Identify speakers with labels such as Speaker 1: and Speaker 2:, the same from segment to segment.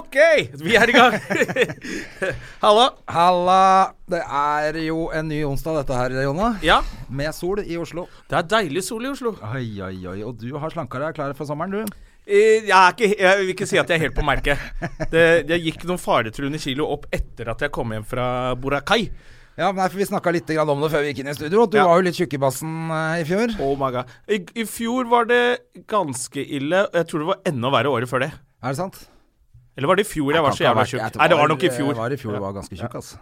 Speaker 1: OK!
Speaker 2: Vi er i gang. Halla.
Speaker 1: Halla. Det er jo en ny onsdag dette her, Jonna.
Speaker 2: Ja,
Speaker 1: Med sol i Oslo.
Speaker 2: det er deilig sol i Oslo.
Speaker 1: Oi, oi, oi. Og du har slanka deg klar for sommeren, du.
Speaker 2: Eh, Jeg, er ikke, jeg vil ikke si at jeg er helt på merket. Det, jeg gikk noen faretruende kilo opp etter at jeg kom hjem fra Boracay.
Speaker 1: Ja, men nei, for Vi snakka litt grann om det før vi gikk inn i studio. at Du
Speaker 2: Ja.
Speaker 1: var jo litt tjukk i bassen eh, i fjor.
Speaker 2: Oh my god. I, I fjor var det ganske ille. og Jeg tror det var enda verre året før det.
Speaker 1: Er det sant?
Speaker 2: Eller var det i fjor jeg var så
Speaker 1: Kan ikke ha
Speaker 2: jævla
Speaker 1: vært- jeg
Speaker 2: tjukk?
Speaker 1: tror
Speaker 2: Nei, det var nok i
Speaker 1: Det
Speaker 2: fjor.
Speaker 1: var i fjor du
Speaker 2: Ja.
Speaker 1: var ganske tjukk, altså.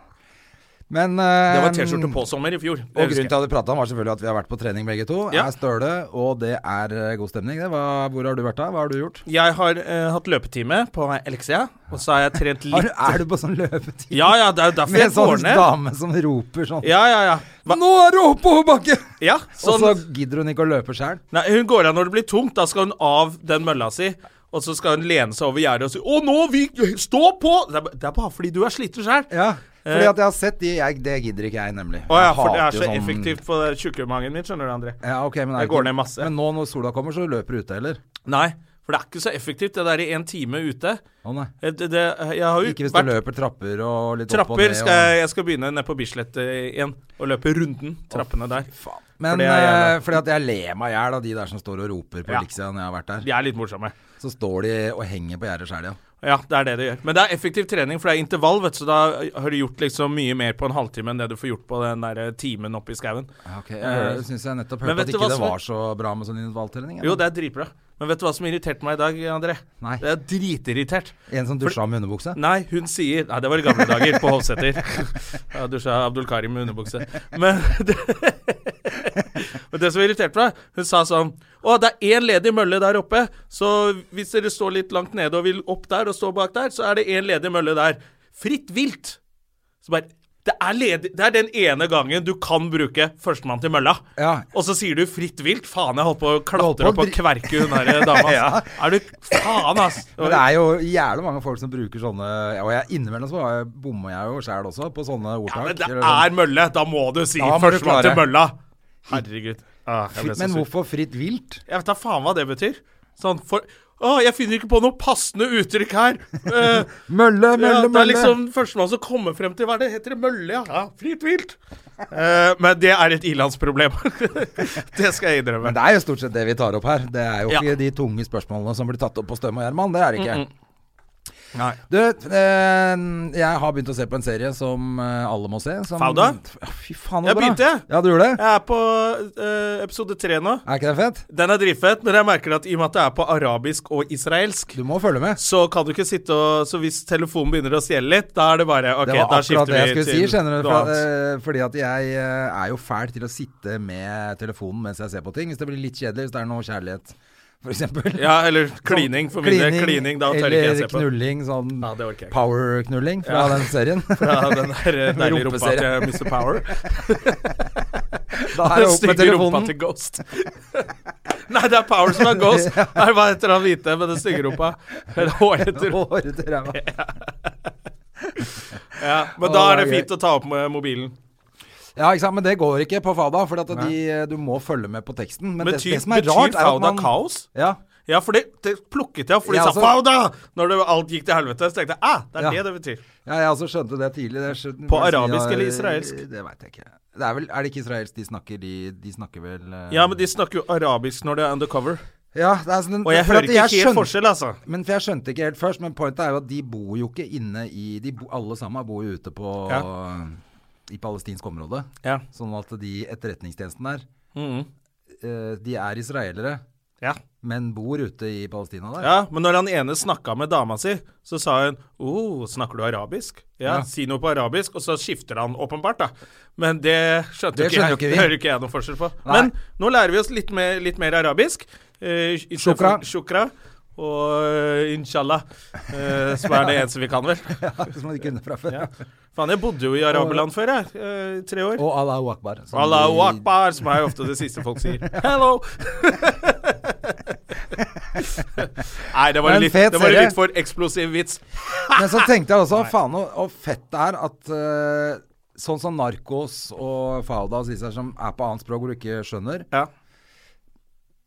Speaker 1: Men eh,
Speaker 2: Det var T-skjorte på sommer i fjor.
Speaker 1: Og
Speaker 2: Det
Speaker 1: grunnen
Speaker 2: husker
Speaker 1: til
Speaker 2: jeg.
Speaker 1: at vi prata om, var selvfølgelig at vi har vært på trening begge to.
Speaker 2: Ja.
Speaker 1: Jeg er støle, og det er eh, god stemning. Det. Hva, hvor har du vært da? Hva har du gjort?
Speaker 2: Jeg har eh, hatt løpetime på Elixia, og så har jeg trent
Speaker 1: Har du,
Speaker 2: litt.
Speaker 1: er du på sånn løpetid?
Speaker 2: Ja ja, det er jo derfor
Speaker 1: Med
Speaker 2: jeg
Speaker 1: en
Speaker 2: går
Speaker 1: sånn
Speaker 2: ned.
Speaker 1: dame som roper sånn
Speaker 2: Ja ja ja. Hva?
Speaker 1: Nå er du oppe på bakke!
Speaker 2: ja
Speaker 1: Og
Speaker 2: sånn.
Speaker 1: så gidder hun ikke å løpe sjøl.
Speaker 2: Nei, hun går av når det blir tungt. Da skal hun av den mølla si. Og så skal hun lene seg over gjerdet og si 'Å, nå! Vi, stå på!' Det er, ba- det er bare fordi du er sliten sjæl.
Speaker 1: Ja. Fordi
Speaker 2: Eh.
Speaker 1: at jeg har sett de jeg, Det gidder ikke jeg, nemlig.
Speaker 2: Å ja,
Speaker 1: Jeg
Speaker 2: for det er
Speaker 1: hater
Speaker 2: så
Speaker 1: jo sånn-
Speaker 2: effektivt på det tjukkemangen min, skjønner du, André.
Speaker 1: Ja, ok, men det er
Speaker 2: Jeg
Speaker 1: ikke-
Speaker 2: går ned masse.
Speaker 1: Men nå når sola kommer, så løper du ute, eller?
Speaker 2: Nei, for det er ikke så effektivt, det der i en time ute.
Speaker 1: Å nei.
Speaker 2: Eh, Det, det, jeg har jo
Speaker 1: Ikke hvis du
Speaker 2: vært
Speaker 1: løper trapper og litt opp og
Speaker 2: Trapper
Speaker 1: ned.
Speaker 2: skal jeg, jeg skal begynne nede på Bislett eh, igjen og løpe runden trappene der.
Speaker 1: Faen. Men
Speaker 2: For det
Speaker 1: fordi,
Speaker 2: er jævla-
Speaker 1: fordi at jeg ler meg i hjel av de der som står og roper på
Speaker 2: Ja.
Speaker 1: Elixia når jeg har vært der.
Speaker 2: De er litt morsomme.
Speaker 1: Så står de og henger på gjerdet sjæl, ja.
Speaker 2: Ja, det er det det gjør. Men det er effektiv trening, for det er intervall, vet du, så da har du gjort liksom mye mer på en halvtime enn det du får gjort på den der eh, timen oppe i skauen.
Speaker 1: Ok, Eh, Jeg syns jeg nettopp
Speaker 2: Men
Speaker 1: hørte
Speaker 2: vet
Speaker 1: at
Speaker 2: du
Speaker 1: ikke
Speaker 2: hva
Speaker 1: det
Speaker 2: som er-
Speaker 1: var så bra med sånn intervalltrening.
Speaker 2: Jo,
Speaker 1: eller?
Speaker 2: det er dritbra. Men vet du hva som irriterte meg i dag, André?
Speaker 1: Nei.
Speaker 2: Jeg er dritirritert.
Speaker 1: En som dusja med underbukse?
Speaker 2: Nei, hun sier Nei, det var i gamle dager, på Hovseter. Da dusja Abdul Karim med underbukse. Men det, men det som irriterte meg, hun sa sånn Å, det er én ledig mølle der oppe, så hvis dere står litt langt nede og vil opp der og stå bak der, så er det én ledig mølle der. Fritt vilt! Så bare det er, ledig, det er den ene gangen du kan bruke førstemann til mølla.
Speaker 1: Ja.
Speaker 2: Og så sier du 'fritt vilt'. Faen, jeg holdt på å
Speaker 1: holdt på
Speaker 2: klatre
Speaker 1: å
Speaker 2: opp og
Speaker 1: dri-
Speaker 2: kverke hun derre dama.
Speaker 1: Ja.
Speaker 2: Er du Faen, ass!
Speaker 1: Men det er jo jævlig mange folk som bruker sånne Og jeg innimellom så var jeg- bommer jeg jo sjæl også på sånne
Speaker 2: Ja,
Speaker 1: ordtak.
Speaker 2: men det
Speaker 1: eller sånn.
Speaker 2: er mølle! Da må du si
Speaker 1: Da må du
Speaker 2: førstemann til
Speaker 1: klare.
Speaker 2: mølla! Herregud. Ah, jeg ble så
Speaker 1: men
Speaker 2: sur.
Speaker 1: hvorfor fritt vilt?
Speaker 2: Jeg vet da faen hva det betyr. Sånn for Å, jeg finner ikke på noe passende uttrykk her! Eh,
Speaker 1: Mølle, mølle,
Speaker 2: ja, det
Speaker 1: mølle!
Speaker 2: er liksom førstemann som kommer frem til Hva er det heter det? Mølle, ja. ja fritt vilt! Eh, men det er et ilandsproblem. det skal jeg innrømme.
Speaker 1: Men det er jo stort sett det vi tar opp her. Det er jo
Speaker 2: Ja.
Speaker 1: ikke de tunge spørsmålene som blir tatt opp på Støm og Gjerman. Det er det ikke.
Speaker 2: Nei.
Speaker 1: Du, eh, jeg har begynt å se på en serie som eh, alle må se. Som,
Speaker 2: Fauda?
Speaker 1: Fy faen, så
Speaker 2: Jeg
Speaker 1: bra.
Speaker 2: begynte, jeg.
Speaker 1: Ja, du gjorde det?
Speaker 2: Jeg er på eh, episode tre nå.
Speaker 1: Er ikke det fett?
Speaker 2: Den er dritfett, men jeg merker at i og med at det er på arabisk og israelsk,
Speaker 1: Du må følge med.
Speaker 2: så kan du ikke sitte og Så hvis telefonen begynner å stjele litt, da er det bare OK,
Speaker 1: Det var
Speaker 2: da
Speaker 1: akkurat
Speaker 2: skifter
Speaker 1: det jeg
Speaker 2: vi
Speaker 1: skulle si,
Speaker 2: til
Speaker 1: skjønner du.
Speaker 2: noe
Speaker 1: For,
Speaker 2: annet.
Speaker 1: eh, fordi at jeg eh, er jo fæl til å sitte med telefonen mens jeg ser på ting. Hvis det blir litt kjedelig, hvis det er noe kjærlighet, f.eks.
Speaker 2: Ja, eller klining, for min del. Klining, da tør ikke jeg se
Speaker 1: sånn Eller
Speaker 2: på.
Speaker 1: knulling, sånn
Speaker 2: Ja, det orker jeg ikke.
Speaker 1: power-knulling fra
Speaker 2: Ja.
Speaker 1: den serien.
Speaker 2: Ja, den der eh, deilige rumpa
Speaker 1: Rumpeserie.
Speaker 2: til Mr. Power.
Speaker 1: da er det opp med
Speaker 2: stygge rumpa
Speaker 1: telefonen.
Speaker 2: til Ghost. Nei, det er Power som er Ghost. Nei, hva heter han hvite med den stygge rumpa? Eller hårete rumpa.
Speaker 1: Håret til ræva.
Speaker 2: Ja, men da er det fint å ta opp med mobilen.
Speaker 1: Ja, ikke sant? Men det går ikke på Fada, for at de, eh, du må følge med på teksten. Men, det,
Speaker 2: Betyr,
Speaker 1: det som er
Speaker 2: betyr
Speaker 1: rart, er at
Speaker 2: Fauda
Speaker 1: man
Speaker 2: kaos?
Speaker 1: ja,
Speaker 2: Ja, for det, det plukket jeg opp, for de
Speaker 1: Ja,
Speaker 2: sa
Speaker 1: altså-
Speaker 2: 'Fauda!' når det, alt gikk til helvete. Så tenkte jeg 'ah, det er
Speaker 1: Ja.
Speaker 2: det det betyr'.
Speaker 1: ja, jeg også skjønte det tidlig. Det skjønte,
Speaker 2: På
Speaker 1: jeg-
Speaker 2: arabisk eller israelsk?
Speaker 1: Det veit jeg ikke. Det er, vel, er det ikke israelsk de snakker? De, de snakker vel eh,
Speaker 2: Ja, men de snakker jo arabisk når det er undercover.
Speaker 1: Ja, det er sånn,
Speaker 2: Og jeg
Speaker 1: for
Speaker 2: hører
Speaker 1: at
Speaker 2: ikke helt
Speaker 1: skjønte-
Speaker 2: forskjell, altså.
Speaker 1: Men for Jeg skjønte ikke helt først, men pointet er jo at de bor jo ikke inne i de bo, Alle sammen bor jo ute på i palestinsk område.
Speaker 2: Ja.
Speaker 1: Sånn at de etterretningstjenesten der,
Speaker 2: Mhm.
Speaker 1: eh, de er israelere,
Speaker 2: ja.
Speaker 1: men bor ute i Palestina der.
Speaker 2: ja. Men når han ene snakka med dama si, så sa hun 'oh, snakker du arabisk?' Ja,
Speaker 1: Ja.
Speaker 2: si noe på arabisk, og så skifter han åpenbart, da. Men det skjønte
Speaker 1: Det
Speaker 2: jo ikke
Speaker 1: skjønner
Speaker 2: jeg.
Speaker 1: jo ikke vi.
Speaker 2: det hører ikke jeg noen forskjell på.
Speaker 1: Nei.
Speaker 2: Men nå lærer vi oss litt mer, litt mer arabisk. Eh, i- i stedet for
Speaker 1: Shukra.
Speaker 2: Shukra. Og eh, inshallah, eh, som er det eneste vi kan, vel.
Speaker 1: Som de kunne fra før.
Speaker 2: Ja. Faen, jeg bodde jo i araberland før, jeg. eh, I tre år.
Speaker 1: Og Allahu akbar. som
Speaker 2: Allahu
Speaker 1: de-
Speaker 2: akbar, som er jo ofte det siste folk sier. Hello! Nei, det var,
Speaker 1: Men
Speaker 2: litt,
Speaker 1: fet
Speaker 2: det var
Speaker 1: serie.
Speaker 2: litt for eksplosiv vits.
Speaker 1: Men så tenkte jeg også, faen og, og fett det er at eh, sånn som Narkos og Fauda og disse her som er på annet språk hvor du ikke skjønner,
Speaker 2: Ja.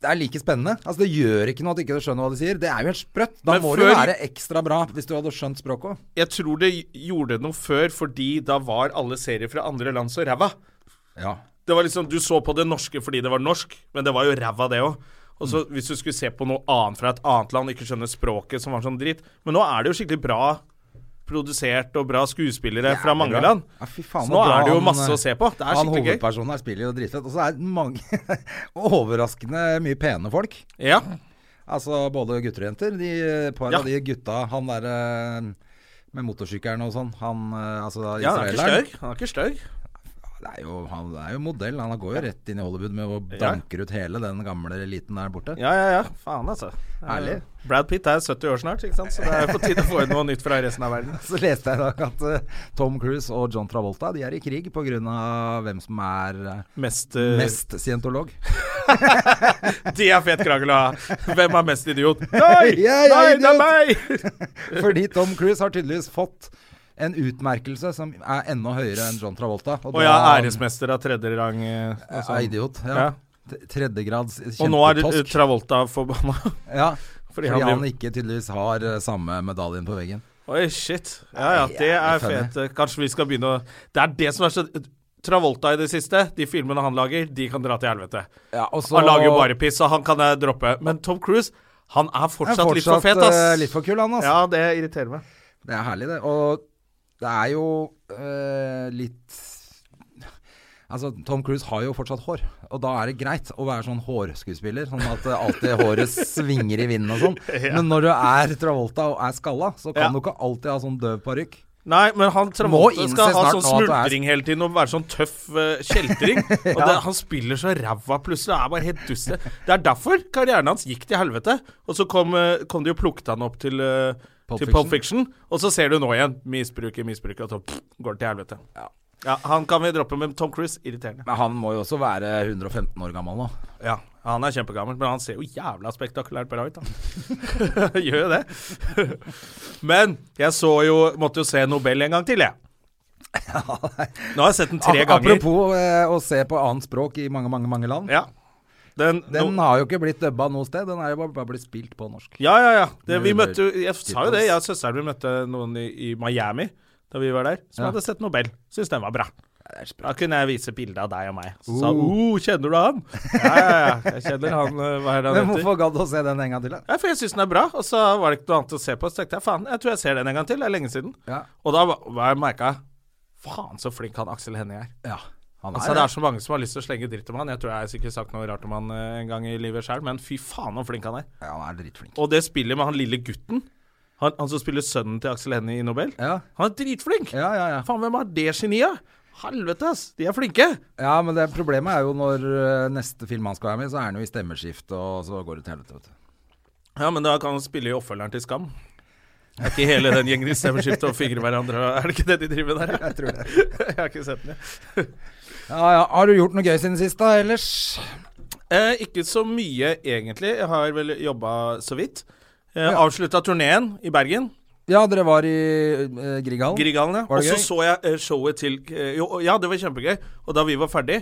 Speaker 1: det er like spennende. Altså Det gjør ikke noe at ikke du skjønner hva de sier. Det er jo helt sprøtt. Da
Speaker 2: Men
Speaker 1: må det jo
Speaker 2: før-
Speaker 1: være ekstra bra hvis du hadde skjønt språket òg.
Speaker 2: Jeg tror det gjorde noe før, fordi da var alle serier fra andre land så ræva.
Speaker 1: Ja.
Speaker 2: Det var liksom, Du så på det norske fordi det var norsk, men det var jo ræva, det òg. Og så
Speaker 1: Mm.
Speaker 2: Hvis du skulle se på noe annet fra et annet land, ikke skjønne språket, som var sånn dritt Men nå er det jo skikkelig bra produsert og bra skuespillere fra mange
Speaker 1: bra.
Speaker 2: land.
Speaker 1: Ja, fy faen,
Speaker 2: så
Speaker 1: så
Speaker 2: nå er det jo
Speaker 1: han, eh,
Speaker 2: masse å se på. eh, Det er
Speaker 1: Han
Speaker 2: skikkelig gøy.
Speaker 1: hovedpersonen her spiller jo dritfett. Og så er det mange overraskende mye pene folk.
Speaker 2: Ja.
Speaker 1: Altså både gutter og jenter. De eh, par
Speaker 2: Ja.
Speaker 1: av de gutta, han derre med motorsykkelen og sånn, han eh, altså
Speaker 2: ja, han er ikke
Speaker 1: israeleren
Speaker 2: stygg. Han er ikke stygg.
Speaker 1: det er, jo, han er jo modell. Han går jo rett inn i Hollywood med å danke ut hele den gamle eliten der borte.
Speaker 2: Ja, ja, ja. Faen, altså.
Speaker 1: Herlig.
Speaker 2: Brad Pitt er 70 år snart, ikke sant? så det er på tide å få inn noe nytt fra resten av verden.
Speaker 1: Så leste jeg i dag at eh, Tom Cruise og John Travolta De er i krig pga. hvem som er eh,
Speaker 2: Mest, eh,
Speaker 1: mest scientolog.
Speaker 2: Det er fet krangel å ha. Hvem er mest idiot? Nei!
Speaker 1: Jeg er
Speaker 2: nei, det
Speaker 1: idiot!
Speaker 2: er meg!
Speaker 1: Fordi Tom Cruise har tydeligvis fått en utmerkelse som er enda høyere enn John Travolta. Og,
Speaker 2: Og jeg er æresmester av tredje rang. eh, altså.
Speaker 1: Ja, idiot. Ja.
Speaker 2: Ja.
Speaker 1: T- Tredjegrads
Speaker 2: Og nå er eh,
Speaker 1: kjempetosk.
Speaker 2: Travolta forbanna.
Speaker 1: Ja,
Speaker 2: Fordi
Speaker 1: fordi
Speaker 2: han
Speaker 1: han
Speaker 2: blir-
Speaker 1: ikke tydeligvis har eh, samme medaljen på veggen.
Speaker 2: Oi, shit. Ja ja, det
Speaker 1: Jævlig
Speaker 2: er
Speaker 1: funny.
Speaker 2: fet. Kanskje vi skal begynne å Det er det som er så Travolta i det siste, de filmene han lager, de kan dra til helvete.
Speaker 1: Ja, og så-
Speaker 2: Han lager jo bare piss, så han kan jeg droppe. Men Tom Cruise, han er
Speaker 1: Han er
Speaker 2: fortsatt, litt for fet, ass.
Speaker 1: eh, litt for kul, han, ass.
Speaker 2: Ja, det irriterer meg.
Speaker 1: Det er herlig, det. Og det er jo eh, litt Altså, Tom Cruise har jo fortsatt hår, og da er det greit å være sånn hårskuespiller. Sånn at eh, alltid håret svinger i vinden og sånn. Men når du er Travolta og er skalla, så kan
Speaker 2: Ja.
Speaker 1: du ikke alltid ha sånn døv parykk.
Speaker 2: Nei, men han
Speaker 1: Må
Speaker 2: Travolta
Speaker 1: innse
Speaker 2: skal ha
Speaker 1: snart
Speaker 2: sånn
Speaker 1: nå at du er-
Speaker 2: smultring hele tiden og være sånn tøff eh, kjeltring. Og det, han spiller så ræva plutselig og er bare helt dust. Det er derfor karrieren hans gikk til helvete. Og så kom, eh, kom de og plukket han opp til eh,
Speaker 1: Pulp
Speaker 2: til Pulp Fiction, og så ser du nå igjen. Misbruker, misbruker, og så pff, går det til helvete.
Speaker 1: Ja.
Speaker 2: Ja, Han kan vi droppe, men Tom Cruise, irriterende.
Speaker 1: Men han må jo også være 115 år gammel nå.
Speaker 2: Ja, Han er kjempegammel, men han ser jo jævla spektakulært bra ut, han. Gjør jo det. men jeg så jo Måtte jo se Nobel en gang til, jeg. Nå har jeg sett den tre
Speaker 1: Ap-
Speaker 2: ganger.
Speaker 1: Apropos eh, å se på annet språk i mange, mange mange land.
Speaker 2: Ja. Den,
Speaker 1: Den
Speaker 2: no,
Speaker 1: har jo ikke blitt dubba noe sted, den er jo bare, bare blitt spilt på norsk.
Speaker 2: ja, ja, ja. Det, vi
Speaker 1: Med-
Speaker 2: møtte jo Jeg sa jo
Speaker 1: Beatles.
Speaker 2: det, jeg og søsteren min møtte noen i, i Miami da vi var der, som
Speaker 1: Ja.
Speaker 2: hadde sett Nobel. Syns den var bra.
Speaker 1: Det er sprøtt.
Speaker 2: Da kunne jeg vise bilde av deg og meg. Så sa
Speaker 1: Uh.
Speaker 2: hun uh, 'Kjenner du han?' Ja, ja, ja. Jeg kjenner han. eh, Hva er det
Speaker 1: Men
Speaker 2: han heter?
Speaker 1: hvorfor gadd du å se den en gang til, da?
Speaker 2: Ja, for jeg syns den er bra, og så var det ikke noe annet å se på. Så tenkte jeg faen, jeg tror jeg ser den en gang til. Det er lenge siden.
Speaker 1: Ja.
Speaker 2: Og da var var jeg merka Faen, så flink han Aksel Hennie er.
Speaker 1: ja. Han
Speaker 2: Altså, det er så mange som har lyst til å slenge dritt om han. Jeg tror jeg har sikkert sagt noe rart om han eh, en gang i livet sjøl, men fy faen så flink han er.
Speaker 1: ja, han er dritflink.
Speaker 2: Og det spillet med han lille gutten, han, han som spiller sønnen til Aksel Hennie i Nobel,
Speaker 1: Ja,
Speaker 2: han er dritflink.
Speaker 1: ja, ja. ja.
Speaker 2: Faen, hvem er det geniet? Helvete, ass. De er flinke.
Speaker 1: Ja, men det problemet er jo når eh, neste film han skal være med i, så er han jo i stemmeskift, og så går det til helvete, vet du.
Speaker 2: Ja, men da kan han spille i oppfølgeren til Skam. Er ikke hele den gjengen i stemmeskifte og fingre hverandre, og- er det ikke det de driver med der? Jeg tror det. jeg har ikke sett den, jeg.
Speaker 1: Ja, ja. Har du gjort noe gøy siden sist, da, ellers?
Speaker 2: Eh, ikke så mye, egentlig. Jeg har vel jobba så vidt. Eh,
Speaker 1: Ja.
Speaker 2: Avslutta turneen i Bergen.
Speaker 1: Ja, dere var i eh, Grieghallen.
Speaker 2: Grieghallen, ja.
Speaker 1: Var
Speaker 2: Og
Speaker 1: det
Speaker 2: så
Speaker 1: gøy?
Speaker 2: så jeg eh, showet til eh, jo, Ja, det var kjempegøy. Og da vi var ferdig,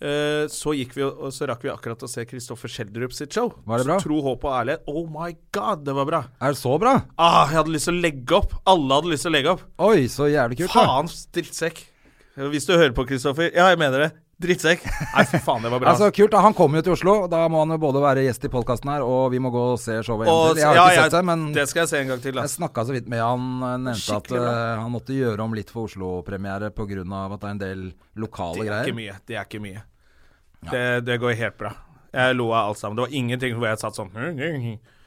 Speaker 2: eh, så gikk vi og og så rakk vi akkurat å se Kristoffer Schjelderup sitt show.
Speaker 1: Var det bra?
Speaker 2: Tro, håp og ærlighet. Oh my god, det var bra.
Speaker 1: Er det så bra?
Speaker 2: Ah, jeg hadde lyst til å legge opp. Alle hadde lyst til å legge opp.
Speaker 1: Oi, så jævlig kult. da.
Speaker 2: Faen, drittsekk. Hvis du hører på, Kristoffer. Ja, jeg mener det. Drittsekk. Nei, fy faen, det var bra.
Speaker 1: Altså, kult, da. Han kommer jo til Oslo. og Da må han jo både være gjest i podkasten her, og vi må gå og se showet. en
Speaker 2: Og-
Speaker 1: til. Jeg har
Speaker 2: ja,
Speaker 1: ikke
Speaker 2: ja,
Speaker 1: sett det, men
Speaker 2: Det skal jeg se en gang til. Da.
Speaker 1: jeg snakka så vidt med han. eh, Nevnte at
Speaker 2: Skikkelig bra.
Speaker 1: eh, han måtte gjøre om litt for Oslo-premiere pga. at det er en del lokale
Speaker 2: Det er ikke
Speaker 1: greier.
Speaker 2: mye. Det er ikke mye. Det, det går helt bra. Jeg lo av alt sammen. Det var ingenting hvor jeg satt sånn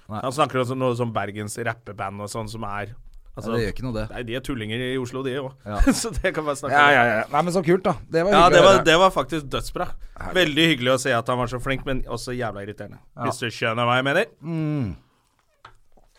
Speaker 2: Han snakker også om noe som Bergens rappeband og sånn som er altså,
Speaker 1: Ja, det gjør ikke noe, det.
Speaker 2: Nei, de er tullinger i Oslo, de òg.
Speaker 1: Ja.
Speaker 2: så det kan bare snakke
Speaker 1: Ja,
Speaker 2: om.
Speaker 1: ja, ja. Nei, men så kult, da. Det var
Speaker 2: Ja,
Speaker 1: hyggelig.
Speaker 2: det
Speaker 1: å
Speaker 2: var,
Speaker 1: høre.
Speaker 2: det var faktisk dødsbra. Veldig hyggelig å se at han var så flink, men også jævla irriterende. Hvis du skjønner hva jeg mener?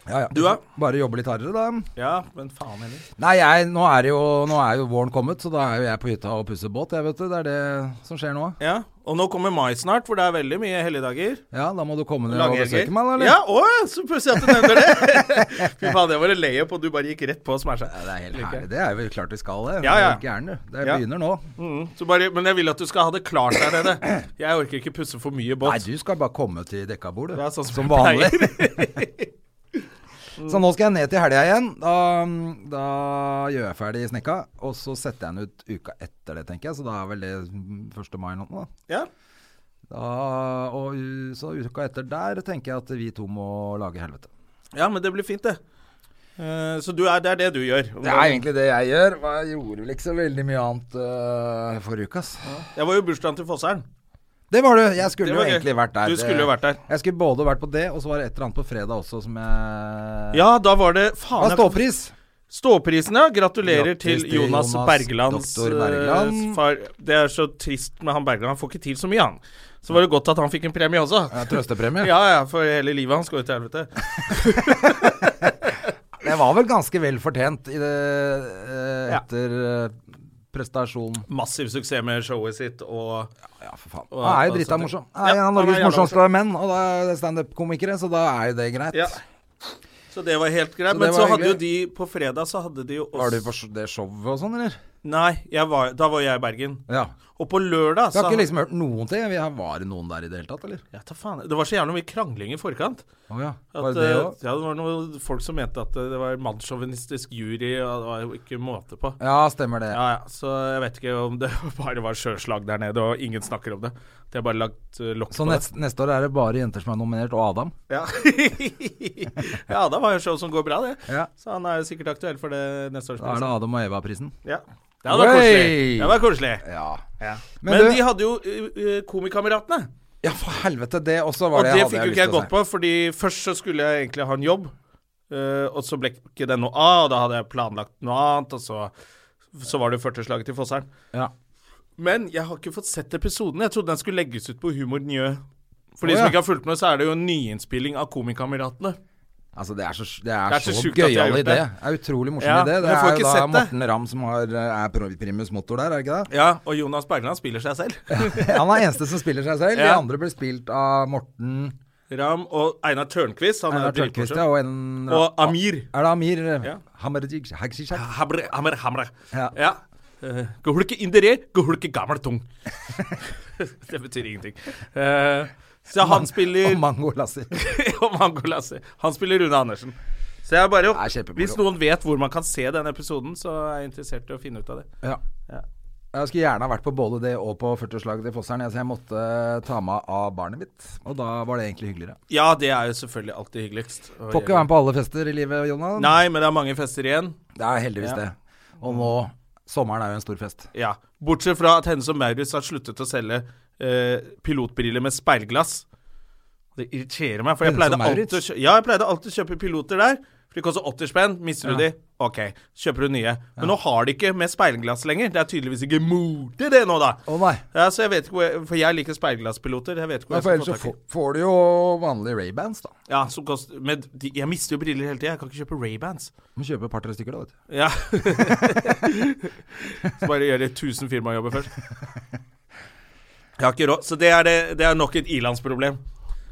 Speaker 1: Ja, ja.
Speaker 2: Du, da?
Speaker 1: Bare jobbe litt hardere, da.
Speaker 2: Ja, men faen heller.
Speaker 1: Nei, jeg, nå, er det jo, nå er jo våren kommet, så da er jo jeg på hytta og pusser båt. Jeg vet du, Det er det som skjer nå.
Speaker 2: Ja, Og nå kommer mai snart, hvor det er veldig mye helligdager.
Speaker 1: Ja, Da må du komme ned og
Speaker 2: Langhelger.
Speaker 1: besøke meg, da. eller?
Speaker 2: Ja, å, så pussig at du nevner det! Fy faen, det var en layup, og du bare gikk rett på og smasha.
Speaker 1: Ja, det er helt
Speaker 2: Lykke.
Speaker 1: herlig. Det er jo klart vi skal det.
Speaker 2: Ja,
Speaker 1: Du er
Speaker 2: ja.
Speaker 1: jo Gæren, du. Det
Speaker 2: Ja.
Speaker 1: begynner nå.
Speaker 2: Mm, så bare, men jeg vil at du skal ha det klart der nede. Jeg orker ikke pusse for mye
Speaker 1: Nei,
Speaker 2: båt.
Speaker 1: du skal bare komme til dekka bord, du.
Speaker 2: Det er sånn som jeg
Speaker 1: som vanlig. så nå skal jeg ned til helga igjen. Da, da gjør jeg ferdig snekka, og så setter jeg den ut uka etter det, tenker jeg. Så da er vel det 1. mai eller noe. Da.
Speaker 2: Ja,
Speaker 1: Da, og, u- så uka etter der tenker jeg at vi to må lage helvete.
Speaker 2: ja men det blir fint, det. Eh, så du er, det er det du gjør.
Speaker 1: Det er egentlig det jeg gjør. og Jeg gjorde vel ikke så veldig mye annet øh, forrige uke, ass.
Speaker 2: Jeg var jo i bursdagen til Fosseren.
Speaker 1: Det var du. Jeg skulle
Speaker 2: Det
Speaker 1: jo
Speaker 2: var gøy.
Speaker 1: egentlig vært der.
Speaker 2: Du
Speaker 1: Det-
Speaker 2: skulle jo vært der.
Speaker 1: Jeg skulle både vært på det, og så var det et eller annet på fredag også som jeg
Speaker 2: Ja, da var det
Speaker 1: Hva
Speaker 2: Faen,
Speaker 1: er
Speaker 2: jeg
Speaker 1: ståpris?
Speaker 2: Ståprisen, ja. Gratulerer
Speaker 1: Grattis
Speaker 2: til
Speaker 1: til
Speaker 2: Jonas,
Speaker 1: Jonas
Speaker 2: Berglands
Speaker 1: doktor Bergland.
Speaker 2: eh, far. Det er så trist med han Bergland. Han får ikke til så mye, han. Så var det godt at han fikk en premie også.
Speaker 1: Ja, Trøstepremie?
Speaker 2: Ja, ja, for hele livet hans går jo til helvete.
Speaker 1: Det var vel ganske vel fortjent i det, eh,
Speaker 2: Ja.
Speaker 1: etter eh, prestasjon.
Speaker 2: Massiv suksess med showet sitt og
Speaker 1: Ja, for faen.
Speaker 2: Og-
Speaker 1: Han er jo
Speaker 2: og
Speaker 1: drita
Speaker 2: sånn.
Speaker 1: morsom.
Speaker 2: Ja,
Speaker 1: Han er en av
Speaker 2: han er
Speaker 1: Norges
Speaker 2: jævla
Speaker 1: morsomste menn, og da er det standup-komikere, så da er jo det greit.
Speaker 2: Ja. Så det var helt greit.
Speaker 1: Så det
Speaker 2: Men
Speaker 1: var
Speaker 2: så hadde jo
Speaker 1: hyggelig.
Speaker 2: de På fredag så hadde de jo også
Speaker 1: Var du på sj- det showet og sånn, eller?
Speaker 2: Nei, jeg var, da var jeg i Bergen.
Speaker 1: Ja.
Speaker 2: Og på lørdag
Speaker 1: Du
Speaker 2: så
Speaker 1: har ikke liksom hørt noen ting? Vi har- Var det noen der i det hele tatt, eller?
Speaker 2: Ja, ta faen. Det var så jævlig mye krangling i forkant.
Speaker 1: Å ja.
Speaker 2: At,
Speaker 1: Var det det
Speaker 2: eh,
Speaker 1: òg?
Speaker 2: ja, det var noen folk som mente at eh, det var mannssjåvinistisk jury, og det var jo ikke måte på.
Speaker 1: Ja, stemmer det.
Speaker 2: Ja, ja, så jeg vet ikke om det bare var sjøslag der nede, og ingen snakker om det. De har bare lagt eh, lokk
Speaker 1: Så
Speaker 2: på det.
Speaker 1: neste, neste år Sånn er det bare jenter som er nominert, og Adam.
Speaker 2: Ja. ja, da var jo show som går bra, det.
Speaker 1: Ja.
Speaker 2: Så han er jo sikkert aktuell for det neste års
Speaker 1: Da er
Speaker 2: pris.
Speaker 1: det Adam og Eva-prisen.
Speaker 2: Ja. Det hadde vært
Speaker 1: Wey!
Speaker 2: koselig. Det hadde vært koselig.
Speaker 1: Ja.
Speaker 2: Ja.
Speaker 1: Men
Speaker 2: Men,
Speaker 1: du-
Speaker 2: de hadde jo eh, eh, Komikameratene.
Speaker 1: ja, for helvete, det også var
Speaker 2: Og
Speaker 1: det,
Speaker 2: det
Speaker 1: jeg hadde
Speaker 2: fikk jo
Speaker 1: jeg
Speaker 2: ikke jeg
Speaker 1: lyst til å
Speaker 2: gått på, fordi først så skulle jeg egentlig ha en jobb, eh, og så ble ikke det noe av, og da hadde jeg planlagt noe annet, og så, så var det 40-slaget til Fosseren.
Speaker 1: si. Ja.
Speaker 2: Men jeg har ikke fått sett episoden. Jeg trodde den skulle legges ut på Humor Njø. For
Speaker 1: Å,
Speaker 2: de
Speaker 1: ja.
Speaker 2: som ikke har fulgt med, så er det jo en nyinnspilling av Komikameratene.
Speaker 1: Altså Det er så, det er
Speaker 2: Det er
Speaker 1: så,
Speaker 2: så sjukt at de har
Speaker 1: gøyal
Speaker 2: gjort
Speaker 1: idé. Det er utrolig morsom
Speaker 2: Ja,
Speaker 1: idé.
Speaker 2: men
Speaker 1: Det
Speaker 2: jeg får
Speaker 1: er
Speaker 2: ikke
Speaker 1: jo
Speaker 2: sett
Speaker 1: da
Speaker 2: det.
Speaker 1: Morten Ramm som har, eh, er pro- primus motor der, er det ikke det?
Speaker 2: Ja, og Jonas Bergland spiller seg selv.
Speaker 1: Han er eneste som spiller seg selv. De
Speaker 2: Ja.
Speaker 1: andre blir spilt av Morten
Speaker 2: Ram og Einar Tørnquist, han
Speaker 1: Einar
Speaker 2: er
Speaker 1: Tørnquist
Speaker 2: dritmorsom.
Speaker 1: ja, og en
Speaker 2: Og Amir.
Speaker 1: Er det Amir
Speaker 2: Ja.
Speaker 1: Hamerjig Hagsishak?
Speaker 2: Hamre, hamre, hamre.
Speaker 1: Ja.
Speaker 2: Ja. Eh, Gehulke inderer, gehulke gammel tung. det betyr ingenting. Eh, så han spiller
Speaker 1: Og Mango Lassi.
Speaker 2: Og Mango Lassi. Han spiller Rune Andersen. Så jeg bare
Speaker 1: Det er kjempemoro.
Speaker 2: Hvis noen vet hvor man kan se denne episoden, så er jeg interessert i å finne ut av det.
Speaker 1: Ja.
Speaker 2: Ja.
Speaker 1: Jeg skulle gjerne ha vært på både det og på 40-årslaget til Fosseren, ja, så jeg måtte eh, ta meg av barnet mitt. Og da var det egentlig hyggeligere.
Speaker 2: Ja, det er jo selvfølgelig alltid hyggeligst. å
Speaker 1: Får ikke
Speaker 2: gjøre.
Speaker 1: være med på alle fester i livet, Jonas.
Speaker 2: Nei, men det er mange fester igjen.
Speaker 1: Det er heldigvis
Speaker 2: Ja.
Speaker 1: det. Og nå Sommeren er jo en stor fest.
Speaker 2: Ja. Bortsett fra at Hennes og Maurits har sluttet å selge eh, pilotbriller med speilglass. Det irriterer meg, for jeg
Speaker 1: Hennes og
Speaker 2: pleide, alltid å
Speaker 1: Mauritz?
Speaker 2: kjø ja, jeg pleide alltid å kjøpe piloter der. For de koster 80 spenn. Mister du de? OK, kjøper du nye. Men nå har de ikke med speilglass lenger. Det er tydeligvis ikke mote, det nå, da.
Speaker 1: Å nei.
Speaker 2: Ja, så jeg vet ikke hvor jeg, For jeg liker speilglasspiloter. Jeg vet ikke hvor
Speaker 1: Nei,
Speaker 2: jeg
Speaker 1: for
Speaker 2: skal
Speaker 1: ellers så
Speaker 2: få
Speaker 1: får,
Speaker 2: tak i.
Speaker 1: får du jo vanlige Ray-bands, da.
Speaker 2: Ja, som koster, men de, jeg mister jo briller hele tida. Jeg kan ikke kjøpe Ray-bands.
Speaker 1: Du må kjøpe et par-tre stykker, da. vet du.
Speaker 2: Ja. så bare gjør det 1000 firmajobber først. Jeg har ikke råd. Så det er, det, det er nok et ilandsproblem.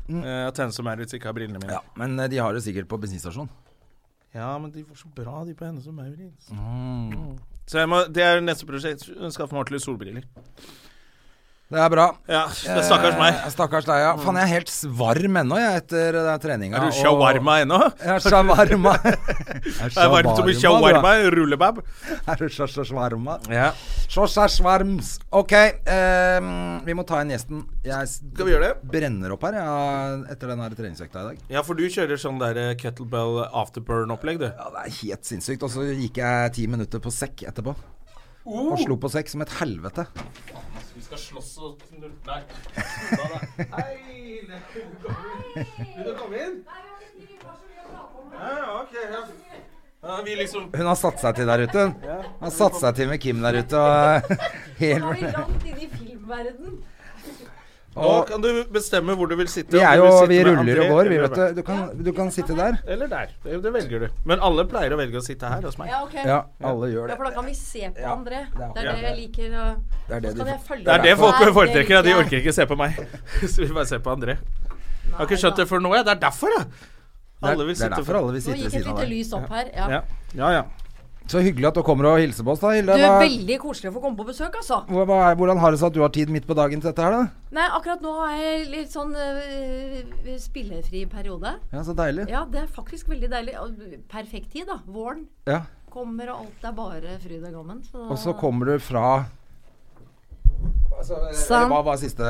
Speaker 2: Eh, At Hennes og Maurits ikke har brillene mine.
Speaker 1: Ja, Men eh, de har det sikkert på bensinstasjon.
Speaker 2: Ja, men de var så bra, de på Hennes og Maurits. Så jeg må, det er neste prosjekt. Skaffe meg ordentlige solbriller.
Speaker 1: Det er bra.
Speaker 2: Ja, det er stakkars meg. Mm.
Speaker 1: Eh, Stakkars deg, ja. Faen, jeg er helt svarm ennå, jeg, etter eh, den treninga.
Speaker 2: Er du shawarma ennå?
Speaker 1: Og... Ja, shawarma. Jeg
Speaker 2: Det er varmt å bli shawarma, rullebab.
Speaker 1: Er du shawarma?
Speaker 2: Ja.
Speaker 1: Shawarms. Ok, ehm, vi må ta inn gjesten. Jeg s-
Speaker 2: Skal vi gjøre det?
Speaker 1: brenner opp her ja, etter den her treningsøkta i dag.
Speaker 2: Ja, for du kjører sånn der eh, kettlebell afterburn-opplegg, du.
Speaker 1: Ja, det er helt sinnssykt. Og så gikk jeg ti minutter på sekk etterpå.
Speaker 2: Oh!
Speaker 1: Og slo på sekk som et helvete.
Speaker 2: Vi skal slåss og Nei. Da, da. Hei, Hilde. Vil du komme inn? Ja, ja, ok. Ja. Ja, vi liksom
Speaker 1: Hun har satt seg til der ute. hun. Hun har satt seg til med Kim der ute. Og helt
Speaker 3: Da er vi langt inn i filmverden.
Speaker 2: Nå
Speaker 1: Og
Speaker 2: kan du bestemme hvor du vil sitte.
Speaker 1: vi,
Speaker 2: om
Speaker 1: er
Speaker 2: du
Speaker 1: jo,
Speaker 2: vil sitte
Speaker 1: vi
Speaker 2: med
Speaker 1: ruller og
Speaker 2: André
Speaker 1: går, vi,
Speaker 2: eller
Speaker 1: vet du. Du kan, du kan sitte der.
Speaker 2: meg. Eller der. Det, det velger du. Men alle pleier å velge å sitte her hos meg.
Speaker 3: Ja, ok.
Speaker 1: Ja, alle gjør
Speaker 3: Ja,
Speaker 1: det.
Speaker 3: for da kan vi se på
Speaker 1: Ja,
Speaker 3: André.
Speaker 1: det er
Speaker 3: Det er det jeg liker å
Speaker 1: Det er det
Speaker 3: Så
Speaker 1: de
Speaker 3: kan jeg følge
Speaker 2: Det er det
Speaker 3: med.
Speaker 2: folk
Speaker 3: Nei,
Speaker 2: foretrekker. Ja. De
Speaker 3: liker
Speaker 2: orker ikke se på meg. Så vi bare ser på André.
Speaker 3: jeg.
Speaker 2: Jeg har ikke skjønt det før nå, jeg. Det er derfor, ja.
Speaker 1: Det er,
Speaker 2: Alle vil
Speaker 1: det er
Speaker 2: sitte
Speaker 1: derfor alle vil
Speaker 3: Nå
Speaker 1: sitte ved
Speaker 3: gikk et
Speaker 1: siden av
Speaker 3: lite
Speaker 1: deg.
Speaker 3: lys opp her. Ja.
Speaker 2: Ja, ja. ja.
Speaker 1: Så hyggelig at du kommer og hilser på oss, da,
Speaker 3: Du,
Speaker 1: Hilde. Hva,
Speaker 3: Veldig koselig å få komme på besøk, altså.
Speaker 1: hva, hva er- hvordan har det seg at du har tid midt på dagen til dette her, da?
Speaker 3: Nei, akkurat nå har jeg litt sånn øh, spillefri periode.
Speaker 1: Ja, Så deilig.
Speaker 3: Ja, det er faktisk veldig deilig. Og Perfekt tid, da. Våren
Speaker 1: Ja.
Speaker 3: kommer, og alt er bare fryd og gammen. så-
Speaker 1: Og så kommer du fra altså,
Speaker 3: San-
Speaker 1: Hva var siste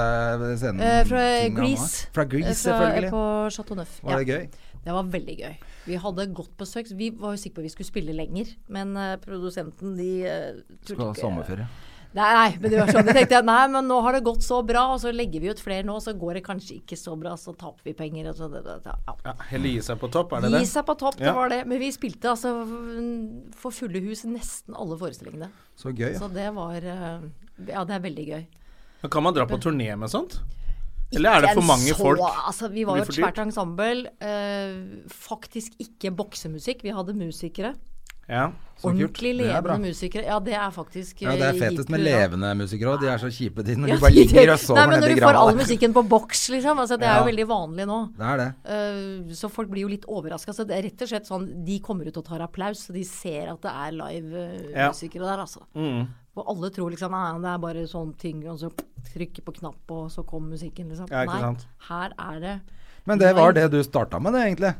Speaker 1: scenen?
Speaker 3: Eh, fra
Speaker 1: tingen han var?
Speaker 3: Grease.
Speaker 1: Fra Grease,
Speaker 3: Eh,
Speaker 1: selvfølgelig.
Speaker 3: På Chateau Neuf.
Speaker 1: Var det gøy?
Speaker 3: Det var veldig gøy. Vi hadde godt besøk. Vi var jo sikre på at vi skulle spille lenger, men eh, produsenten de eh, turte
Speaker 1: Skal ha
Speaker 3: ikke-
Speaker 1: sommerferie.
Speaker 3: Nei, nei, men det var sånn. Jeg tenkte jeg, nei, men nå har det gått så bra, og så legger vi ut flere nå, så går det kanskje ikke så bra, så taper vi penger. Og så, det, det, det, ja.
Speaker 2: ja Helle gir seg på topp, er det det?
Speaker 3: Gi seg på topp, det
Speaker 2: Ja.
Speaker 3: var det. Men vi spilte altså mm, for fulle hus i nesten alle forestillingene.
Speaker 1: Så gøy, ja.
Speaker 3: Så det var eh, Ja, det er veldig gøy.
Speaker 2: Men Kan man dra på turné med sånt? Eller er det
Speaker 3: Ikke
Speaker 2: for mange
Speaker 3: så,
Speaker 2: folk?
Speaker 3: Altså, vi var
Speaker 2: Blir
Speaker 3: jo et
Speaker 2: for dyrt?
Speaker 3: svært ensemble. eh, faktisk ikke boksemusikk. Vi hadde musikere.
Speaker 2: Ja.
Speaker 1: Så kult.
Speaker 3: Ordentlig
Speaker 1: Det er bra.
Speaker 3: levende musikere. Ja, det er faktisk
Speaker 1: Ja,
Speaker 3: eh,
Speaker 1: det er fetest med
Speaker 3: levende
Speaker 1: levende musikere òg. De er så kjipe, de, når de bare ligger og
Speaker 3: Nei,
Speaker 1: sover
Speaker 3: men
Speaker 1: nedi
Speaker 3: når du får
Speaker 1: grava.
Speaker 3: all
Speaker 1: der.
Speaker 3: musikken på boks, liksom. Altså, det er jo
Speaker 1: Ja.
Speaker 3: veldig vanlig nå.
Speaker 1: Det er det.
Speaker 3: Eh, så folk blir jo litt overraska. Så det er rett og slett sånn De kommer ut og tar applaus, så de ser at det er live eh,
Speaker 2: Ja.
Speaker 3: musikere der, altså.
Speaker 2: Mm.
Speaker 3: Og alle tror liksom at det er bare sånn ting, og så trykker på knapp, og så kom musikken, liksom.
Speaker 2: Ja, ikke
Speaker 3: Nei,
Speaker 2: sant.
Speaker 3: her er det
Speaker 1: Men det var
Speaker 3: Nei.
Speaker 1: det du starta med, det, egentlig.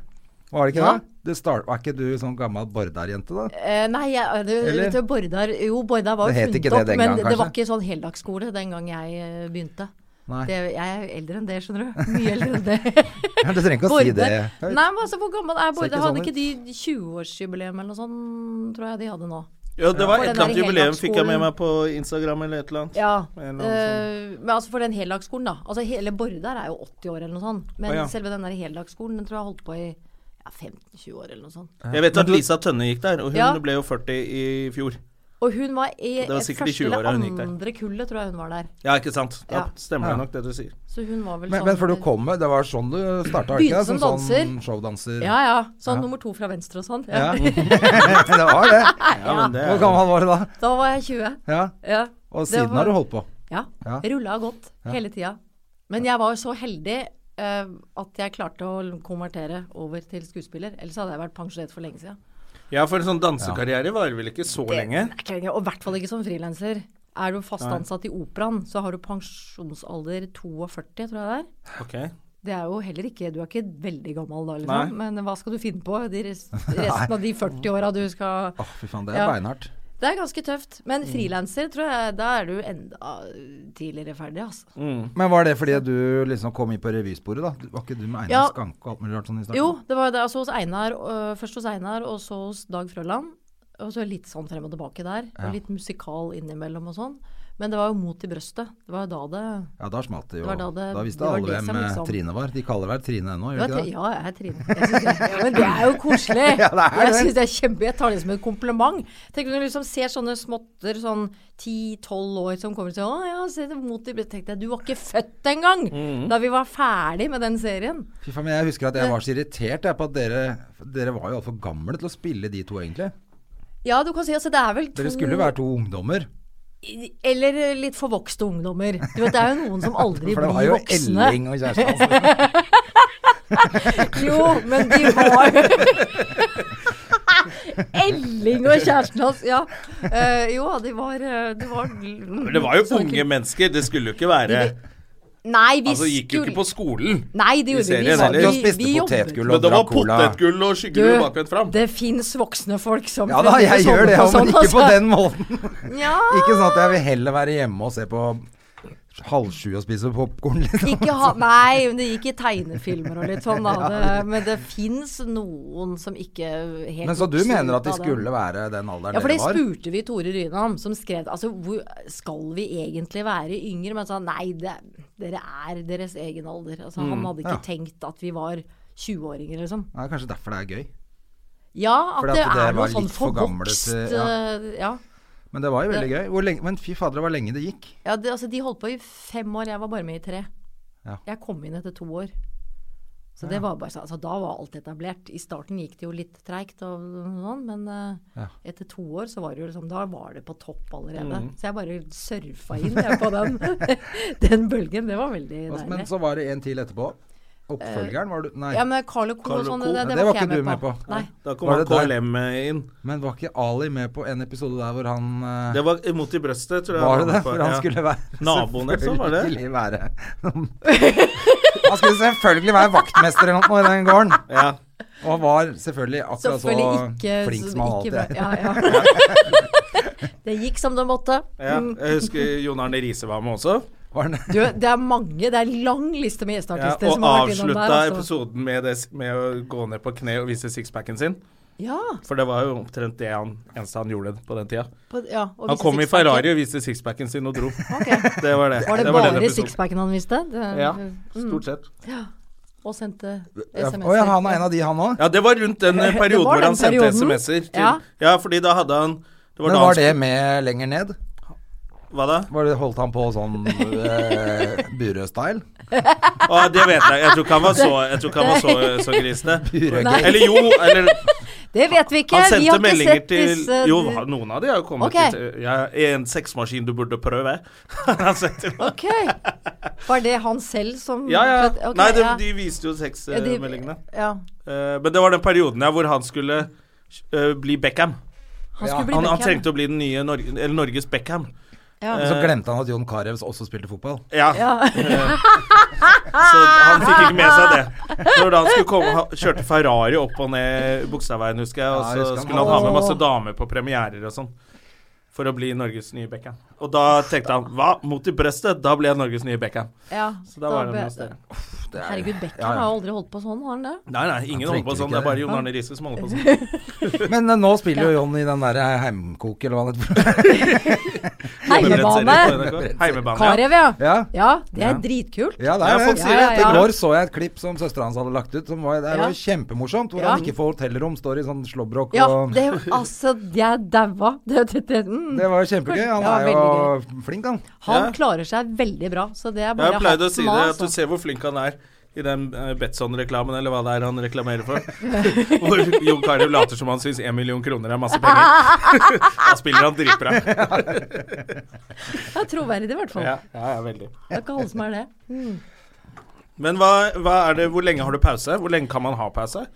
Speaker 1: Var det ikke
Speaker 3: Ja.
Speaker 1: det? Du start, var ikke du sånn gammel Bordar-jente, da?
Speaker 3: Eh, nei, jeg, det,
Speaker 1: Eller?
Speaker 3: vet du, Bordar Jo, Bordar var
Speaker 1: Det
Speaker 3: jo
Speaker 1: het
Speaker 3: funnet
Speaker 1: ikke det
Speaker 3: opp,
Speaker 1: den
Speaker 3: men
Speaker 1: gang,
Speaker 3: det var
Speaker 1: kanskje?
Speaker 3: ikke sånn heldagsskole den gang jeg eh, begynte.
Speaker 1: Nei.
Speaker 3: Det, jeg er jo eldre enn det, skjønner du. Mye eldre enn det.
Speaker 1: Ja, du trenger ikke å si det.
Speaker 3: Bordar- Nei, men altså, hvor gammel er
Speaker 1: ikke
Speaker 3: Bordar?
Speaker 1: sånn
Speaker 3: Hadde ikke de 20-årsjubileum eller noe sånt, tror jeg de hadde nå?
Speaker 2: Ja, det var
Speaker 3: For
Speaker 2: et
Speaker 3: den
Speaker 2: eller annet
Speaker 3: der
Speaker 2: jubileum fikk jeg med
Speaker 3: heldagsskolen.
Speaker 2: meg på Instagram eller et eller annet.
Speaker 3: Ja.
Speaker 2: Eller sånn. noe
Speaker 3: eh, men altså for den heldagsskolen, da. Altså hele Bordar er jo 80 år eller noe sånt. Men
Speaker 2: Å, ja.
Speaker 3: selve den der heldagsskolen, den tror jeg holdt på i ja, 15-20 år eller noe sånt.
Speaker 2: Jeg vet at Lisa Tønne gikk der, og hun
Speaker 3: Ja.
Speaker 2: ble jo 40 i fjor.
Speaker 3: Og hun var i
Speaker 2: Det var
Speaker 3: et
Speaker 2: sikkert i
Speaker 3: første eller
Speaker 2: 20-åra hun gikk der.
Speaker 3: andre kullet, tror jeg hun var der.
Speaker 2: Ja, ikke sant. Da
Speaker 3: Ja.
Speaker 2: stemmer
Speaker 1: Ja.
Speaker 2: det nok det du sier.
Speaker 3: Så hun var vel
Speaker 1: Men,
Speaker 3: sånn
Speaker 1: men for du kom med Det var sånn du starta,
Speaker 3: Begynte
Speaker 1: ikke det?
Speaker 3: som
Speaker 1: sånn
Speaker 3: danser.
Speaker 1: showdanser.
Speaker 3: Ja, ja. Sånn
Speaker 1: Ja.
Speaker 3: nummer to fra venstre og sånn.
Speaker 1: Ja.
Speaker 3: Ja.
Speaker 1: det var det.
Speaker 3: Ah,
Speaker 2: Ja, men det
Speaker 1: Hvor gammel var du da?
Speaker 3: Da var jeg 20.
Speaker 1: Ja.
Speaker 3: Ja.
Speaker 1: Og
Speaker 3: Det
Speaker 1: siden
Speaker 3: var-
Speaker 1: har du holdt på.
Speaker 3: ja.
Speaker 1: Ja.
Speaker 3: Rulla godt hele tida. Men jeg var jo så heldig eh, at jeg klarte å konvertere over til skuespiller. Ellers hadde jeg vært pensjonert for lenge siden.
Speaker 2: Ja, for en sånn dansekarriere varer vel ikke så lenge?
Speaker 3: Det er ikke lenge, Og i hvert fall ikke som frilanser. Er du fast ansatt i operaen, så har du pensjonsalder 42, tror jeg det er.
Speaker 2: Ok.
Speaker 3: Det er jo heller ikke Du er ikke veldig gammel da,
Speaker 2: Nei.
Speaker 3: liksom. Men hva skal du finne på de rest, resten av de 40 åra du skal
Speaker 1: Å, fy faen, det er
Speaker 3: Ja.
Speaker 1: beinhardt.
Speaker 3: Det er ganske tøft. Men
Speaker 1: Mm.
Speaker 3: frilanser, tror jeg, da er du enda tidligere ferdig, altså.
Speaker 2: Mm.
Speaker 1: Men var det fordi du liksom kom inn på revysporet, da? Du- Var ikke du med Einar
Speaker 3: Ja.
Speaker 1: Skanke og alt mulig rart sånn i starten?
Speaker 3: Jo, det var det. Altså hos Einar, øh, først hos Einar, og så hos Dag Frøland. Og så litt sånn frem og tilbake der.
Speaker 1: Ja.
Speaker 3: Og litt musikal innimellom og sånn. Men det var jo mot i brøstet. Det var jo da det
Speaker 1: Ja, da smalt det jo.
Speaker 3: Det var
Speaker 1: da,
Speaker 3: da det-
Speaker 1: visste
Speaker 3: det var
Speaker 1: alle
Speaker 3: det
Speaker 1: hvem
Speaker 3: som
Speaker 1: eh,
Speaker 3: liksom-
Speaker 1: Trine var. De kaller deg Trine ennå, gjør
Speaker 3: ja,
Speaker 1: de ikke det?
Speaker 3: ja, jeg trivdes. Jeg synes det. Men det er jo koselig.
Speaker 1: Ja, det er
Speaker 3: jeg
Speaker 1: det.
Speaker 3: synes det er kjempe Jeg tar det som en kompliment. Tenk når du liksom ser sånne småtter sånn 10-12 år som kommer og sier 'Å ja, se det mot i brøstet'. Tenkte jeg, du var ikke født engang
Speaker 1: Mm.
Speaker 3: da vi var ferdig med den serien.
Speaker 1: Fy faen, men Jeg husker at jeg var så irritert jeg, på at dere Dere var jo altfor gamle til å spille de to, egentlig.
Speaker 3: Ja, du kan si altså, det er vel to
Speaker 1: Dere skulle jo være to ungdommer.
Speaker 3: Eller litt forvokste ungdommer. Du vet, Det er jo noen som aldri
Speaker 1: For det var
Speaker 3: blir
Speaker 1: jo
Speaker 3: voksne.
Speaker 1: Elling og kjæresten hans.
Speaker 3: Jo, men de var Elling og kjæresten hans, ja. Eh, jo, de var, eh, de var
Speaker 2: Men det var jo unge mennesker, det skulle jo ikke være
Speaker 3: Nei, vi
Speaker 2: Altså, gikk jo ikke på skolen.
Speaker 3: Nei, det gjorde vi.
Speaker 2: serien
Speaker 3: Vi,
Speaker 1: Satt
Speaker 2: heller.
Speaker 1: jo
Speaker 3: vi,
Speaker 1: og spiste
Speaker 3: vi
Speaker 1: potetgull
Speaker 2: Men
Speaker 1: og
Speaker 2: det var
Speaker 1: drakk cola.
Speaker 2: potetgull og skyggerull bakvendt fram.
Speaker 3: det fins voksne folk som
Speaker 1: Ja da, jeg
Speaker 3: fremdeles
Speaker 1: gjør det, ja,
Speaker 3: holder på
Speaker 1: men ikke på
Speaker 3: sånn, altså.
Speaker 1: den måten.
Speaker 3: Nja,
Speaker 1: Ikke sånn at jeg vil heller være hjemme og se på halv sju og spise popkorn, liksom.
Speaker 3: ikke ha, nei, men det gikk i tegnefilmer og litt sånn, da. Det, men det fins noen som ikke helt
Speaker 1: Men så du
Speaker 3: vokser
Speaker 1: mener
Speaker 3: ut
Speaker 1: at de
Speaker 3: av den.
Speaker 1: skulle være den alderen
Speaker 3: Ja, for det
Speaker 1: dere var?
Speaker 3: spurte vi Tore Ryne om, som skrev altså, hvor skal vi egentlig være yngre? Men han sa nei, det, dere er deres egen alder. Altså, han hadde ikke
Speaker 1: Mm, ja.
Speaker 3: tenkt at vi var 20-åringer, liksom.
Speaker 1: Det er kanskje derfor det er gøy.
Speaker 3: Ja, at
Speaker 1: Fordi
Speaker 3: det,
Speaker 1: at dere
Speaker 3: er noe
Speaker 1: var
Speaker 3: sånn
Speaker 1: litt for gamle
Speaker 3: forvokst
Speaker 1: til-
Speaker 3: ja.
Speaker 1: ja.
Speaker 3: ja.
Speaker 1: Men det var jo veldig gøy. Hvor lenge, men fy fader, det var lenge det gikk.
Speaker 3: Ja, det, altså, de holdt på i fem år, jeg var bare med i tre.
Speaker 1: Ja.
Speaker 3: Jeg kom inn etter to år. Så det var bare sånn, altså Da var alt etablert. I starten gikk det jo litt treigt, og sånn, men eh,
Speaker 1: Ja.
Speaker 3: etter to år så var det jo liksom, da var det på topp allerede. Så jeg bare surfa inn jeg, på den, den bølgen. Det var veldig
Speaker 1: Altså, Men
Speaker 3: deilig.
Speaker 1: så var det en til etterpå. Oppfølgeren var du Nei.
Speaker 3: Ja, men Carl og Co.
Speaker 2: Carl
Speaker 3: og
Speaker 2: og
Speaker 3: sånn,
Speaker 2: Co.
Speaker 3: det, det,
Speaker 1: Det
Speaker 3: var ikke jeg med på. Nei.
Speaker 2: Da kom
Speaker 1: Var
Speaker 2: han
Speaker 1: det der?
Speaker 2: KLM inn.
Speaker 1: Men var ikke Ali med på en episode der hvor han eh,
Speaker 2: Det var imot i brøstet, tror jeg.
Speaker 1: Var det
Speaker 2: han
Speaker 1: det?
Speaker 2: på,
Speaker 1: For han
Speaker 2: ja.
Speaker 1: skulle være
Speaker 2: Naboen eller sånn, var det?
Speaker 1: selvfølgelig Være. han skulle selvfølgelig være vaktmester eller noe i den gården.
Speaker 2: Ja.
Speaker 1: Og var selvfølgelig akkurat så
Speaker 3: Selvfølgelig ikke
Speaker 1: flink som han alltid
Speaker 3: ikke
Speaker 1: er.
Speaker 3: bra. Ja, ja. det gikk som det måtte.
Speaker 2: ja. Jeg husker Jon Arne Riise var med også.
Speaker 1: Var han-
Speaker 3: Du, det er mange, det er lang liste med
Speaker 2: Ja,
Speaker 3: gjesteartister
Speaker 2: og
Speaker 3: som har vært innom der.
Speaker 2: avslutta
Speaker 3: altså.
Speaker 2: episoden med, det, med å gå ned på kne og vise sixpacken sin.
Speaker 3: Ja,
Speaker 2: For det var jo omtrent det han, eneste han gjorde på den tida.
Speaker 3: på, ja, og
Speaker 2: Han
Speaker 3: viste
Speaker 2: kom i
Speaker 3: sixpacken.
Speaker 2: Ferrari og viste sixpacken sin og dro.
Speaker 3: Ok.
Speaker 2: Det var det.
Speaker 3: Var det,
Speaker 2: den
Speaker 3: bare mm.
Speaker 2: episoden.
Speaker 3: sixpacken han viste? Det,
Speaker 2: Ja, stort sett.
Speaker 3: Og sendte
Speaker 1: Ja,
Speaker 3: SMS-er.
Speaker 1: Å ja, han er en av de, han òg.
Speaker 2: Ja, det var rundt den eh,
Speaker 3: Det
Speaker 2: perioden
Speaker 3: var
Speaker 2: hvor
Speaker 3: den
Speaker 2: han sendte
Speaker 3: perioden.
Speaker 2: SMS-er. til-
Speaker 3: Ja.
Speaker 2: ja, fordi da hadde han det var
Speaker 1: Men
Speaker 2: da
Speaker 1: var
Speaker 2: han
Speaker 1: det
Speaker 2: skulle-
Speaker 1: med lenger ned?
Speaker 2: Hva da?
Speaker 1: Var det, holdt han på sånn uh, Burøe-style?
Speaker 2: Å, det vet jeg. Jeg tror ikke han var så, jeg tror ikke han var så, så grisende.
Speaker 1: Burøe-gøy.
Speaker 2: Eller jo, eller
Speaker 3: Det vet vi ikke!
Speaker 2: Han
Speaker 3: vi har
Speaker 2: sendte
Speaker 3: ikke
Speaker 2: meldinger
Speaker 3: sett
Speaker 2: til
Speaker 3: disse
Speaker 2: Jo, noen av de har jo kommet
Speaker 3: Ok.
Speaker 2: til ja, En sexmaskin du burde prøve. Han sendte noen.
Speaker 3: Ok. Var det han selv som
Speaker 2: Ja, ja.
Speaker 3: Mm. Ok,
Speaker 2: Nei, de,
Speaker 3: ja.
Speaker 2: de viste jo
Speaker 3: Ja, de-
Speaker 2: sexmeldingene. Eh,
Speaker 3: Ja.
Speaker 2: men det var den perioden her hvor han skulle eh, bli Beckham.
Speaker 3: Han
Speaker 1: Ja,
Speaker 3: skulle bli
Speaker 2: Han, han Eh.
Speaker 3: Beckham.
Speaker 2: trengte å bli den nye Nor eller Norges Beckham.
Speaker 3: ja.
Speaker 1: Så glemte han at Jon Carew også spilte fotball.
Speaker 2: Ja.
Speaker 3: Ja.
Speaker 2: Så han fikk ikke med seg
Speaker 3: Ah!
Speaker 2: det. Når da han skulle komme, han kjørte Ferrari opp og ned Bogstadveien, husker jeg,
Speaker 1: Ja,
Speaker 2: og
Speaker 1: jeg
Speaker 2: så
Speaker 1: husker han.
Speaker 2: skulle han ha med masse
Speaker 3: Åh.
Speaker 2: damer på premierer og sånn. For å bli Norges nye Beckham. Og da tenkte han hva? Mot i brøstet? Da ble jeg Norges nye Beckham.
Speaker 3: ja.
Speaker 2: Så da var det
Speaker 3: ble-
Speaker 2: noe sted.
Speaker 1: Det er-
Speaker 3: Herregud, Beckham
Speaker 1: Ja, ja.
Speaker 3: har jo aldri holdt på sånn, har han det?
Speaker 2: Nei, nei, ingen
Speaker 1: Han
Speaker 2: holder på
Speaker 1: tenkte
Speaker 2: sånn.
Speaker 1: ikke
Speaker 2: Det er bare
Speaker 1: det.
Speaker 2: Jon Arne Riise som holder på sånn.
Speaker 1: Men eh, nå spiller jo Jon i den der eh, Heimkok, eller hva det heter.
Speaker 3: Heimebane!
Speaker 2: Hjemmebrettserie på NRK. Heimebane. Ja.
Speaker 3: Karev, ja.
Speaker 1: Ja.
Speaker 3: Ja, det er
Speaker 2: Ja.
Speaker 3: dritkult.
Speaker 1: Ja, det
Speaker 2: Ja,
Speaker 1: er
Speaker 2: folk
Speaker 1: det.
Speaker 2: sier
Speaker 3: det.
Speaker 1: I går så jeg et klipp som søstera hans hadde lagt ut. Som var, det
Speaker 3: Ja.
Speaker 1: var kjempemorsomt. Hvor
Speaker 3: Ja.
Speaker 1: han ikke får hotellrom, står i sånn slåbrok
Speaker 3: Ja,
Speaker 1: og
Speaker 3: det, altså, jeg daua. Det, det, det, mm.
Speaker 1: Det var jo kjempegøy. Han
Speaker 3: Ja,
Speaker 1: er jo flink, han.
Speaker 3: Han
Speaker 2: Ja.
Speaker 3: klarer seg veldig bra, så det er
Speaker 2: Jeg
Speaker 3: bare
Speaker 2: har pleid å si
Speaker 3: hatten
Speaker 2: det,
Speaker 3: av,
Speaker 2: at du
Speaker 3: altså.
Speaker 2: ser hvor flink han er i den eh, Betson-reklamen, eller hva det er han reklamerer for. Hvor Jon Carew later som han syns én million kroner er masse penger. da spiller han dritbra.
Speaker 3: Det er troverdig, i hvert fall.
Speaker 2: Ja, ja, ja veldig.
Speaker 3: Det er ikke alle som er det.
Speaker 2: Men hva, hva er det, hvor lenge har du pause? Hvor lenge kan man ha pause?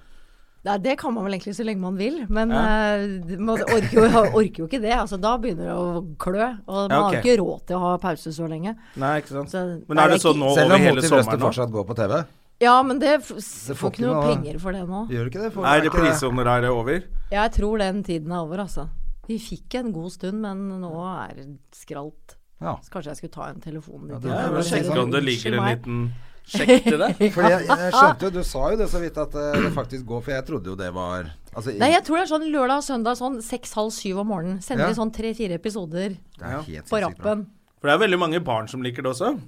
Speaker 3: Nei, det kan man vel egentlig så lenge man vil, men
Speaker 2: Ja.
Speaker 3: eh, man orker jo, orker jo ikke det. Altså, da begynner det å klø, og man
Speaker 2: Ja,
Speaker 3: har
Speaker 2: ok.
Speaker 3: ikke råd til å ha pause så lenge.
Speaker 2: Nei, ikke sant.
Speaker 3: Så,
Speaker 2: Men er det sånn nå over
Speaker 1: Selv om Mot
Speaker 2: hele
Speaker 1: i brøstet
Speaker 2: sommeren nå?
Speaker 1: fortsatt går på TV.
Speaker 3: Ja, men det, f s-
Speaker 1: Det
Speaker 3: får ikke noe
Speaker 1: noe-
Speaker 3: penger for det nå.
Speaker 1: Gjør det ikke det? Får
Speaker 2: Er
Speaker 1: ikke det?
Speaker 2: reprisehonoraret over?
Speaker 3: Jeg tror den tiden er over, altså. Vi fikk en god stund, men nå er det skralt.
Speaker 1: Ja.
Speaker 3: Så kanskje jeg skulle ta en telefon
Speaker 1: Ja,
Speaker 3: dit.
Speaker 1: det
Speaker 2: Ja, jeg
Speaker 1: er sånn- vel
Speaker 2: må
Speaker 1: sjekke
Speaker 2: sjekke om det ligger en
Speaker 3: Unnskyld meg.
Speaker 2: liten sjekk til det.
Speaker 1: Fordi jeg, jeg skjønte jo, du sa jo det så vidt at eh, det faktisk går, for jeg trodde jo det var Altså, i-
Speaker 3: Nei, jeg tror det er sånn lørdag og søndag sånn seks-halv syv om morgenen. Sender
Speaker 1: Ja.
Speaker 3: vi sånn tre-fire episoder
Speaker 1: det er helt
Speaker 3: på
Speaker 1: sinnssykt bra.
Speaker 3: rappen.
Speaker 2: For det er veldig mange barn som liker det også.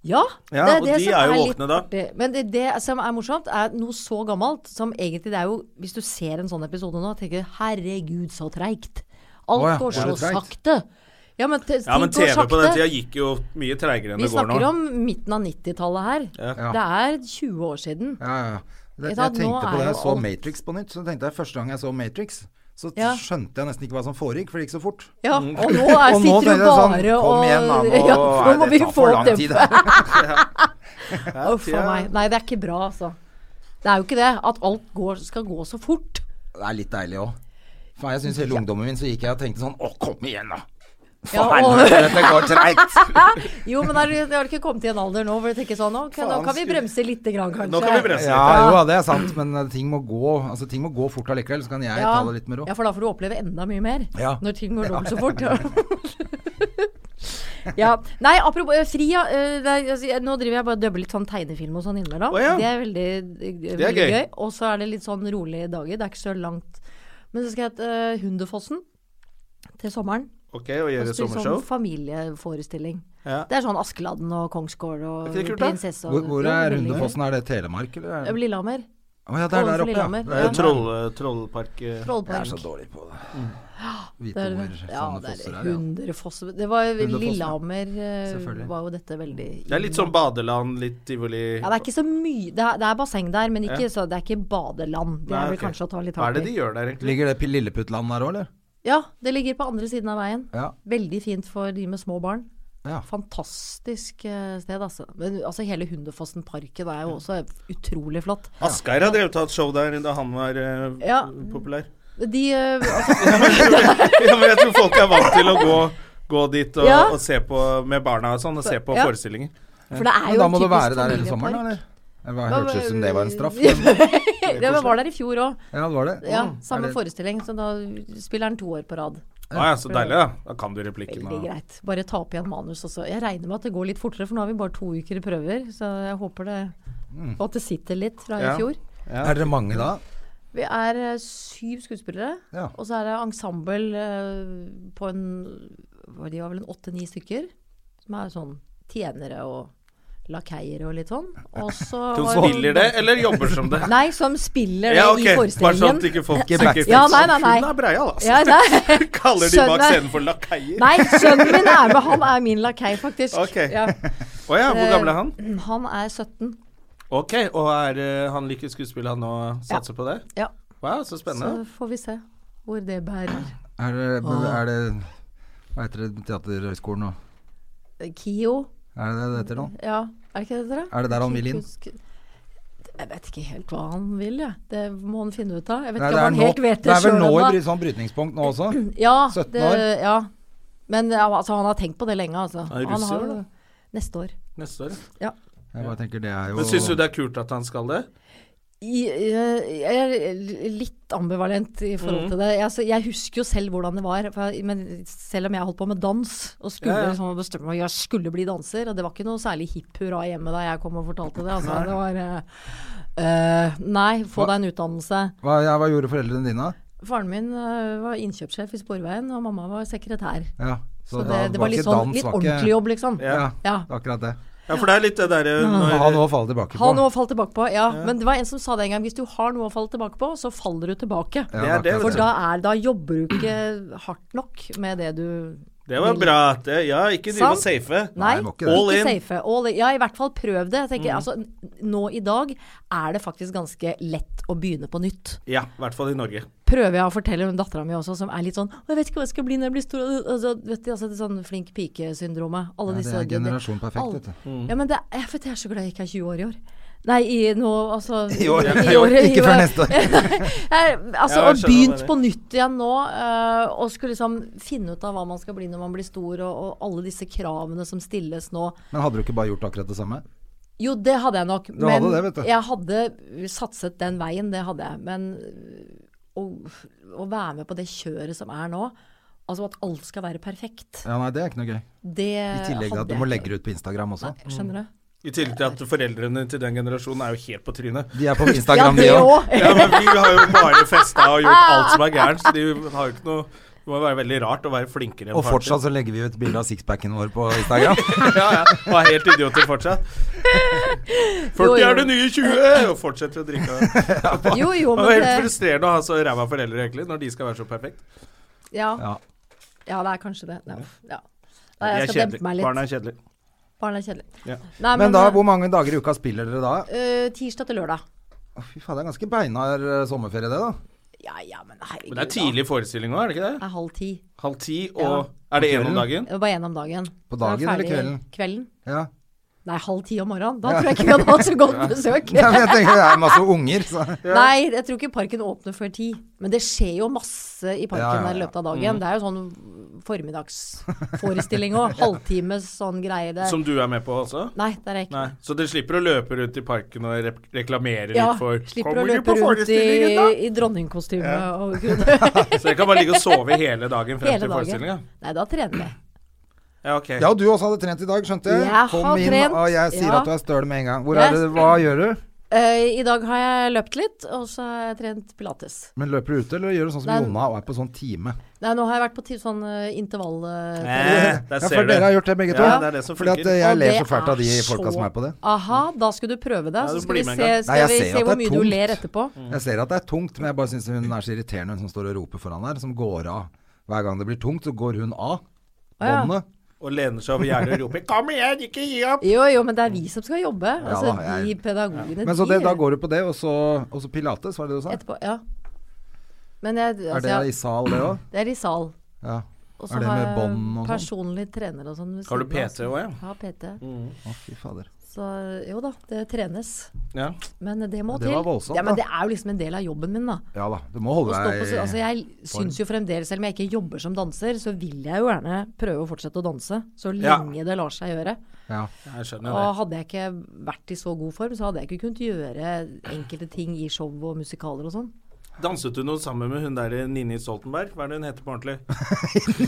Speaker 3: Ja,
Speaker 2: Ja, og de
Speaker 3: som
Speaker 2: er jo
Speaker 3: litt
Speaker 2: våkne da.
Speaker 3: artig. Men det, det som er morsomt, er noe så gammelt som egentlig det er jo Hvis du ser en sånn episode nå, tenker du 'herregud, så treigt'. Alt
Speaker 1: Å ja,
Speaker 3: går
Speaker 1: var
Speaker 3: så
Speaker 1: det treigt?
Speaker 3: sakte. Ja, men, te-
Speaker 2: Ja,
Speaker 3: ting
Speaker 2: men
Speaker 3: går
Speaker 2: TV på den
Speaker 3: sakte.
Speaker 2: tida gikk jo mye treigere enn
Speaker 3: Vi
Speaker 2: det går
Speaker 3: snakker
Speaker 2: nå.
Speaker 3: om midten av 90-tallet her.
Speaker 1: Ja.
Speaker 3: Det er 20 år siden.
Speaker 1: Ja, ja, ja. Det,
Speaker 3: Vet du
Speaker 1: jeg
Speaker 3: at nå
Speaker 1: tenkte på
Speaker 3: er
Speaker 1: det, jeg
Speaker 3: jo
Speaker 1: så
Speaker 3: alt-
Speaker 1: Matrix på nytt. Så tenkte jeg første gang jeg så Matrix, så
Speaker 3: Ja.
Speaker 1: skjønte jeg nesten ikke hva som foregikk, for det gikk så fort.
Speaker 3: Ja,
Speaker 2: Mm.
Speaker 3: og nå er,
Speaker 1: Og nå
Speaker 3: sitter
Speaker 1: tenker jeg
Speaker 3: du
Speaker 1: sånn,
Speaker 3: bare og
Speaker 1: Kom igjen, da. Nå
Speaker 3: ja, nå
Speaker 1: er
Speaker 3: må
Speaker 1: det
Speaker 3: vi
Speaker 1: tar
Speaker 3: få
Speaker 1: for lang
Speaker 3: tempo.
Speaker 1: tid. da.
Speaker 3: Uff a meg. Nei, det er ikke bra, altså. Det er jo ikke det. At alt går, skal gå så fort.
Speaker 1: Det er litt deilig òg. For jeg syns hele ungdommen min så gikk jeg og tenkte sånn Å, kom igjen, da!
Speaker 3: Ja,
Speaker 1: For
Speaker 3: og-
Speaker 1: helvete, dette går treigt!
Speaker 3: Jo, men er, jeg har ikke kommet i en alder nå hvor jeg tenker sånn Ok, nå
Speaker 2: Faen,
Speaker 3: kan vi
Speaker 2: skulle-
Speaker 3: bremse lite grann, kanskje.
Speaker 2: Nå kan vi bremse
Speaker 1: Ja,
Speaker 2: litt.
Speaker 1: jo, ja, det er sant, men eh, ting må gå Altså, ting må gå fort allikevel, så kan jeg ta det litt med ro.
Speaker 3: ja, for da får du oppleve enda mye mer.
Speaker 1: Ja.
Speaker 3: Når ting går dobbelt så fort. Ja. ja. Nei, apropos eh, Fria. eh, det er- altså, jeg- nå driver jeg bare og dubber litt sånn tegnefilm og sånn innimellom.
Speaker 2: Å, ja.
Speaker 3: Det er veldig, eh,
Speaker 2: Det er
Speaker 3: veldig
Speaker 2: gøy.
Speaker 3: gøy. Og så er det litt sånn rolige dager. Det er ikke så langt. Men så skal jeg til eh, Hunderfossen til sommeren.
Speaker 2: Ok, og
Speaker 3: Og
Speaker 2: gjøre
Speaker 3: spille sånn
Speaker 2: sommershow?
Speaker 3: familieforestilling.
Speaker 2: Ja.
Speaker 3: Det er sånn Askeladden og Kongsgård og
Speaker 2: Er ikke det kult, da?
Speaker 3: prinsesse og
Speaker 1: Hvor, hvor
Speaker 3: Jo,
Speaker 1: er
Speaker 3: veldig gøy.
Speaker 1: Rundefossen? Er det Telemark, eller? er det-
Speaker 3: Lillehammer.
Speaker 1: Å ja, det er der
Speaker 3: Ovenfor
Speaker 1: oppe, ja.
Speaker 3: Lillehammer.
Speaker 2: Det er jo
Speaker 1: Det er-
Speaker 2: troll, trollpark... eh,
Speaker 1: Jeg er
Speaker 3: Trollpark.
Speaker 1: så dårlig på det. vite
Speaker 3: Mm. Det er,
Speaker 1: hvor
Speaker 3: ja,
Speaker 1: sånne
Speaker 3: det
Speaker 1: fosser
Speaker 3: er
Speaker 1: er. Ja.
Speaker 3: 100 fosser Det var
Speaker 1: fosser.
Speaker 3: Lillehammer eh,
Speaker 1: Selvfølgelig.
Speaker 3: var jo dette veldig
Speaker 2: Det er litt sånn badeland, litt tivoli
Speaker 3: Ja, det er ikke så mye Det er, det er basseng der, men ikke,
Speaker 2: Ja.
Speaker 3: så, det er ikke badeland. Det
Speaker 2: Nei,
Speaker 3: er vel
Speaker 2: ok.
Speaker 3: kanskje å ta litt
Speaker 2: Hva er
Speaker 3: hardt
Speaker 2: det de
Speaker 3: i.
Speaker 2: gjør der, egentlig?
Speaker 1: Ligger det P- Lilleputtland der òg, eller?
Speaker 3: Ja, det ligger på andre siden av veien.
Speaker 1: Ja.
Speaker 3: Veldig fint for de med små barn.
Speaker 1: ja.
Speaker 3: Fantastisk eh, sted, altså. Men altså, hele Hunderfossen-parken er jo også utrolig flott.
Speaker 2: Asgeir har drevet og hatt show der da han var eh,
Speaker 3: Ja.
Speaker 2: populær.
Speaker 3: De eh, altså,
Speaker 2: Ja, men jeg tror folk er vant til å gå, gå dit og,
Speaker 3: Ja.
Speaker 2: og se på med barna og sånn, og se på
Speaker 3: Ja.
Speaker 2: forestillinger.
Speaker 3: For det er
Speaker 1: Men
Speaker 3: jo
Speaker 1: da
Speaker 3: en
Speaker 1: må du
Speaker 3: typisk
Speaker 1: være der hele
Speaker 3: familiepark.
Speaker 1: sommeren, eller? Det var-
Speaker 3: Hva-
Speaker 1: hørtes ut som det var en straff.
Speaker 3: Ja,
Speaker 1: men-
Speaker 3: men jeg var der i fjor òg.
Speaker 1: Ja, det var det.
Speaker 3: Ja,
Speaker 1: Mm. Er
Speaker 3: samme
Speaker 1: det-
Speaker 3: forestilling. Så da spiller han to år på rad.
Speaker 2: Å Ah, ja, så deilig, da. Da kan du replikken.
Speaker 3: Veldig
Speaker 2: Og...
Speaker 3: greit. Bare ta opp igjen manus også. Jeg regner med at det går litt fortere, for nå har vi bare to uker i prøver. Så jeg håper det
Speaker 1: Mm.
Speaker 3: Og at det sitter litt fra
Speaker 2: Ja.
Speaker 3: i fjor.
Speaker 1: Er dere mange da?
Speaker 3: Vi er eh, syv skuespillere,
Speaker 1: Ja.
Speaker 3: og så er det ensemble eh, på en hva, De var vel en åtte-ni stykker. Som er sånn tjenere og lakeier og litt sånn. Og så
Speaker 2: Som
Speaker 3: var-
Speaker 2: spiller det, eller jobber som det?
Speaker 3: Nei, som spiller det
Speaker 2: Ja, ok.
Speaker 3: i
Speaker 2: Bare sånn at
Speaker 3: forestillingen.
Speaker 2: ikke folk
Speaker 1: Ikke
Speaker 2: tenker
Speaker 1: backstage.
Speaker 3: Ja, nei, nei, nei.
Speaker 2: Hun er breial, altså.
Speaker 3: Ja, nei.
Speaker 2: Kaller de bak
Speaker 3: Skjønner.
Speaker 2: scenen for lakeier?
Speaker 3: nei, sønnen min er med. Han er min lakei, faktisk.
Speaker 2: Ok.
Speaker 3: Ja.
Speaker 2: Å ja,
Speaker 3: Eh.
Speaker 2: hvor gammel er han?
Speaker 3: Han er 17.
Speaker 2: Ok, og er eh, han like skuespiller han nå satser på det?
Speaker 3: Ja.
Speaker 2: Wow, så spennende.
Speaker 3: Så får vi se hvor det bærer.
Speaker 1: Er det, er det Hva heter det Teaterhøgskolen nå?
Speaker 3: Kio,
Speaker 1: Er det det det heter nå?
Speaker 3: ja. Er det ikke det dere?
Speaker 1: Er det der han vil inn?
Speaker 3: Jeg vet ikke helt hva han vil, jeg. Det må han finne ut av. Jeg vet
Speaker 1: Nei,
Speaker 3: ikke
Speaker 1: det,
Speaker 3: om
Speaker 1: er
Speaker 3: han
Speaker 1: nå,
Speaker 3: helt vet
Speaker 1: det
Speaker 3: det
Speaker 1: er vel
Speaker 3: sjøl
Speaker 1: nå i
Speaker 3: ennå.
Speaker 1: bry- sånn brytningspunkt nå også?
Speaker 3: Ja,
Speaker 1: 17
Speaker 3: det-
Speaker 1: år.
Speaker 3: Ja. Men ja, altså, han har tenkt på det lenge, altså.
Speaker 2: Er det
Speaker 3: Han har
Speaker 2: russer,
Speaker 3: jo-
Speaker 2: da?
Speaker 3: Neste år.
Speaker 2: Neste år. ja.
Speaker 1: Jeg bare tenker det er jo
Speaker 2: Men syns du det er kult at han skal det?
Speaker 3: I, eh, jeg jeg er litt ambivalent i forhold til det. Jeg, altså, jeg husker jo selv hvordan det var. For jeg, men selv om jeg holdt på med dans, og skulle
Speaker 2: Ja, ja.
Speaker 3: liksom bestemme meg jeg skulle bli danser, og det var ikke noe særlig hipp hurra hjemme da jeg kom og fortalte det. Altså, det var eh, eh, Nei, få deg en utdannelse.
Speaker 1: hva, ja, hva gjorde foreldrene dine?
Speaker 3: Faren min eh, var innkjøpssjef i Sporveien, og mamma var sekretær.
Speaker 1: Ja,
Speaker 3: Så
Speaker 1: da
Speaker 3: det, det var litt sånn litt
Speaker 1: var ikke-
Speaker 3: ordentlig jobb, liksom.
Speaker 1: Ja,
Speaker 3: Ja.
Speaker 1: det var akkurat det.
Speaker 2: Ja, for det er litt det derre når-
Speaker 1: Ha noe å falle tilbake på.
Speaker 3: Ha noe å falle tilbake på. Ja. Men det var en som sa det en gang, hvis du har noe å falle tilbake på, så faller du tilbake.
Speaker 1: Ja,
Speaker 2: Det er det,
Speaker 1: akkurat
Speaker 3: For da, er, da jobber du ikke hardt nok med det du
Speaker 2: Det var bra. at det- Ja, ikke drive og
Speaker 3: Sant.
Speaker 2: safe.
Speaker 3: Nei,
Speaker 1: Nei, må ikke
Speaker 3: ikke,
Speaker 1: det.
Speaker 2: All in. Mm.
Speaker 3: safe. All in. Ja, i hvert fall prøv det. Jeg tenker, altså, n- nå i dag er det faktisk ganske lett å begynne på nytt.
Speaker 2: Ja, i hvert fall i Norge.
Speaker 3: Prøver jeg å fortelle dattera mi også, som er litt sånn 'Jeg vet ikke hva jeg skal bli når jeg blir stor'. Altså, vet du, altså, det er sånn flink pike-syndromet. Alle
Speaker 1: Ja,
Speaker 3: disse
Speaker 1: det er
Speaker 3: det-
Speaker 1: generasjon perfekt,
Speaker 3: alle-
Speaker 1: vet du.
Speaker 3: Ja, men det, er- jeg, vet, jeg er så glad jeg ikke er 20 år i år. Nei, i nå, altså
Speaker 1: I år.
Speaker 3: i år, i
Speaker 1: Ikke
Speaker 3: år.
Speaker 1: før neste år.
Speaker 3: Nei,
Speaker 2: Ja,
Speaker 3: altså,
Speaker 2: jeg
Speaker 3: og
Speaker 2: skjønner
Speaker 3: begynt
Speaker 2: det.
Speaker 3: på nytt igjen nå, eh, og skulle liksom finne ut av hva man skal bli når man blir stor, og, og alle disse kravene som stilles nå.
Speaker 1: Men hadde du ikke bare gjort akkurat det samme?
Speaker 3: Jo, det hadde jeg nok.
Speaker 1: hadde det, vet du.
Speaker 3: jeg hadde satset den veien, det hadde jeg. Men eh, å, å være med på det kjøret som er nå, altså at alt skal være perfekt,
Speaker 1: Ja, nei, det er ikke noe gøy.
Speaker 3: det
Speaker 1: I tillegg til at du må legge Mm. det ut på Instagram også.
Speaker 3: Skjønner du?
Speaker 2: I tillegg til at foreldrene til den generasjonen er jo helt på trynet.
Speaker 1: De er på Instagram, de
Speaker 3: ja, det
Speaker 1: òg.
Speaker 3: òg.
Speaker 2: Ja, men vi har jo bare festa og gjort alt som er gærent, så de har jo ikke noe Det må være veldig rart å være flinkere enn
Speaker 1: Og
Speaker 2: faren sin.
Speaker 1: fortsatt så legger vi ut bilde av sixpacken vår på Instagram.
Speaker 2: ja, ja. Og er helt idioter fortsatt. 40
Speaker 3: Jo, jo.
Speaker 2: er det nye 20! Og fortsetter å drikke.
Speaker 3: Jo, jo,
Speaker 2: Det var
Speaker 3: men
Speaker 2: helt
Speaker 3: det,
Speaker 2: frustrerende å ha så ræva foreldre, egentlig, når de skal være så perfekt.
Speaker 3: ja,
Speaker 1: Ja.
Speaker 3: ja, det er kanskje det. Nei, ja. Nei,
Speaker 2: De
Speaker 3: jeg
Speaker 2: er
Speaker 3: skal dempe
Speaker 2: kjedelige.
Speaker 3: meg litt.
Speaker 2: Barna er kjedelige.
Speaker 3: Barn er kjedelig.
Speaker 2: Ja.
Speaker 3: Nei,
Speaker 1: Men da,
Speaker 3: eh,
Speaker 1: hvor mange dager i uka spiller dere da?
Speaker 3: eh, tirsdag til lørdag.
Speaker 1: Å, Fy faen, det er ganske beinhard eh, sommerferie det, da.
Speaker 3: Ja, ja, men herregud.
Speaker 2: Men det er
Speaker 3: da.
Speaker 2: tidlig forestilling òg, er det ikke
Speaker 3: Det
Speaker 2: det?
Speaker 3: er halv ti.
Speaker 2: Halv ti
Speaker 3: Ja.
Speaker 2: og Er det én om dagen?
Speaker 3: Det var bare én om dagen.
Speaker 1: På
Speaker 3: Så er det
Speaker 1: dagen eller
Speaker 3: ferdig
Speaker 1: kvelden?
Speaker 3: Kvelden.
Speaker 1: Ja.
Speaker 3: Nei, halv ti om morgenen. Da tror jeg ikke vi hadde hatt så godt besøk.
Speaker 1: ja men jeg tenker det er masse unger, så
Speaker 3: Nei, jeg tror ikke parken åpner før ti. Men det skjer jo masse i parken
Speaker 1: Ja, ja, Mm. ja.
Speaker 3: der i løpet av dagen. Det er jo sånn formiddagsforestilling òg. Halvtimes sånn greier. Det.
Speaker 2: Som du er med på også?
Speaker 3: Nei, der er jeg ikke.
Speaker 2: Nei. Så dere slipper å løpe rundt i parken og rep- reklamere
Speaker 3: Ja,
Speaker 2: litt for
Speaker 3: slipper
Speaker 2: Kommer
Speaker 3: å
Speaker 2: du
Speaker 3: løpe
Speaker 2: på
Speaker 3: rundt i,
Speaker 2: forestillingen, da?
Speaker 3: i dronningkostyme og gud.
Speaker 2: Så dere kan bare ligge og sove hele dagen frem
Speaker 3: Hele
Speaker 2: til
Speaker 3: dagen.
Speaker 2: forestillinga?
Speaker 3: Nei, da trener vi.
Speaker 2: Ja, ok.
Speaker 1: Ja, og du også hadde trent i dag, skjønte jeg.
Speaker 3: Jeg
Speaker 1: Kom
Speaker 3: har
Speaker 1: inn,
Speaker 3: trent,
Speaker 1: og jeg sier
Speaker 3: ja.
Speaker 1: at du er støl med en gang. Hvor
Speaker 3: Jeg-
Speaker 1: er det, hva gjør du?
Speaker 3: Eh, I dag har jeg løpt litt, og så har jeg trent pilates.
Speaker 1: Men løper du ute, eller gjør du sånn som
Speaker 3: Nei.
Speaker 1: Jonna og er på sånn time?
Speaker 3: Nei, nå har jeg vært på ti- sånn eh, intervall...
Speaker 2: Eh,
Speaker 3: eh,
Speaker 1: Ja,
Speaker 2: der
Speaker 1: for
Speaker 2: ser du.
Speaker 1: dere har gjort det begge to.
Speaker 2: Ja, det er det som
Speaker 1: Fordi at
Speaker 2: funker.
Speaker 1: eh,
Speaker 3: Og
Speaker 1: jeg ler
Speaker 3: det
Speaker 1: så fælt av de
Speaker 3: er
Speaker 1: folka
Speaker 3: så-
Speaker 1: som er på det.
Speaker 3: Aha, da skal du prøve det.
Speaker 2: Ja,
Speaker 3: Så
Speaker 2: du
Speaker 3: skal
Speaker 2: blir
Speaker 3: vi
Speaker 2: med en
Speaker 3: se,
Speaker 2: gang.
Speaker 1: Nei,
Speaker 3: skal
Speaker 1: jeg
Speaker 3: vi
Speaker 1: ser jo
Speaker 3: se
Speaker 1: at det er
Speaker 3: hvor mye du
Speaker 1: tungt.
Speaker 3: ler etterpå.
Speaker 1: Jeg ser at det er tungt, men jeg bare syns hun er så irriterende, hun som står og roper foran her, som går av Hver gang det blir tungt, så går hun av
Speaker 3: ja.
Speaker 1: båndet.
Speaker 2: Og lener seg over gjerdet og roper 'Kom igjen, ikke gi opp!'
Speaker 3: Jo, jo, men det er vi som skal jobbe. Altså,
Speaker 1: da, jeg-
Speaker 3: de pedagogene,
Speaker 1: Men så det,
Speaker 3: de
Speaker 1: da går du på det, og så, og så pilates, var det det du sa?
Speaker 3: etterpå. Ja. Men jeg, altså,
Speaker 1: Er det i
Speaker 3: jeg,
Speaker 1: sal, det òg?
Speaker 3: det er i sal.
Speaker 1: Ja.
Speaker 3: Og så
Speaker 1: Er det
Speaker 3: har
Speaker 1: med
Speaker 3: jeg
Speaker 1: bånd og sånn?
Speaker 3: personlig trener og sånn. ved
Speaker 2: Har du
Speaker 3: siden av
Speaker 2: PT også, ja? Mm.
Speaker 3: Ja, PT.
Speaker 1: Å, fy fader.
Speaker 3: Så jo da, det trenes.
Speaker 2: Ja.
Speaker 3: Men det må
Speaker 1: Det
Speaker 3: til.
Speaker 1: var voldsomt,
Speaker 3: ja, men
Speaker 1: da.
Speaker 3: det er jo liksom en del av jobben min, da.
Speaker 1: Ja da, du må
Speaker 3: Å
Speaker 1: holde
Speaker 3: stå på,
Speaker 1: deg
Speaker 3: altså, jeg syns jo fremdeles, selv om jeg ikke jobber som danser, så vil jeg jo gjerne prøve å fortsette å danse. Så
Speaker 2: Ja.
Speaker 3: lenge det lar seg gjøre.
Speaker 1: ja.
Speaker 2: Jeg skjønner
Speaker 3: Og
Speaker 2: det.
Speaker 3: hadde jeg ikke vært i så god form, så hadde jeg ikke kunnet gjøre enkelte ting i show og musikaler og sånn.
Speaker 2: Danset du noe sammen med hun der Nini Stoltenberg? Hva er det hun heter på ordentlig?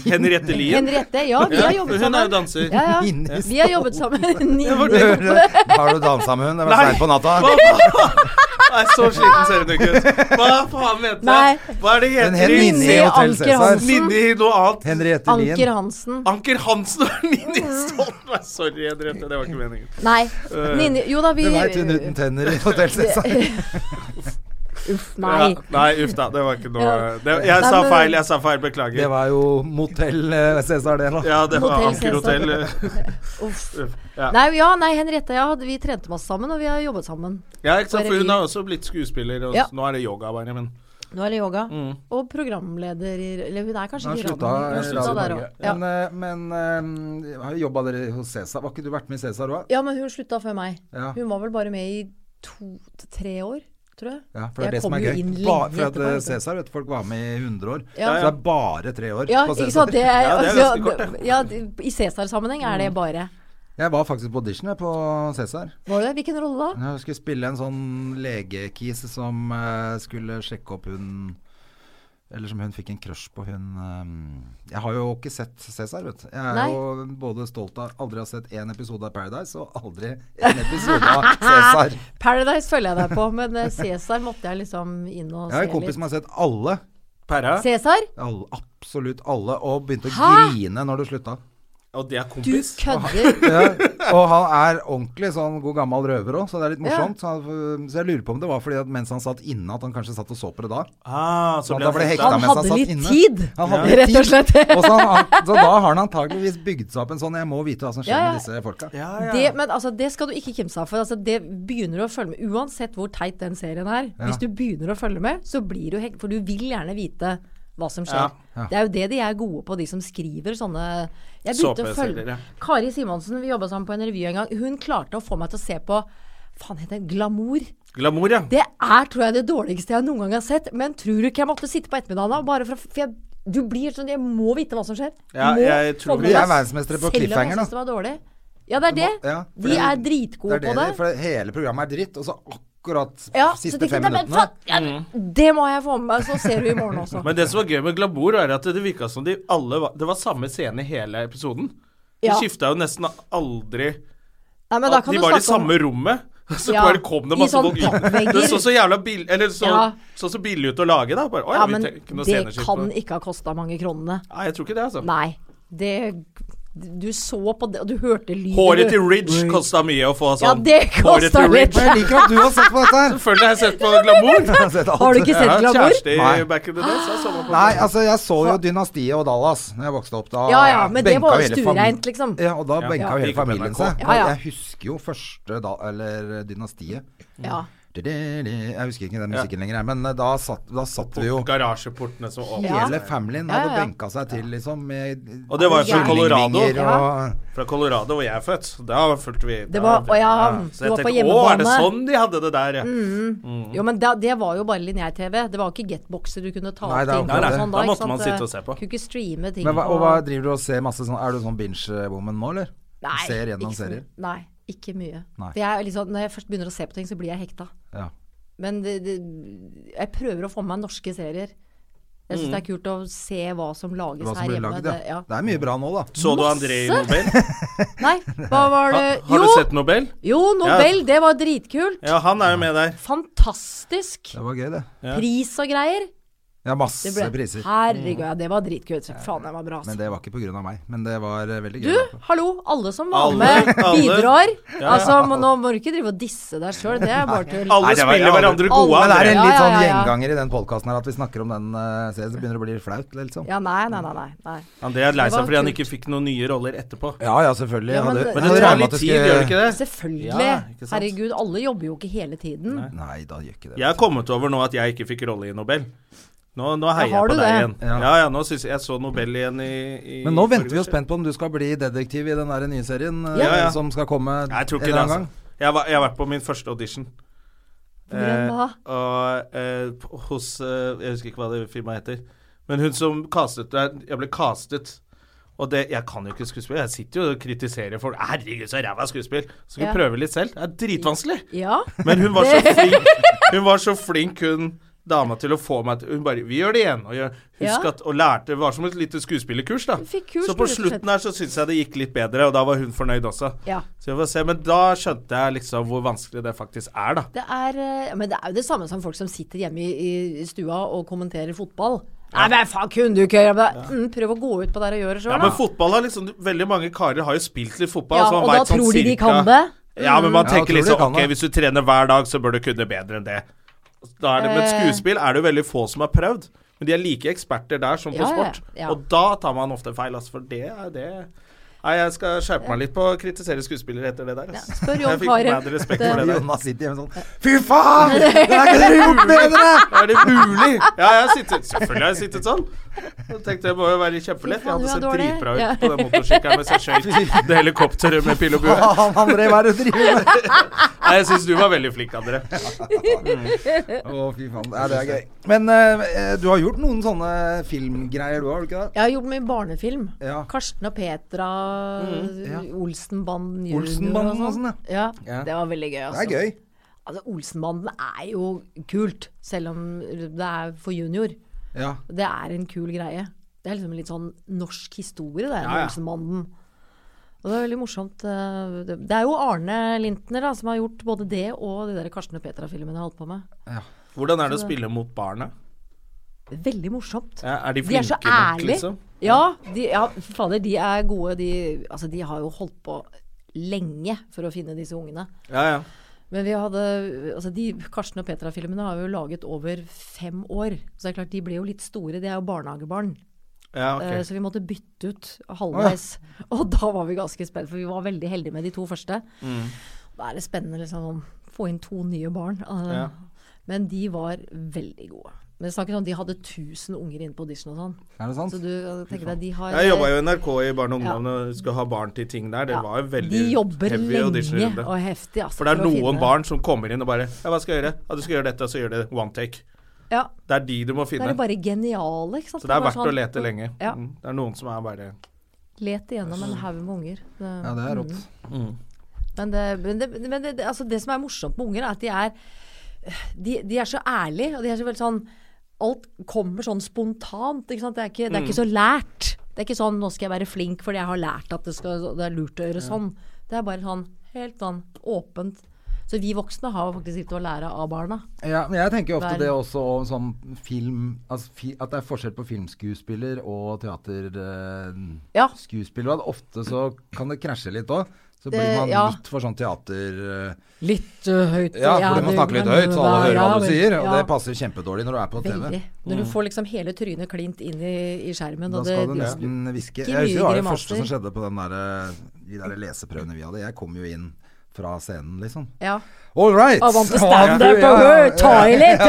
Speaker 2: Henriette Lien?
Speaker 3: Henriette, ja, vi har jobbet
Speaker 2: Hun er jo
Speaker 3: sammen.
Speaker 2: danser.
Speaker 3: Ja, ja.
Speaker 1: Inni
Speaker 3: Vi har jobbet sammen.
Speaker 1: Har du dansa med hun? Det var
Speaker 2: Nei.
Speaker 1: seint på natta.
Speaker 2: Hva faen? Nei, så sliten ser hun ikke ut. Hva faen heter
Speaker 3: Nei.
Speaker 2: hun? Hva er det
Speaker 1: Hun het
Speaker 2: heter i
Speaker 1: Ninni i Hotel
Speaker 3: Anker
Speaker 1: Cæsar.
Speaker 3: Hansen.
Speaker 2: Ninni noe annet?
Speaker 1: Henriette
Speaker 3: Anker
Speaker 1: Lien.
Speaker 3: Hansen.
Speaker 2: Anker Hansen og Ninni Stoltenberg. Sorry, Henriette. Det var ikke meningen.
Speaker 3: Nei. Nini, jo da, vi
Speaker 1: Du veit hun uten tenner i Hotell Cæsar.
Speaker 3: Uff, nei.
Speaker 2: Ja, nei, uff da. Det var ikke noe
Speaker 3: Ja.
Speaker 2: det, Jeg
Speaker 3: Nei,
Speaker 2: sa
Speaker 3: men-
Speaker 2: feil. Jeg sa feil.
Speaker 1: Det
Speaker 2: Beklager.
Speaker 1: var jo Motell eh, Cæsar, det, da.
Speaker 2: Ja, det var
Speaker 3: Hotel
Speaker 2: Anker
Speaker 3: Cæsar.
Speaker 2: Hotell.
Speaker 3: Uff.
Speaker 2: Uff, Ja.
Speaker 3: Nei, ja, nei, Henriette og jeg, hadde- vi trente masse sammen, og vi har jobbet sammen.
Speaker 2: ja, ikke sant. For
Speaker 3: Bare
Speaker 2: hun
Speaker 3: vi-
Speaker 2: har også blitt skuespiller. Og
Speaker 3: Ja.
Speaker 2: Nå er det yoga, bare. Men
Speaker 3: Nå er det yoga.
Speaker 2: mm.
Speaker 3: Og programleder i Eller hun er kanskje
Speaker 1: Nå
Speaker 3: ikke i
Speaker 1: slutta
Speaker 3: radioen. Hun
Speaker 1: eh,
Speaker 3: slutta
Speaker 1: Radio
Speaker 3: der
Speaker 1: Norge.
Speaker 3: også. Ja.
Speaker 1: Men, eh, men eh, har jo jobba dere hos Cæsar? Var ikke du vært med i Cæsar òg?
Speaker 3: ja, men hun slutta før meg.
Speaker 1: Ja.
Speaker 3: Hun var vel bare med i to-tre år, tror jeg.
Speaker 1: ja, for det
Speaker 3: Jeg
Speaker 1: er det som
Speaker 3: kom
Speaker 1: er
Speaker 3: jo
Speaker 1: gøy.
Speaker 3: inn lenge
Speaker 1: Bare for at
Speaker 3: etterpå,
Speaker 1: eh,
Speaker 3: vet du.
Speaker 1: Cæsar vet du, folk var med i 100 år.
Speaker 3: Ja.
Speaker 1: Så det er bare tre år
Speaker 3: Ja,
Speaker 1: på
Speaker 3: ikke
Speaker 1: Cæsar.
Speaker 3: sant. Det er,
Speaker 2: Ja, det er
Speaker 3: altså,
Speaker 2: ganske kort,
Speaker 3: ja, det- I Cæsar-sammenheng er
Speaker 1: Mm.
Speaker 3: det bare
Speaker 1: Jeg var faktisk på audition jeg, på Cæsar.
Speaker 3: Var det? Hvilken rolle da?
Speaker 1: Jeg skulle spille en sånn legekis som eh, skulle sjekke opp hun Eller som hun fikk en crush på hun eh, Jeg har jo ikke sett Cæsar, vet du. Jeg er
Speaker 3: Nei.
Speaker 1: jo både stolt av aldri å ha sett én episode av Paradise, og aldri en episode av Cæsar.
Speaker 3: Paradise følger jeg deg på, men eh, Cæsar måtte jeg liksom inn og
Speaker 1: Jeg har en
Speaker 3: se
Speaker 1: kompis
Speaker 3: litt.
Speaker 1: som har sett alle.
Speaker 2: Perra.
Speaker 3: Cæsar?
Speaker 1: alle absolutt alle. Og begynte å
Speaker 3: Hæ?
Speaker 1: grine når det slutta.
Speaker 2: Og det er
Speaker 3: Du
Speaker 2: kompis.
Speaker 3: kødder!
Speaker 1: Ja, og han er ordentlig sånn god gammel røver òg, så det er litt morsomt. Så, han, så jeg lurer på om det var fordi at mens han satt inne, at han kanskje satt og så på det da.
Speaker 2: Ah, så ble
Speaker 1: Ja, da
Speaker 2: han
Speaker 1: ble
Speaker 2: hekta.
Speaker 1: hekta.
Speaker 3: Han
Speaker 1: mens han
Speaker 3: hadde
Speaker 1: satt
Speaker 3: litt
Speaker 1: inne.
Speaker 3: tid,
Speaker 1: Han hadde
Speaker 3: rett og slett.
Speaker 1: Og så, han, så da har han antageligvis bygd seg opp en sånn Jeg må vite hva som skjer
Speaker 3: Ja, ja.
Speaker 1: med disse folka.
Speaker 2: Ja, ja.
Speaker 3: Det, men altså, det skal du ikke kimse av, for altså, det begynner du å følge med. Uansett hvor teit den serien er,
Speaker 1: Ja.
Speaker 3: hvis du begynner å følge med, så blir du hekk... For du vil gjerne vite hva som skjer.
Speaker 2: Ja.
Speaker 1: Ja.
Speaker 3: Det er jo det de er gode på, de som skriver sånne Jeg begynte å
Speaker 2: Såpeserier,
Speaker 3: følge
Speaker 2: ja.
Speaker 3: Kari Simonsen, vi jobba sammen på en revy en gang. Hun klarte å få meg til å se på Faen, heter den Glamour?
Speaker 2: Glamour, ja.
Speaker 3: Det er, tror jeg, det dårligste jeg noen gang har sett. Men tror du ikke jeg måtte sitte på ettermiddagen da? Bare for, å- for jeg, du blir sånn Jeg må vite hva som skjer.
Speaker 2: Ja,
Speaker 3: Må
Speaker 2: jeg
Speaker 3: få
Speaker 2: tror
Speaker 3: med
Speaker 1: vi er
Speaker 3: meg,
Speaker 1: verdensmestere på
Speaker 3: selv om jeg
Speaker 1: cliffhanger, da.
Speaker 3: synes det var dårlig. Ja, det er det.
Speaker 1: Ja, for
Speaker 3: De
Speaker 1: det-
Speaker 3: er dritgode
Speaker 1: Det er det,
Speaker 3: på
Speaker 1: de-
Speaker 3: det.
Speaker 1: for hele programmet er dritt, og så akkurat
Speaker 3: Ja, så
Speaker 1: siste
Speaker 3: tenkte
Speaker 1: fem
Speaker 3: jeg, men
Speaker 1: minuttene.
Speaker 3: faen, ja, Det må jeg få med meg, så ser du i morgen også.
Speaker 2: Men det som var gøy med Glamour, er at det virka som de alle var Det var samme scene i hele episoden. De
Speaker 3: Ja.
Speaker 2: skifta jo nesten aldri
Speaker 3: Nei, men da
Speaker 2: At
Speaker 3: kan
Speaker 2: de
Speaker 3: du
Speaker 2: var i
Speaker 3: snakke om-
Speaker 2: samme rommet. Så
Speaker 3: Ja,
Speaker 2: bare kom det
Speaker 3: i
Speaker 2: masse
Speaker 3: sånn
Speaker 2: folk ut.
Speaker 3: pappvegger.
Speaker 2: Det så så jævla billig Eller så
Speaker 3: Ja.
Speaker 2: så, så billig ut å lage, da. Bare, å, ja,
Speaker 3: Ja,
Speaker 2: vi
Speaker 3: men
Speaker 2: trenger ikke noe
Speaker 3: det
Speaker 2: sceneskift
Speaker 3: kan
Speaker 2: nå.
Speaker 3: ikke ha kosta mange kronene.
Speaker 2: Nei, jeg tror ikke det, altså.
Speaker 3: Nei. Det Du så på det, og du hørte lyden.
Speaker 2: Håret
Speaker 3: du-
Speaker 2: til Ridge kosta mye å få sånn.
Speaker 3: det
Speaker 2: Håret til
Speaker 3: kostet litt.
Speaker 1: Men jeg liker at du har sett på dette her!
Speaker 2: Selvfølgelig har jeg sett på Glamour.
Speaker 1: Jeg har sett alt.
Speaker 3: Har du ikke
Speaker 2: Jeg
Speaker 3: sett
Speaker 2: har
Speaker 3: Glamour?
Speaker 2: kjæreste
Speaker 1: Nei.
Speaker 2: i back in the days. Jeg så meg på
Speaker 1: Nei, altså jeg så jo Dynastiet og Dallas Når jeg vokste opp. Da
Speaker 3: Ja ja, men det
Speaker 1: benka
Speaker 3: var jo
Speaker 1: hele fami-
Speaker 3: stuereint, liksom.
Speaker 1: Ja, og da
Speaker 2: Ja.
Speaker 1: benka
Speaker 2: Ja.
Speaker 1: jo hele
Speaker 2: Gikk på
Speaker 1: familien
Speaker 2: NRK.
Speaker 1: seg.
Speaker 3: Ja, ja.
Speaker 1: Jeg husker jo første da, eller eh, Dynastiet.
Speaker 3: Ja.
Speaker 1: Jeg husker ikke den musikken lenger, men eh, da satt, da satt vi jo
Speaker 2: Port- Garasjeportene som åpna.
Speaker 3: Ja.
Speaker 1: Hele familien
Speaker 3: Ja, ja,
Speaker 1: hadde
Speaker 3: ja.
Speaker 1: benka seg til, liksom. Med
Speaker 2: Og det var jo fra Colorado.
Speaker 1: Kyllingvinger og-
Speaker 2: Fra Colorado, hvor jeg er født. Da fulgte vi
Speaker 3: Det var-
Speaker 2: da-
Speaker 3: å ja,
Speaker 2: Så
Speaker 3: du
Speaker 2: jeg
Speaker 3: var på
Speaker 2: tenkte, Å, er det
Speaker 3: hjemmebane." Mm,
Speaker 2: sånn de hadde det der, ja?
Speaker 3: Jo, men da, det var jo bare lineær-TV. Det var jo ikke getboxer du kunne ta
Speaker 1: Nei,
Speaker 3: opp
Speaker 1: det er
Speaker 3: ting
Speaker 1: akkurat
Speaker 3: og
Speaker 1: det.
Speaker 3: sånn
Speaker 2: Da
Speaker 3: ikke
Speaker 2: måtte man
Speaker 3: sant?
Speaker 2: sitte og se på.
Speaker 3: Kunne ikke streame ting
Speaker 1: Men hva,
Speaker 3: på-
Speaker 1: og hva driver du og ser masse sånn Er du sånn binge-woman nå, eller?
Speaker 3: Nei,
Speaker 1: Ser gjennom
Speaker 3: ikke så mye.
Speaker 1: serier?
Speaker 3: Nei, ikke mye.
Speaker 1: Nei.
Speaker 3: For jeg er liksom, når jeg først begynner å se på ting, så blir jeg hekta.
Speaker 1: Ja.
Speaker 3: Men det, det, jeg prøver å få med meg norske serier. Jeg
Speaker 2: Mm.
Speaker 3: syns det er kult å se hva som lages
Speaker 1: Hva som
Speaker 3: her
Speaker 1: blir
Speaker 3: hjemme.
Speaker 1: laget,
Speaker 3: Det, ja.
Speaker 1: ja. Det er mye bra nå, da.
Speaker 2: Så du André i Nobel?
Speaker 3: Nei, hva var det
Speaker 2: Ha, har
Speaker 3: Jo,
Speaker 2: du sett Nobel?
Speaker 3: jo Nobel! Det var dritkult.
Speaker 2: Ja, han er jo med der.
Speaker 3: Fantastisk.
Speaker 1: Det var gøy, det.
Speaker 2: Ja.
Speaker 3: Pris og greier.
Speaker 1: Ja, masse
Speaker 3: Det ble,
Speaker 1: priser.
Speaker 3: herregud, ja, det var dritkult. Faen, det var bra.
Speaker 1: Men
Speaker 3: Altså.
Speaker 1: det var ikke pga. meg. Men det var eh, veldig gøy.
Speaker 3: Du, hallo, alle som var
Speaker 2: Alle,
Speaker 3: med,
Speaker 2: alle.
Speaker 3: bidrar.
Speaker 2: ja.
Speaker 3: Altså, må, nå må du ikke drive og disse deg sjøl, det er bare tull.
Speaker 2: Alle
Speaker 1: Nei, det var-
Speaker 2: spiller
Speaker 1: ja,
Speaker 2: hverandre gode.
Speaker 3: alle-
Speaker 1: Men det er
Speaker 2: André.
Speaker 1: en
Speaker 3: Ja,
Speaker 1: litt
Speaker 3: ja,
Speaker 1: sånn
Speaker 3: ja, ja.
Speaker 1: gjenganger i den podkasten her at vi snakker om den eh, serien, så begynner det å bli flaut, liksom.
Speaker 3: Ja, nei, nei, nei. nei, nei.
Speaker 2: André er lei
Speaker 3: Det
Speaker 2: seg
Speaker 3: var
Speaker 2: fordi han
Speaker 3: kult.
Speaker 2: ikke fikk noen nye roller etterpå.
Speaker 1: Ja ja, selvfølgelig.
Speaker 3: Ja, men
Speaker 1: Hadde-
Speaker 3: det-
Speaker 2: Men
Speaker 1: hadde
Speaker 2: det tar
Speaker 1: regnet
Speaker 2: litt
Speaker 1: med at
Speaker 2: tid, gjør det ikke det?
Speaker 3: Selvfølgelig.
Speaker 2: Ja, ikke sant.
Speaker 3: Herregud, alle jobber jo ikke hele tiden.
Speaker 2: Nei.
Speaker 1: Nei, da gjør ikke det.
Speaker 2: Jeg har kommet over nå at jeg ikke fikk rolle i Nobel. Nå, nå heier
Speaker 3: har
Speaker 2: jeg på
Speaker 3: du
Speaker 2: deg igjen.
Speaker 3: det?
Speaker 1: Ja.
Speaker 2: Ja, ja, nå synes jeg jeg så Nobel igjen i, i
Speaker 1: Men nå venter vi
Speaker 2: forrige
Speaker 1: jo
Speaker 2: uke.
Speaker 1: spent på om du skal bli detektiv i den der nye serien eh,
Speaker 2: Ja, ja.
Speaker 1: som skal komme en
Speaker 2: Nei, Jeg tror ikke
Speaker 1: eller
Speaker 2: det,
Speaker 1: annen
Speaker 2: altså.
Speaker 1: gang.
Speaker 2: Jeg, var, jeg har vært på min første audition.
Speaker 3: Hvordan da?
Speaker 2: og eh, p- hos eh, Jeg husker ikke hva det firmaet heter. Men hun som castet deg Jeg ble castet. Og det, jeg kan jo ikke skuespill. Jeg sitter jo og kritiserer folk. 'Herregud, så ræva skuespill!' Så skal
Speaker 3: Ja.
Speaker 2: jeg prøve litt selv. Det er dritvanskelig.
Speaker 3: Ja.
Speaker 2: Men hun var så flink, hun var så flink hun dama til å få meg til Hun bare 'Vi gjør det igjen.' Og jeg, husk
Speaker 3: Ja.
Speaker 2: at, og lærte Det var som et lite skuespillerkurs, da.
Speaker 3: Hun fikk kurs,
Speaker 2: så på
Speaker 3: rett og slett.
Speaker 2: slutten her så syns jeg det gikk litt bedre, og da var hun fornøyd også.
Speaker 3: ja.
Speaker 2: Så vi får se, Men da skjønte jeg liksom hvor vanskelig det faktisk er, da.
Speaker 3: Det er, eh, men det er jo det samme som folk som sitter hjemme i, i stua og kommenterer fotball. Nei, men faen, kunne du ikke gjøre det? Mm, prøv å gå ut på der og gjøre det
Speaker 2: Ja,
Speaker 3: sjøl,
Speaker 2: men
Speaker 3: da.
Speaker 2: fotball har liksom Veldig mange karer har jo spilt litt fotball.
Speaker 3: Ja,
Speaker 2: så man
Speaker 3: og da
Speaker 2: vet sånn
Speaker 3: tror de de
Speaker 2: cirka-
Speaker 3: kan det.
Speaker 2: Ja, men man
Speaker 1: Mm. Ja,
Speaker 2: tenker
Speaker 1: tror de
Speaker 2: liksom
Speaker 1: kan
Speaker 2: Ok,
Speaker 1: det.
Speaker 2: hvis du trener hver dag, så bør du kunne bedre enn det. Da er det, men
Speaker 3: Eh.
Speaker 2: skuespill er det jo veldig få som har prøvd. Men de er like eksperter der som på
Speaker 3: Ja, ja,
Speaker 2: sport.
Speaker 3: ja.
Speaker 2: Og da tar man ofte feil, altså. For det er det Nei, jeg skal skjerpe meg litt på å kritisere skuespillere etter det der. Altså.
Speaker 3: Spør
Speaker 2: Jeg
Speaker 3: Jon
Speaker 2: fikk
Speaker 3: Carew.
Speaker 2: mer respekt
Speaker 3: Det-
Speaker 2: for altså. det der.
Speaker 1: Jonas sitter hjemme sånn Fy faen! Det er ikke dere gjort bedre!
Speaker 2: Er det mulig? Ja, jeg har sittet Selvfølgelig har jeg sittet sånn. Jeg tenkte det må jo være kjempelett. Jeg
Speaker 3: Fy faen,
Speaker 2: hadde
Speaker 3: du er
Speaker 2: sett
Speaker 3: dårlig.
Speaker 2: dritbra ut
Speaker 3: Ja.
Speaker 2: på den motorsykkelen mens jeg skøyt det helikopteret med pil og bue.
Speaker 1: Faen, André, hva er det du driver med?
Speaker 2: Nei, jeg syns du var veldig flink, André.
Speaker 1: Å, fy faen. Ja, det er gøy. Men eh, du har gjort noen sånne filmgreier du har, har du ikke det?
Speaker 3: Jeg har jobbet med barnefilm.
Speaker 1: Ja.
Speaker 3: Karsten og Petra,
Speaker 1: Mm, ja.
Speaker 3: Olsenbanden junior
Speaker 1: Olsenbanden og sånn,
Speaker 3: ja.
Speaker 1: Ja.
Speaker 3: Det var veldig gøy.
Speaker 1: Det
Speaker 3: Altså.
Speaker 1: er gøy.
Speaker 3: Altså, Olsenbanden er jo kult, selv om det er for junior.
Speaker 1: Ja.
Speaker 3: Det er en kul greie. Det er liksom litt sånn norsk historie, det,
Speaker 2: Ja, ja.
Speaker 3: med Olsenbanden. Og det er veldig morsomt. eh, Det det er jo Arne Lintner da, som har gjort både det og de der Karsten og Petra-filmene jeg holdt på med.
Speaker 1: ja.
Speaker 2: Hvordan er det å spille mot barna?
Speaker 3: Veldig morsomt.
Speaker 2: Ja, er de
Speaker 3: De er
Speaker 2: flinke
Speaker 3: så
Speaker 2: nok,
Speaker 3: ærlige.
Speaker 2: liksom?
Speaker 3: Ja, de, ja, fy fader, de er gode. De, altså, de har jo holdt på lenge for å finne disse ungene.
Speaker 2: Ja, ja.
Speaker 3: Men vi hadde altså de Karsten og Petra-filmene har jo laget over fem år. Så det er klart, de ble jo litt store. De er jo barnehagebarn.
Speaker 2: ja
Speaker 3: Eh,
Speaker 2: ok.
Speaker 3: Så vi måtte bytte ut halvveis. Og da var vi ganske spent, for vi var veldig heldige med de to første.
Speaker 2: Mm.
Speaker 3: Da er det spennende liksom å få inn to nye barn. Eh,
Speaker 2: Ja.
Speaker 3: Men de var veldig gode. Men det snakker om De hadde 1000 unger inne på audition og sånn.
Speaker 1: Er det sant?
Speaker 3: Så du eh, tenker deg, de har eh,
Speaker 2: Jeg jobba jo i NRK i Barne og Ungdom og skulle ha barn til ting der. Det
Speaker 3: Ja,
Speaker 2: var jo veldig
Speaker 3: De jobber
Speaker 2: heavy
Speaker 3: lenge
Speaker 2: auditionrunde.
Speaker 3: og heftig. Altså,
Speaker 2: For det er
Speaker 3: å
Speaker 2: noen
Speaker 3: finne-
Speaker 2: barn som kommer inn og bare Ja, hva skal jeg gjøre? Ja, du skal gjøre dette, og så gjør det one take.
Speaker 3: Ja,
Speaker 2: Det er de du må
Speaker 3: Da er
Speaker 2: finne.
Speaker 3: de bare geniale. Ikke sant?
Speaker 2: Så det er
Speaker 3: bare
Speaker 2: verdt å
Speaker 3: sånn-
Speaker 2: lete lenge.
Speaker 3: Ja.
Speaker 2: Mm, Det er noen som er bare
Speaker 3: Let igjennom en haug med unger. Det-
Speaker 1: Altså, Ja, det er
Speaker 3: Mm.
Speaker 1: rått.
Speaker 3: Men, det, men, det, men det, det- altså det som er morsomt med unger, er at de er, de, de er så ærlige. Og de er så veldig sånn Alt kommer sånn spontant. Ikke sant? Det, er ikke, det er
Speaker 1: Mm.
Speaker 3: ikke så lært. Det er ikke sånn 'nå skal jeg være flink fordi jeg har lært at det, skal, det er lurt å gjøre sånn'. Det er bare sånn helt sånn åpent. Så vi voksne har jo faktisk litt å lære av barna.
Speaker 1: Ja, men jeg tenker jo ofte
Speaker 3: Verden.
Speaker 1: det også om sånn film altså fi, At det er forskjell på filmskuespiller og teaterskuespiller.
Speaker 3: Ja.
Speaker 1: Eh, ofte så kan det krasje litt òg. Så blir
Speaker 3: Det-
Speaker 1: man
Speaker 3: ja.
Speaker 1: litt for sånn teater... Eh,
Speaker 3: Litt øh, høyt.
Speaker 1: ja, for du må
Speaker 3: det-
Speaker 1: snakke litt
Speaker 3: men-
Speaker 1: høyt, så alle hører hva
Speaker 3: ja,
Speaker 1: du
Speaker 3: vel,
Speaker 1: sier. Og
Speaker 3: ja.
Speaker 1: det passer kjempedårlig når du er på TV.
Speaker 3: Veldig. Når du får liksom hele trynet klint inn i, i skjermen.
Speaker 1: Da
Speaker 3: Og det,
Speaker 1: skal du nesten hviske. Jeg
Speaker 3: Ikke
Speaker 1: husker det
Speaker 3: mye
Speaker 1: var det
Speaker 3: grimaser.
Speaker 1: første som skjedde på den der, eh, de der leseprøvene vi hadde. Jeg kom jo inn fra scenen, liksom.
Speaker 3: Ja.
Speaker 1: All right!
Speaker 3: Og vant til
Speaker 1: Ja, du,
Speaker 3: standup
Speaker 1: ja,
Speaker 3: og
Speaker 1: ja,
Speaker 3: hør, ta i litt!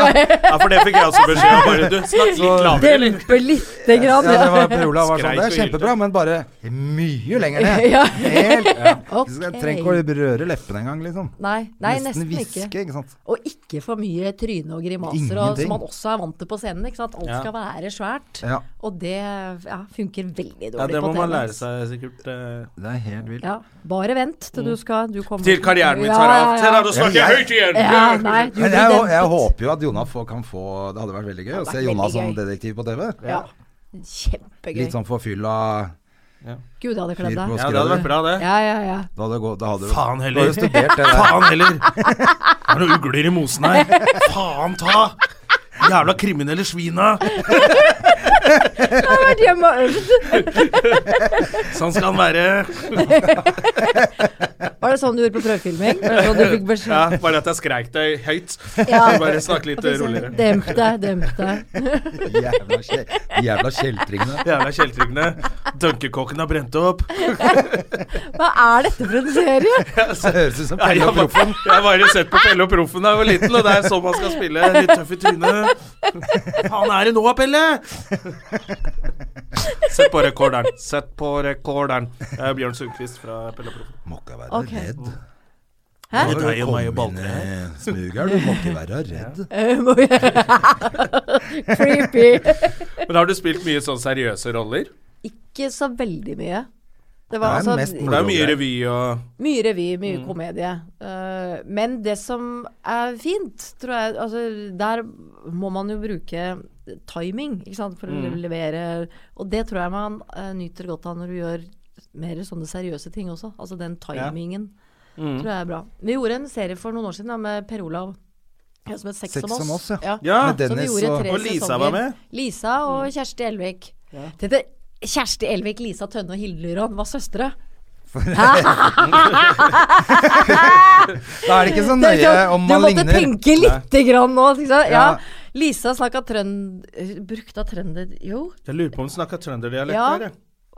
Speaker 2: Ja, for det fikk jeg også beskjed om. Bare du, snakk litt lavere, eller?
Speaker 3: Dempe lite eh, grann.
Speaker 1: Ja, det var,
Speaker 3: Ja.
Speaker 1: Per Olav var sånn,
Speaker 2: Skreik
Speaker 1: det
Speaker 2: og
Speaker 1: er kjempebra,
Speaker 2: hylte.
Speaker 1: men bare mye lenger ned.
Speaker 3: Ja.
Speaker 1: Helt.
Speaker 3: Ok.
Speaker 1: Du skal- trenger ikke å røre leppene engang, liksom.
Speaker 3: Nei, nei, nesten
Speaker 1: hviske,
Speaker 3: ikke.
Speaker 1: ikke. sant.
Speaker 3: Og ikke for mye tryne og grimaser, og,
Speaker 1: Ingenting.
Speaker 3: som man også er vant til på scenen. Ikke sant? Alt
Speaker 2: Ja.
Speaker 3: skal være svært.
Speaker 1: Ja.
Speaker 3: Og det ja, funker veldig
Speaker 2: Ja,
Speaker 3: dårlig
Speaker 2: det
Speaker 3: på
Speaker 2: må
Speaker 3: TV.
Speaker 2: man lære seg sikkert. eh.
Speaker 1: Det er helt vilt.
Speaker 3: Ja, bare vent til du skal du
Speaker 2: Mm.
Speaker 3: kommer-
Speaker 2: Til karrieren min
Speaker 3: Ja,
Speaker 2: tar av.
Speaker 3: ja, ja.
Speaker 2: Til da, nå snakker
Speaker 1: Ja,
Speaker 2: jeg
Speaker 1: jeg-
Speaker 2: høyt igjen!
Speaker 3: Ja, nei, du
Speaker 1: Men jeg, jeg,
Speaker 3: blir dempet.
Speaker 1: håper jo at Jonas får, kan få Det hadde vært veldig gøy å
Speaker 3: hadde
Speaker 1: se
Speaker 3: vært
Speaker 1: Jonas
Speaker 3: veldig
Speaker 1: som
Speaker 3: gøy.
Speaker 1: detektiv på TV.
Speaker 3: Ja. Kjempegøy.
Speaker 1: Litt sånn forfylla
Speaker 3: Gud, jeg hadde
Speaker 1: fyr
Speaker 3: kledd
Speaker 1: på
Speaker 3: deg.
Speaker 2: Ja, det hadde vært
Speaker 1: skrøder.
Speaker 2: bra, det.
Speaker 3: Ja, ja, ja.
Speaker 1: Da hadde, det gå- da hadde du-
Speaker 2: Faen
Speaker 1: da hadde
Speaker 2: heller.
Speaker 1: du studert det der.
Speaker 2: Faen heller! Det er noen ugler i mosen her. Faen ta! Jævla kriminelle svina!
Speaker 3: Jeg har vært hjemme og øvd.
Speaker 2: Sånn skal han være.
Speaker 3: Var det sånn du gjorde på prøvefilming? Var det sånn du fikk
Speaker 2: Ja,
Speaker 3: beskjed?
Speaker 2: bare at jeg skreik det høyt.
Speaker 3: Ja.
Speaker 2: Bare snakk litt
Speaker 3: sånn-
Speaker 2: eh, roligere.
Speaker 3: Demp deg, demp deg.
Speaker 1: Jævla, kjel, jævla kjeltringene.
Speaker 2: Jævla kjeltringene. Dunkekokken har brent opp.
Speaker 3: Hva er dette for en serie?
Speaker 1: Det høres ut som
Speaker 2: Nei,
Speaker 1: Pelle
Speaker 2: jeg,
Speaker 1: og
Speaker 2: har
Speaker 1: Proffen.
Speaker 2: bare- jeg har bare sett på Pelle og Proffen da jeg var liten, og det er sånn man skal spille. Litt tøff i trynet. Faen er det nå, Pelle? Sett på rekorderen. Sett på rekorderen. Det er Bjørn Sundquist fra Pelle og Proffen.
Speaker 1: Må ikke være
Speaker 3: Ok.
Speaker 1: redd. Nå
Speaker 3: Hæ?
Speaker 1: har
Speaker 2: Deg
Speaker 1: du
Speaker 2: og meg og
Speaker 1: kommet
Speaker 2: ballene.
Speaker 1: inn i Smugeren, du må ikke være redd.
Speaker 3: Eh, må jeg- Creepy.
Speaker 2: Men har du spilt mye sånn seriøse roller?
Speaker 3: Ikke så veldig mye. Det
Speaker 1: Det
Speaker 3: var
Speaker 1: er
Speaker 3: altså
Speaker 1: mest
Speaker 2: For det er jo mye
Speaker 1: Roller.
Speaker 2: revy og
Speaker 3: mye revy, mye
Speaker 2: Mm.
Speaker 3: komedie. Eh, men det som er fint, tror jeg Altså, der må man jo bruke timing, ikke sant, for å
Speaker 2: Mm.
Speaker 3: levere Og det tror jeg man eh, nyter godt av når du gjør mer sånne seriøse ting også. Altså den timingen
Speaker 2: Mm.
Speaker 3: tror jeg er bra. Vi gjorde en serie for noen år siden da, med Per Olav. ja, Som het Sex,
Speaker 1: Sex
Speaker 3: om
Speaker 1: om
Speaker 3: oss.
Speaker 1: oss, ja.
Speaker 2: Ja,
Speaker 1: Med
Speaker 3: Som vi
Speaker 1: Dennis
Speaker 3: gjorde i
Speaker 1: og
Speaker 3: tre
Speaker 2: og Lisa
Speaker 3: sesonger.
Speaker 2: var med? Mm.
Speaker 3: Lisa og Kjersti Elvik. Dette, Kjersti Elvik, Lisa Tønne og Hilde Lyron var søstre.
Speaker 1: Da er det ikke så
Speaker 3: Det er
Speaker 1: nøye
Speaker 3: klart,
Speaker 1: om man
Speaker 3: du måtte
Speaker 1: ligner.
Speaker 3: tenke lite grann nå. Ikke sant? Ja.
Speaker 1: Ja.
Speaker 3: Lisa snakka trønd... eh, Brukte trønder... Jo.
Speaker 2: Jeg lurer på om hun snakka trønderdialekt
Speaker 3: Ja.
Speaker 2: der, jeg.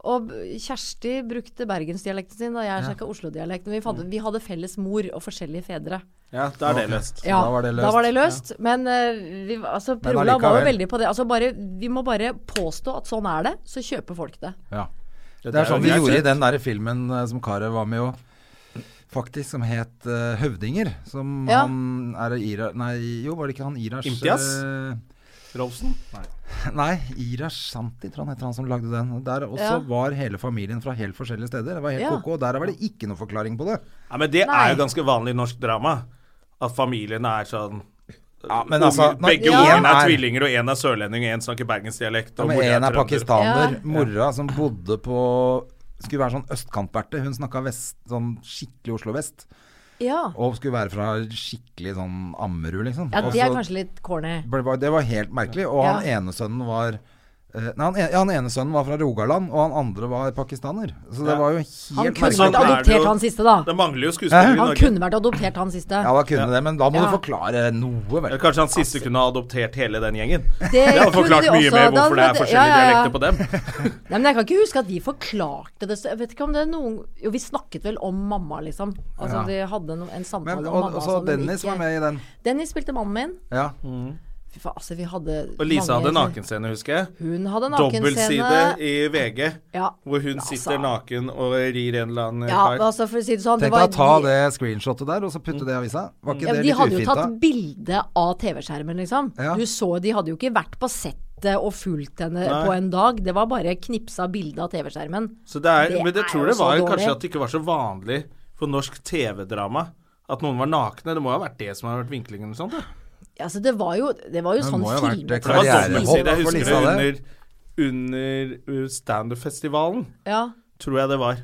Speaker 3: Og b- Kjersti brukte bergensdialekten sin, og jeg snakka Oslo-dialekten. Vi, fant- vi hadde felles mor og forskjellige fedre.
Speaker 2: Ja, da er det løst.
Speaker 1: da var det løst.
Speaker 3: løst. Men eh, vi, altså, Per
Speaker 1: Men
Speaker 3: Olav var jo
Speaker 1: allikevel.
Speaker 3: veldig på det. Altså, bare, vi må bare påstå at sånn er det, så kjøper folk det.
Speaker 1: Ja.
Speaker 2: Det
Speaker 1: Det er sånn vi
Speaker 2: jo greit,
Speaker 1: gjorde i
Speaker 2: det.
Speaker 1: den der filmen eh, som Karev var med i òg. Faktisk, som het eh, Høvdinger. Som
Speaker 3: Ja.
Speaker 1: han er ira... Nei, jo, var det ikke han Irash
Speaker 2: Imtias?
Speaker 1: eh,
Speaker 2: Rolfsen?
Speaker 1: Nei, Irash Santi, tror han heter han som lagde den. Der også
Speaker 3: Ja.
Speaker 1: var hele familien fra helt forskjellige steder. Det var helt
Speaker 3: Ja.
Speaker 1: koko, og Der var det ikke noe forklaring på det.
Speaker 2: Ja, men det
Speaker 3: Nei.
Speaker 2: er jo ganske vanlig i norsk drama. At familien er sånn
Speaker 1: men
Speaker 2: Unger-
Speaker 1: altså, når
Speaker 2: Begge
Speaker 3: en
Speaker 2: ungene er
Speaker 1: er-
Speaker 2: tvillinger, og én er sørlending, og én snakker bergensdialekt.
Speaker 1: Ja,
Speaker 2: Og
Speaker 1: men
Speaker 2: mora
Speaker 1: en er
Speaker 2: trønder.
Speaker 1: pakistaner.
Speaker 3: Ja.
Speaker 1: Mora som bodde på Skulle være sånn østkantberte. Hun snakka vest, sånn skikkelig Oslo vest.
Speaker 3: Ja.
Speaker 1: Og skulle være fra skikkelig sånn Ammerud, liksom.
Speaker 3: ja,
Speaker 1: Og
Speaker 3: det er
Speaker 1: så-
Speaker 3: kanskje litt corny.
Speaker 1: ble- var- Det var helt merkelig. Og han
Speaker 3: Ja.
Speaker 1: ene sønnen var eh, Nei, han, en- ja, han ene sønnen var fra Rogaland, og han andre var pakistaner. Så det
Speaker 2: Ja.
Speaker 1: var jo
Speaker 3: Han
Speaker 1: helt
Speaker 3: kunne
Speaker 1: merkelig.
Speaker 2: Sånn
Speaker 3: vært
Speaker 2: er det jo.
Speaker 3: adoptert, han siste, da.
Speaker 2: Det mangler jo skuespillere i
Speaker 3: Han
Speaker 2: Norge.
Speaker 3: kunne vært adoptert, han siste.
Speaker 1: Ja, da kunne
Speaker 2: Ja.
Speaker 1: det, men da må
Speaker 3: Ja.
Speaker 1: du forklare noe, vel.
Speaker 2: Eller Kanskje han siste kunne ha adoptert hele den gjengen. Det,
Speaker 3: Det
Speaker 2: hadde
Speaker 3: kunne
Speaker 2: forklart
Speaker 3: de
Speaker 2: mye
Speaker 3: også.
Speaker 2: mer
Speaker 3: Da
Speaker 2: hvorfor det er
Speaker 3: hadde-
Speaker 2: forskjellige
Speaker 3: ja, ja, ja.
Speaker 2: dialekter på dem.
Speaker 3: Nei, men jeg kan ikke huske at vi forklarte det. Så jeg vet ikke om det er noen Jo, vi snakket vel om mamma, liksom. Altså,
Speaker 1: Ja.
Speaker 3: vi hadde no, en samtale
Speaker 1: Men, og,
Speaker 3: om mamma. altså,
Speaker 1: og så
Speaker 3: som
Speaker 1: Dennis
Speaker 3: ikke-
Speaker 1: var
Speaker 3: Mm.
Speaker 1: med i den.
Speaker 3: Dennis spilte mannen min.
Speaker 1: Ja.
Speaker 3: Fy faen, altså, vi hadde
Speaker 2: Og Lisa
Speaker 3: mange-
Speaker 2: hadde nakenscene, husker jeg.
Speaker 3: Hun hadde
Speaker 2: Dobbeltside
Speaker 3: nakenscene.
Speaker 2: i VG,
Speaker 3: Ja.
Speaker 2: hvor hun
Speaker 3: Altså.
Speaker 2: sitter naken og rir en eller annen
Speaker 3: ja,
Speaker 2: kar.
Speaker 3: altså for å si det sånn det
Speaker 1: Tenk deg å ta
Speaker 3: var- Mm.
Speaker 1: det screenshotet der, og så putte det i avisa. Var ikke
Speaker 3: Ja,
Speaker 1: det
Speaker 3: de
Speaker 1: litt
Speaker 3: hadde jo
Speaker 1: ufint, da?
Speaker 3: tatt bilde av TV-skjermen, liksom.
Speaker 1: Ja.
Speaker 3: Du så, De hadde jo ikke vært på settet og fulgt henne på en dag. Det var bare knipsa bilde av TV-skjermen.
Speaker 2: Så det er,
Speaker 3: Det
Speaker 2: men jeg
Speaker 3: er
Speaker 2: tror
Speaker 3: jo
Speaker 2: det
Speaker 3: så
Speaker 2: var jo
Speaker 3: dårlig.
Speaker 2: kanskje at det ikke var så vanlig for norsk TV-drama at noen var nakne. Det må jo ha vært det som har vært vinklingen eller sånt. da.
Speaker 3: Altså, det var jo, det var sånn jo
Speaker 1: Det
Speaker 3: sånn
Speaker 1: må jo ha vært
Speaker 3: film.
Speaker 1: det
Speaker 2: For det var
Speaker 1: Karrierehopp
Speaker 2: dobbeltside. Jeg
Speaker 1: for
Speaker 2: husker
Speaker 1: Lisa,
Speaker 2: det
Speaker 1: det.
Speaker 2: under, under uh, standup-festivalen,
Speaker 3: Ja.
Speaker 2: tror jeg det var.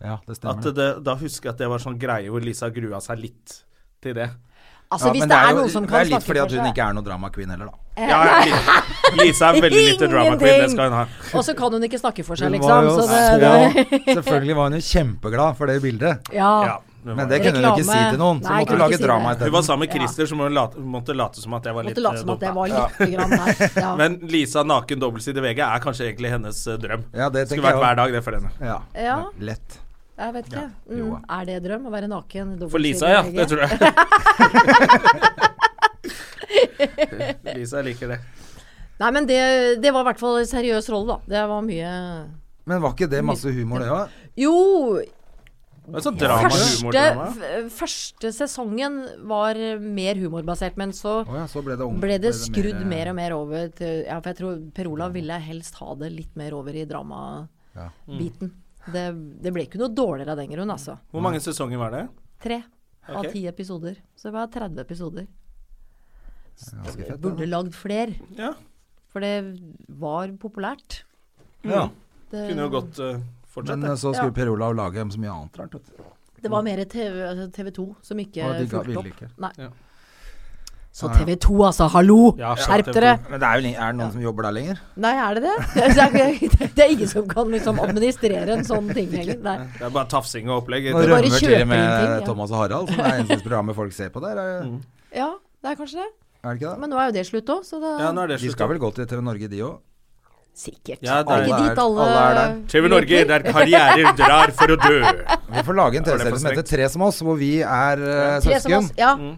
Speaker 1: Ja, det
Speaker 2: At
Speaker 1: stemmer.
Speaker 2: det, da husker jeg at det var sånn greie hvor Lisa grua seg litt til det.
Speaker 3: Altså,
Speaker 1: ja,
Speaker 3: hvis
Speaker 1: men
Speaker 3: det er,
Speaker 1: jo-
Speaker 3: noen som
Speaker 1: det
Speaker 3: kan
Speaker 1: er litt
Speaker 3: snakke
Speaker 1: fordi
Speaker 3: for
Speaker 1: at hun
Speaker 3: seg.
Speaker 1: ikke er noe drama queen heller, da.
Speaker 3: Eh.
Speaker 2: Ja, Li- Lisa er veldig lite drama queen, det skal hun ha.
Speaker 3: Og så kan hun ikke snakke for seg,
Speaker 1: Hun
Speaker 3: liksom.
Speaker 1: var jo
Speaker 3: Så det, det,
Speaker 1: så Selvfølgelig var hun jo kjempeglad for det bildet,
Speaker 3: ja.
Speaker 2: Ja, hun
Speaker 1: men
Speaker 2: var-
Speaker 1: det kunne hun ikke si
Speaker 3: Reklame.
Speaker 1: til noen. Så
Speaker 3: Nei,
Speaker 1: måtte
Speaker 3: kunne
Speaker 1: hun lage
Speaker 3: ikke si
Speaker 1: drama
Speaker 3: det.
Speaker 2: Hun var
Speaker 1: isteden.
Speaker 2: sammen med
Speaker 3: Ja.
Speaker 2: Christer, så må hun late, måtte late som at jeg var litt
Speaker 3: Måtte late som
Speaker 2: eh,
Speaker 3: at det
Speaker 2: dumpa.
Speaker 3: var lite grann der. Ja.
Speaker 2: Men Lisa naken dobbeltside VG er kanskje egentlig hennes eh, drøm.
Speaker 1: Ja, det
Speaker 2: Skulle vært
Speaker 1: tenker jeg også.
Speaker 2: hver dag, det for henne.
Speaker 1: Ja.
Speaker 3: Ja.
Speaker 1: Lett.
Speaker 3: Jeg vet ikke.
Speaker 1: jo.
Speaker 3: Mm, er det drøm å være naken?
Speaker 2: For Lisa, ja. Det tror jeg. Lisa liker det.
Speaker 3: Nei, men det, det var i hvert fall en seriøs rolle, da. Det var mye
Speaker 1: Men var ikke det masse humor, det òg?
Speaker 3: Jo,
Speaker 2: Men sånn
Speaker 3: første,
Speaker 2: drama-humordrama.
Speaker 3: f- første sesongen var mer humorbasert, men så
Speaker 1: Å ja, så ble det, eh, om,
Speaker 3: ble det skrudd mer og mer over til Ja, for jeg tror Per Olav ville helst ha det litt mer over i
Speaker 1: Ja.
Speaker 3: dramabiten. Det, det ble ikke noe dårligere av den grunn, altså.
Speaker 2: Hvor mange sesonger var det?
Speaker 3: Tre av
Speaker 2: Ok.
Speaker 3: ti episoder. Så det var 30 episoder.
Speaker 1: Ganske fett.
Speaker 3: Burde
Speaker 1: da.
Speaker 3: lagd flere,
Speaker 2: Ja.
Speaker 3: for det var populært.
Speaker 1: Ja.
Speaker 3: Mm. Det,
Speaker 2: Kunne jo godt eh, fortsatt,
Speaker 1: Men
Speaker 2: det.
Speaker 1: eh, så skulle
Speaker 3: Ja.
Speaker 1: Per Olav lage så mye annet rart. vet du.
Speaker 3: det var mer TV, altså TV 2 som ikke
Speaker 1: Og de ga-
Speaker 3: fulgte
Speaker 1: ville
Speaker 3: opp.
Speaker 1: ikke.
Speaker 3: Nei.
Speaker 2: Ja.
Speaker 3: Så TV 2, altså. Hallo!
Speaker 2: Ja,
Speaker 3: Skjerp
Speaker 2: TV 2.
Speaker 3: dere!
Speaker 1: Men det er, jo, li- er det noen som jobber der lenger?
Speaker 3: Nei, er det det? Det er, det er ingen som kan liksom administrere en sånn ting lenger. Nei.
Speaker 2: Det er bare tafsing og opplegg.
Speaker 1: Nå
Speaker 3: bare
Speaker 1: rømmer til
Speaker 3: kjøper
Speaker 1: og med
Speaker 3: inn ting, ja.
Speaker 1: Thomas og Harald, som er eneste programmet folk ser på der.
Speaker 2: Mm.
Speaker 1: Er,
Speaker 3: Ja, det er kanskje det.
Speaker 1: er det ikke det?
Speaker 3: Men nå er jo det slutt òg, så da
Speaker 2: Ja, nå er det
Speaker 1: De
Speaker 2: slutt.
Speaker 1: skal vel gå til TV Norge, de òg?
Speaker 3: Sikkert.
Speaker 2: Ja,
Speaker 3: det er ikke
Speaker 1: alle er-
Speaker 3: dit alle,
Speaker 1: alle er der.
Speaker 2: TV Norge,
Speaker 3: leker.
Speaker 2: der karrierer drar for å dø.
Speaker 1: Vi får lage en
Speaker 2: det for
Speaker 1: TV-serie som heter Tre som oss, hvor vi er eh,
Speaker 3: Tre som
Speaker 1: søsken.
Speaker 3: oss- Ja.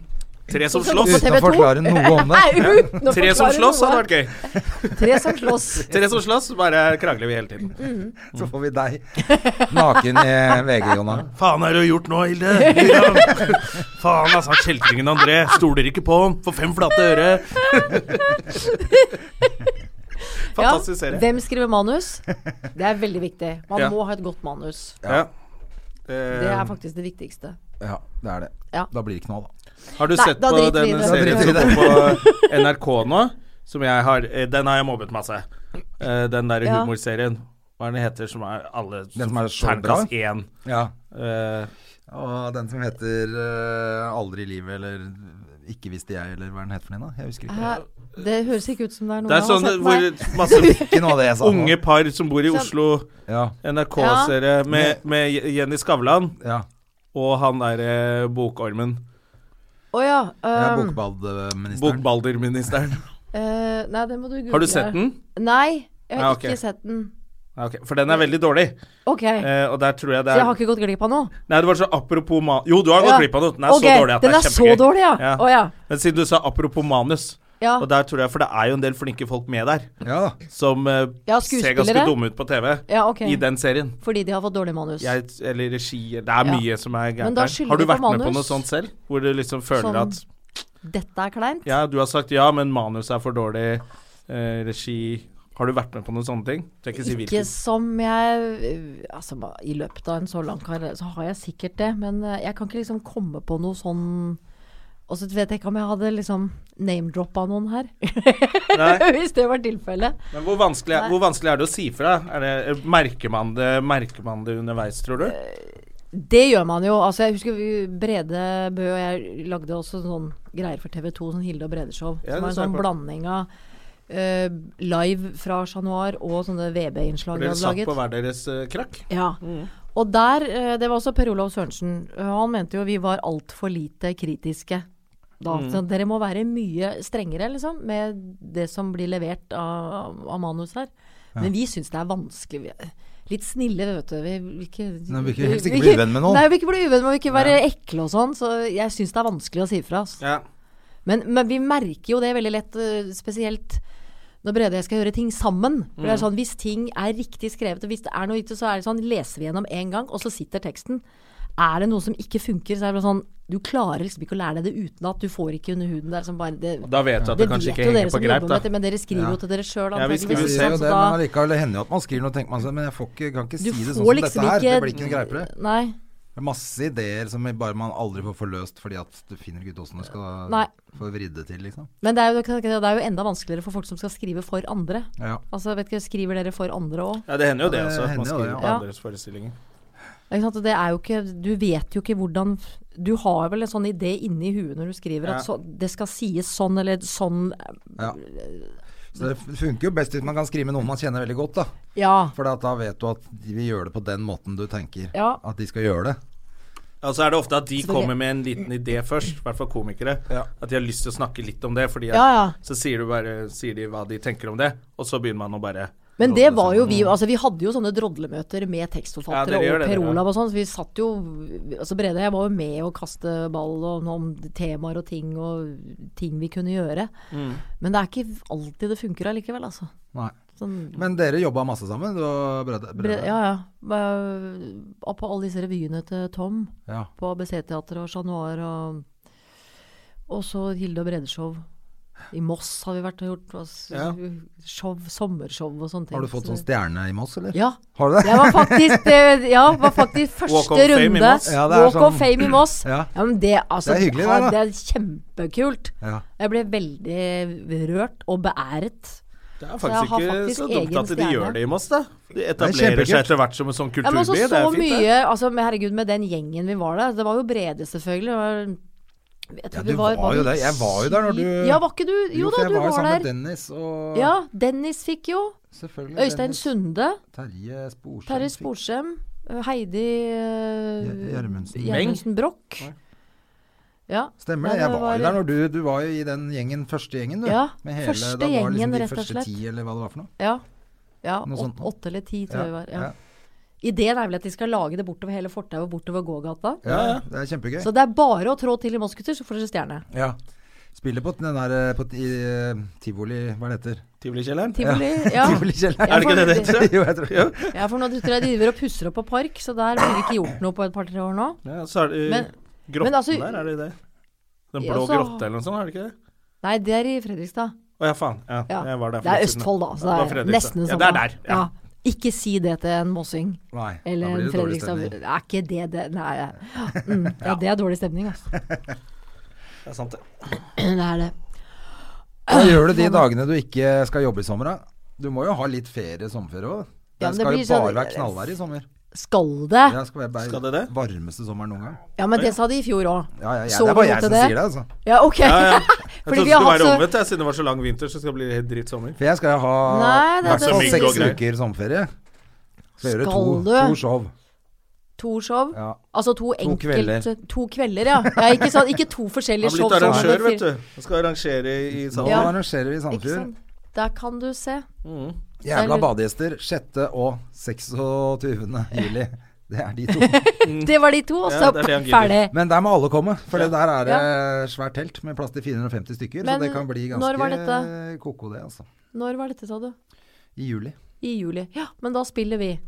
Speaker 2: Tre som
Speaker 3: Som
Speaker 2: slåss.
Speaker 3: slåss. På
Speaker 1: Uten å
Speaker 3: TV2?
Speaker 1: forklare noe om det.
Speaker 3: Nei, uten å
Speaker 2: Tre som
Speaker 3: forklare
Speaker 2: slåss
Speaker 3: noe.
Speaker 2: hadde vært gøy.
Speaker 3: Tre som slåss.
Speaker 2: Tre som slåss, bare krangler vi hele tiden.
Speaker 1: Så får vi deg naken i VG, Jonna.
Speaker 2: Faen er det du har gjort nå, Hilde? Faen, altså. Kjeltringen André stoler ikke på ham. Får fem flate øre. Fantastisk serie.
Speaker 3: Hvem skriver manus? Det er veldig viktig. Man
Speaker 2: Ja.
Speaker 3: må ha et godt manus.
Speaker 2: Ja.
Speaker 3: Det er
Speaker 2: Eh,
Speaker 3: faktisk det viktigste.
Speaker 1: Ja, det er det.
Speaker 3: Ja.
Speaker 1: Da blir det knall, da.
Speaker 2: har du
Speaker 3: Nei,
Speaker 2: sett
Speaker 3: da
Speaker 2: på
Speaker 3: driter vi i
Speaker 2: den
Speaker 3: det.
Speaker 1: Da
Speaker 2: serien
Speaker 1: driter
Speaker 2: som
Speaker 1: vi i
Speaker 2: går på NRK nå? Som jeg har eh, Den har jeg mobbet masse. Eh, Den der
Speaker 3: Ja.
Speaker 2: humorserien. Hva er den heter som er alle
Speaker 1: Den som er så
Speaker 2: terningkast
Speaker 1: bra?
Speaker 2: én.
Speaker 1: Ja.
Speaker 2: Eh,
Speaker 1: Og den som heter eh, Aldri i livet, eller Ikke visste jeg, eller hva er den het for noe? Jeg husker ikke.
Speaker 3: Hæ? Det høres ikke ut som det er noe
Speaker 2: det er sånn
Speaker 3: jeg har
Speaker 2: hvor
Speaker 3: sett.
Speaker 2: masse
Speaker 1: Ikke noe av det jeg sa. nå.
Speaker 2: unge par som bor i
Speaker 3: Så-
Speaker 2: Oslo
Speaker 1: Ja,
Speaker 2: NRK-serie med, med Jenny Skavlan
Speaker 1: ja.
Speaker 2: og han derre bokormen.
Speaker 3: Å ja. um,
Speaker 1: Jeg er
Speaker 3: øhm,
Speaker 1: bokbadministeren.
Speaker 2: Bokbalderministeren.
Speaker 3: eh, nei, det må du google.
Speaker 2: Har du sett den?
Speaker 3: Nei, jeg har
Speaker 2: Ja, ok.
Speaker 3: ikke sett den.
Speaker 2: Ja, ok. For den er veldig dårlig.
Speaker 3: Ok.
Speaker 2: Eh, og der tror jeg det
Speaker 3: så jeg har
Speaker 2: er
Speaker 3: ikke gått glipp av noe?
Speaker 2: Nei, det var så apropos ma... Jo, du har gått
Speaker 3: Ja.
Speaker 2: glipp av noe. Den er
Speaker 3: Ok,
Speaker 2: så dårlig at
Speaker 3: den
Speaker 2: det
Speaker 3: er,
Speaker 2: er
Speaker 3: så
Speaker 2: kjempegøy.
Speaker 3: dårlig, ja.
Speaker 2: Ja.
Speaker 3: Å ja.
Speaker 2: Men siden du sa apropos manus,
Speaker 3: Ja.
Speaker 2: og der tror jeg For det er jo en del flinke folk med der
Speaker 1: Ja da.
Speaker 2: som eh,
Speaker 3: Ja,
Speaker 2: ser
Speaker 3: skuespillere.
Speaker 2: ganske dumme ut på TV
Speaker 3: ja, ok.
Speaker 2: i den serien.
Speaker 3: Fordi de har fått dårlig manus.
Speaker 2: Jeg, eller regi Det er
Speaker 3: Ja.
Speaker 2: mye som er
Speaker 3: Men
Speaker 2: gærent
Speaker 3: da
Speaker 2: der.
Speaker 3: skylder
Speaker 2: Har du
Speaker 3: vi på
Speaker 2: vært med på
Speaker 3: manus.
Speaker 2: noe sånt selv? Hvor du liksom føler
Speaker 3: Sånn.
Speaker 2: at
Speaker 3: Dette er kleint.
Speaker 2: Ja, du har sagt ja, men manuset er for dårlig. Eh, regi Har du vært med på noen sånne ting? Skal ikke si
Speaker 3: Ikke
Speaker 2: hvilken.
Speaker 3: som jeg øh, Altså, ma- i løpet av en så lang karriere så har jeg sikkert det, men øh, jeg kan ikke liksom komme på noe sånn Og så vet jeg ikke om jeg hadde liksom name-droppa noen her.
Speaker 2: Nei.
Speaker 3: Hvis det var tilfellet.
Speaker 2: Men hvor vanskelig, er,
Speaker 3: Nei.
Speaker 2: hvor vanskelig er det å si fra? Er det, eh, merker, man det, merker man det underveis, tror du?
Speaker 3: Eh, Det gjør man jo. Altså, jeg husker vi- Brede Bø og jeg lagde også sånn greier for TV 2, sånn Hilde og Brede-show.
Speaker 2: Ja,
Speaker 3: som
Speaker 2: det
Speaker 3: var en
Speaker 2: så jeg
Speaker 3: sånn
Speaker 2: på.
Speaker 3: blanding av øh, live fra Chat Noir og sånne VB-innslag vi
Speaker 2: Dere
Speaker 3: hadde
Speaker 2: satt
Speaker 3: laget.
Speaker 2: på hver deres eh, krakk?
Speaker 3: Ja.
Speaker 1: Mm.
Speaker 3: Og der, eh, det var også Per Olav Sørensen. Eh, Han mente jo vi var altfor lite kritiske. Da,
Speaker 1: Mm.
Speaker 3: så dere må være mye strengere liksom, med det som blir levert av, av manus her. Men vi syns det er vanskelig. Vi er Litt snille, vet du. Vi vil ikke,
Speaker 1: Nei, vi vil ikke- helst ikke bli uvenn med noen.
Speaker 3: Nei, vi vil ikke bli uvenn med, vi vil ikke være ekle og sånn. Så jeg syns det er vanskelig å si fra. Altså.
Speaker 2: Ja.
Speaker 3: Men, men vi merker jo det veldig lett, øh, spesielt når Brede og jeg skal gjøre ting sammen. For
Speaker 2: Mm.
Speaker 3: det er sånn, Hvis ting er riktig skrevet, og hvis det er noe riktig, så er det sånn, leser vi gjennom én gang, og så sitter teksten. Er det noe som ikke funker, så er det bare sånn Du klarer liksom ikke å lære deg det utenat. Du får ikke under huden der. Som bare, det,
Speaker 2: Da vet du at det,
Speaker 3: det
Speaker 2: kanskje
Speaker 3: vet
Speaker 2: ikke
Speaker 3: jo dere
Speaker 2: henger på
Speaker 3: som
Speaker 2: greip,
Speaker 3: jobber med
Speaker 2: da.
Speaker 3: dette, men dere skriver jo til dere sjøl.
Speaker 2: Ja, vi
Speaker 1: Ja,
Speaker 2: skriver
Speaker 1: vi ser jo
Speaker 2: sant,
Speaker 1: det, men allikevel det hender jo at man skriver noe og tenker man sånn Men jeg får ikke, kan ikke si det sånn som dette her. Det blir ikke noe greipere.
Speaker 3: Nei.
Speaker 1: Det er masse ideer som bare man aldri får forløst fordi at du finner ikke ut åssen du skal
Speaker 3: Nei.
Speaker 1: få vridd det til, liksom.
Speaker 3: Men det er, jo, det er jo enda vanskeligere for folk som skal skrive for andre.
Speaker 1: Ja.
Speaker 3: Altså, vet ikke, Skriver dere for andre òg?
Speaker 2: Ja, det hender jo det,
Speaker 1: Ja, det
Speaker 2: altså. at Man
Speaker 1: hender jo det,
Speaker 2: skriver på
Speaker 3: ja.
Speaker 2: andres forestillinger.
Speaker 3: Ikke sant? Og Det er jo ikke, du vet jo ikke hvordan Du har vel en sånn idé inni huet når du skriver
Speaker 2: Ja.
Speaker 3: at så, det skal sies sånn eller sånn.
Speaker 1: ja. Så det funker jo best hvis man kan skrive med noen man kjenner veldig godt, da.
Speaker 3: Ja.
Speaker 1: For da vet du at de vil gjøre det på den måten du tenker
Speaker 3: Ja.
Speaker 1: at de skal gjøre det.
Speaker 2: Ja, så Altså, er det ofte at de
Speaker 3: Selvfølgelig.
Speaker 2: kommer med en liten idé først, i hvert fall komikere.
Speaker 1: Ja.
Speaker 2: At de har lyst til å snakke litt om det, fordi at,
Speaker 3: Ja, ja.
Speaker 2: så sier, du bare, sier de hva de tenker om det, og så begynner man å bare
Speaker 3: Men det var jo vi altså Vi hadde jo sånne drodlemøter med
Speaker 2: sånn, Ja,
Speaker 3: tekstforfattere
Speaker 2: dere gjør
Speaker 3: og
Speaker 2: det,
Speaker 3: Per
Speaker 2: dere, ja.
Speaker 3: Olav og sånn. Så vi satt jo altså Brede og jeg var jo med å kaste ball og, om temaer og ting og ting vi kunne gjøre.
Speaker 2: Mm.
Speaker 3: Men det er ikke alltid det funker allikevel, altså.
Speaker 1: Nei.
Speaker 3: Sånn,
Speaker 1: Men dere jobba masse sammen, du og Brede?
Speaker 3: Brede, ja, ja. Eh, På alle disse revyene til Tom.
Speaker 1: Ja.
Speaker 3: på ABC-teatret og Chat Noir og Og så Hilde og Brede-show. I Moss har vi vært og gjort altså,
Speaker 2: Ja.
Speaker 3: show, sommershow og sånne ting.
Speaker 1: Har du fått
Speaker 3: Så
Speaker 1: sånn
Speaker 3: det-
Speaker 1: stjerne i Moss, eller?
Speaker 3: Ja.
Speaker 1: Har du det?
Speaker 3: Jeg var faktisk, eh, ja, var faktisk
Speaker 2: Walk of
Speaker 3: første
Speaker 2: Fame i
Speaker 3: runde.
Speaker 2: Moss.
Speaker 1: Ja, det er
Speaker 3: Walk of
Speaker 1: sånn-
Speaker 3: Fame i Moss.
Speaker 1: Ja.
Speaker 3: men det, altså,
Speaker 1: Det er hyggelig, det,
Speaker 3: ja,
Speaker 1: da.
Speaker 3: det er kjempekult.
Speaker 1: Ja.
Speaker 3: Jeg ble veldig rørt og beæret.
Speaker 2: Det er
Speaker 3: jeg
Speaker 2: faktisk
Speaker 3: har
Speaker 2: ikke
Speaker 3: faktisk
Speaker 2: så dumt
Speaker 3: egen
Speaker 2: at de
Speaker 3: stjerne.
Speaker 2: gjør det i Moss, da. De
Speaker 1: kjempekult.
Speaker 2: etablerer seg etter hvert som en sånn
Speaker 3: Ja, men
Speaker 2: kulturby.
Speaker 3: også
Speaker 2: det
Speaker 3: så altså,
Speaker 2: er fint,
Speaker 3: mye altså, men Herregud, med den gjengen vi var der. Det var jo Brede, selvfølgelig. Det var Jeg
Speaker 1: Ja,
Speaker 3: tror
Speaker 1: du
Speaker 3: vi
Speaker 1: var jo
Speaker 3: vi
Speaker 1: der. Jeg var jo der når du-
Speaker 3: Ja, var ikke du
Speaker 1: for
Speaker 3: Jo da,
Speaker 1: jeg
Speaker 3: du
Speaker 1: var jo
Speaker 3: var
Speaker 1: sammen med
Speaker 3: der.
Speaker 1: Dennis og
Speaker 3: Ja, Dennis fikk jo.
Speaker 1: selvfølgelig
Speaker 3: Øystein
Speaker 1: Dennis.
Speaker 3: Sunde.
Speaker 1: Terje Sporsem.
Speaker 3: Terje
Speaker 1: fikk-
Speaker 3: Sporsem. Heidi eh,
Speaker 1: Gjer- Gjermundsen.
Speaker 3: Gjermundsen Broch.
Speaker 1: Nei.
Speaker 3: Ja.
Speaker 1: Stemmer
Speaker 3: Nei,
Speaker 1: det. Jeg
Speaker 3: det
Speaker 1: var jo
Speaker 3: var-
Speaker 1: der når du Du var jo i den gjengen, første gjengen, du.
Speaker 3: Ja,
Speaker 1: Med
Speaker 3: første
Speaker 1: da var det
Speaker 3: gjengen,
Speaker 1: liksom de
Speaker 3: rett og
Speaker 1: første
Speaker 3: slett.
Speaker 1: Ti, eller hva det var for noe.
Speaker 3: ja. Ja,
Speaker 1: Noe sånt.
Speaker 3: åt, åtte eller ti, tror jeg vi var. Ja.
Speaker 1: ja.
Speaker 3: Ideen er vel at de skal lage det bortover hele fortauet og bortover gågata.
Speaker 1: Ja, ja, det er kjempegøy.
Speaker 3: Så det er bare å trå til i Moskuser, så får dere stjerne.
Speaker 1: Ja. Spiller på den der eh, på ti, eh, tivoli Hva er det heter?
Speaker 2: Tivolikjelleren?
Speaker 3: Tivoli. Ja.
Speaker 1: Tivolikjelleren.
Speaker 3: Ja,
Speaker 2: Er det ikke det det heter?
Speaker 1: jo, jeg tror det.
Speaker 3: ja, for nå tror jeg de driver og pusser opp på park, så der blir det ikke gjort noe på et par-tre år nå.
Speaker 2: Ja, så er det eh,
Speaker 3: Men-
Speaker 2: grotten
Speaker 3: men altså-
Speaker 2: der, er det det? Den
Speaker 3: Ja,
Speaker 2: blå
Speaker 3: så-
Speaker 2: grotte eller noe sånt, er det ikke det?
Speaker 3: Nei, det er i Fredrikstad.
Speaker 2: Å ja, faen. Ja,
Speaker 3: Ja.
Speaker 2: jeg var der for
Speaker 3: Det er
Speaker 2: litt siden.
Speaker 3: Østfold, da. Så
Speaker 2: Det var
Speaker 3: det er
Speaker 2: Fredrikstad.
Speaker 3: nesten det
Speaker 2: Ja,
Speaker 3: samme.
Speaker 2: det er der, ja.
Speaker 3: Ikke si det til en mossing
Speaker 1: Nei, da
Speaker 3: eller
Speaker 1: blir
Speaker 3: en
Speaker 1: det dårlig
Speaker 3: Fredrikstad.
Speaker 1: stemning.
Speaker 3: Er ikke det det Nei. ja. Mm, ja, det er dårlig stemning, altså.
Speaker 2: Det er sant, det.
Speaker 3: Det er det.
Speaker 1: Hva gjør du de dagene du ikke skal jobbe i sommer, da? Du må jo ha litt ferie sommerferie òg. Det
Speaker 3: Ja, men det
Speaker 1: skal jo
Speaker 3: blir
Speaker 1: bare
Speaker 3: sånn-
Speaker 1: være knallvær i sommer.
Speaker 3: Skal det?
Speaker 1: Ja, skal være
Speaker 2: Skal det det?
Speaker 1: varmeste sommeren noen gang.
Speaker 3: Ja, men det sa de i fjor òg.
Speaker 1: Ja, ja, ja,
Speaker 3: Så
Speaker 1: det er bare
Speaker 3: du
Speaker 1: jeg
Speaker 3: til
Speaker 1: som
Speaker 3: det?
Speaker 1: sier det, altså.
Speaker 3: Ja, ok.
Speaker 2: Ja, ja. Jeg
Speaker 3: Fordi
Speaker 2: trodde
Speaker 3: vi
Speaker 2: det
Speaker 3: har
Speaker 2: skulle være
Speaker 3: hatt så
Speaker 2: omvendt, jeg, siden det var så lang vinter, så skal det bli helt dritt sommer.
Speaker 1: For jeg skal jo ha
Speaker 3: Nei, det er
Speaker 1: i hvert fall
Speaker 2: det. Mygg og
Speaker 1: seks
Speaker 2: greier.
Speaker 1: uker sommerferie. Skal gjøre
Speaker 3: Skal
Speaker 1: to,
Speaker 3: du?
Speaker 1: to show.
Speaker 3: to show.
Speaker 1: Ja.
Speaker 3: Altså to enkelte
Speaker 1: kvelder.
Speaker 3: To kvelder, ja. ja ikke, sant? ikke to
Speaker 2: Han
Speaker 3: forskjellige
Speaker 2: har
Speaker 3: show.
Speaker 2: blitt
Speaker 3: sånn at det
Speaker 2: arrangør,
Speaker 3: er
Speaker 2: vet
Speaker 3: fire-
Speaker 2: du. Han skal arrangere i
Speaker 1: Nå
Speaker 2: salen.
Speaker 3: Ja.
Speaker 1: arrangerer vi i
Speaker 3: Ikke
Speaker 1: Sandefjord.
Speaker 3: sant? Der kan du se.
Speaker 2: Mm.
Speaker 1: Jævla badegjester 6. og 26. juli. Det er de to.
Speaker 3: Det var de to, og så
Speaker 2: Ja, det er det han gidder.
Speaker 3: ferdig.
Speaker 1: Men der må alle komme, for det der er det svært telt med plass til 450 stykker.
Speaker 3: Men
Speaker 1: så det kan bli
Speaker 3: når var
Speaker 1: ganske
Speaker 3: dette?
Speaker 1: koko, det, altså.
Speaker 3: Når var dette, sa du?
Speaker 1: I juli.
Speaker 3: I juli. Ja, men da spiller vi.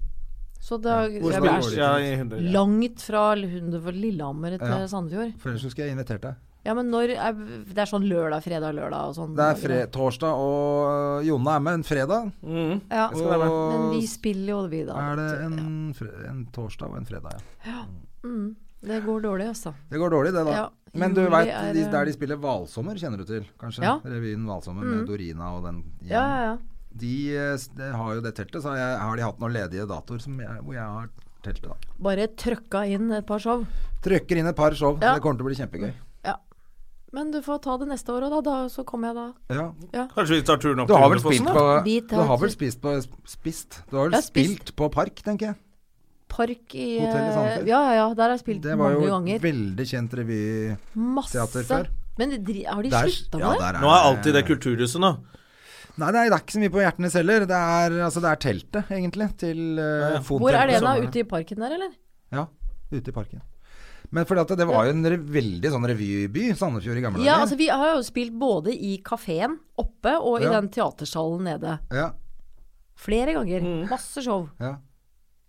Speaker 3: Så da jeg
Speaker 2: Hvor
Speaker 3: blir
Speaker 1: går
Speaker 2: skal
Speaker 1: det?
Speaker 2: ja, i hundre, ja.
Speaker 3: Langt fra Lunde for Lillehammer til
Speaker 1: Ja.
Speaker 3: Sandefjord.
Speaker 1: For ellers så skulle jeg invitert deg.
Speaker 3: Ja, men når er, Det er sånn lørdag, fredag, lørdag og sånn.
Speaker 1: Det er fre torsdag, og Jonna er med en fredag.
Speaker 2: Mm.
Speaker 3: Ja.
Speaker 1: Jeg skal være med.
Speaker 3: Men vi spiller jo, vi, da.
Speaker 1: Er det en, fre- en torsdag og en fredag, ja.
Speaker 3: mm, Det går dårlig, altså.
Speaker 1: Det går dårlig, det, da.
Speaker 3: Ja,
Speaker 1: Men du
Speaker 3: juli
Speaker 1: veit
Speaker 3: er,
Speaker 1: de,
Speaker 3: eh,
Speaker 1: der de spiller Valsommer, kjenner du til, kanskje?
Speaker 3: Ja. Mm.
Speaker 1: Revyen Valsommer med Dorina og den gjengen.
Speaker 3: Ja, ja, ja.
Speaker 1: De, eh, s- de har jo det teltet, så har, jeg, har de hatt noen ledige datoer som jeg, hvor jeg har teltet. da.
Speaker 3: Bare trøkka inn et par show.
Speaker 1: Trykker inn et par show.
Speaker 3: Ja.
Speaker 1: Det kommer til å bli kjempegøy.
Speaker 3: Ja. Men du får ta det neste år òg, da, da. Så kommer jeg da.
Speaker 1: Ja.
Speaker 2: Kanskje vi tar turen opp
Speaker 1: Du har vel
Speaker 2: Hundefossen,
Speaker 1: spilt
Speaker 2: da?
Speaker 1: på
Speaker 3: Vi tar
Speaker 1: Du har vel
Speaker 3: tur.
Speaker 1: spist på Spist? Du har
Speaker 3: Jeg
Speaker 1: vel
Speaker 3: har spist.
Speaker 1: spilt på Park, tenker jeg.
Speaker 3: Park i
Speaker 1: Hotell i
Speaker 3: eh,
Speaker 1: Sandefjord.
Speaker 3: Ja, ja, ja. Der har jeg spilt
Speaker 1: Det var
Speaker 3: mange
Speaker 1: jo
Speaker 3: ganger.
Speaker 1: veldig kjent revy.
Speaker 3: Masse.
Speaker 1: teater før.
Speaker 3: Men de, dri- har de
Speaker 1: Der-
Speaker 3: slutta med
Speaker 1: ja,
Speaker 3: det?
Speaker 1: der
Speaker 2: Nå er alltid det kulturhuset nå.
Speaker 1: Nei, det er, det er ikke så mye på Hjertenes heller. Det er, altså, det er teltet, egentlig, til
Speaker 2: Ja, ja.
Speaker 1: uh,
Speaker 3: Hvor er det nå? Ute i parken der, eller?
Speaker 1: Ja, ute i parken. Men fordi at det var jo en re veldig sånn revyby, Sandefjord i gamle
Speaker 3: Ja,
Speaker 1: dager.
Speaker 3: altså vi har jo spilt både i kafeen oppe og i
Speaker 1: Ja.
Speaker 3: den teatersalen nede.
Speaker 1: ja,
Speaker 3: Flere ganger.
Speaker 2: Mm.
Speaker 3: Masse show.
Speaker 1: ja.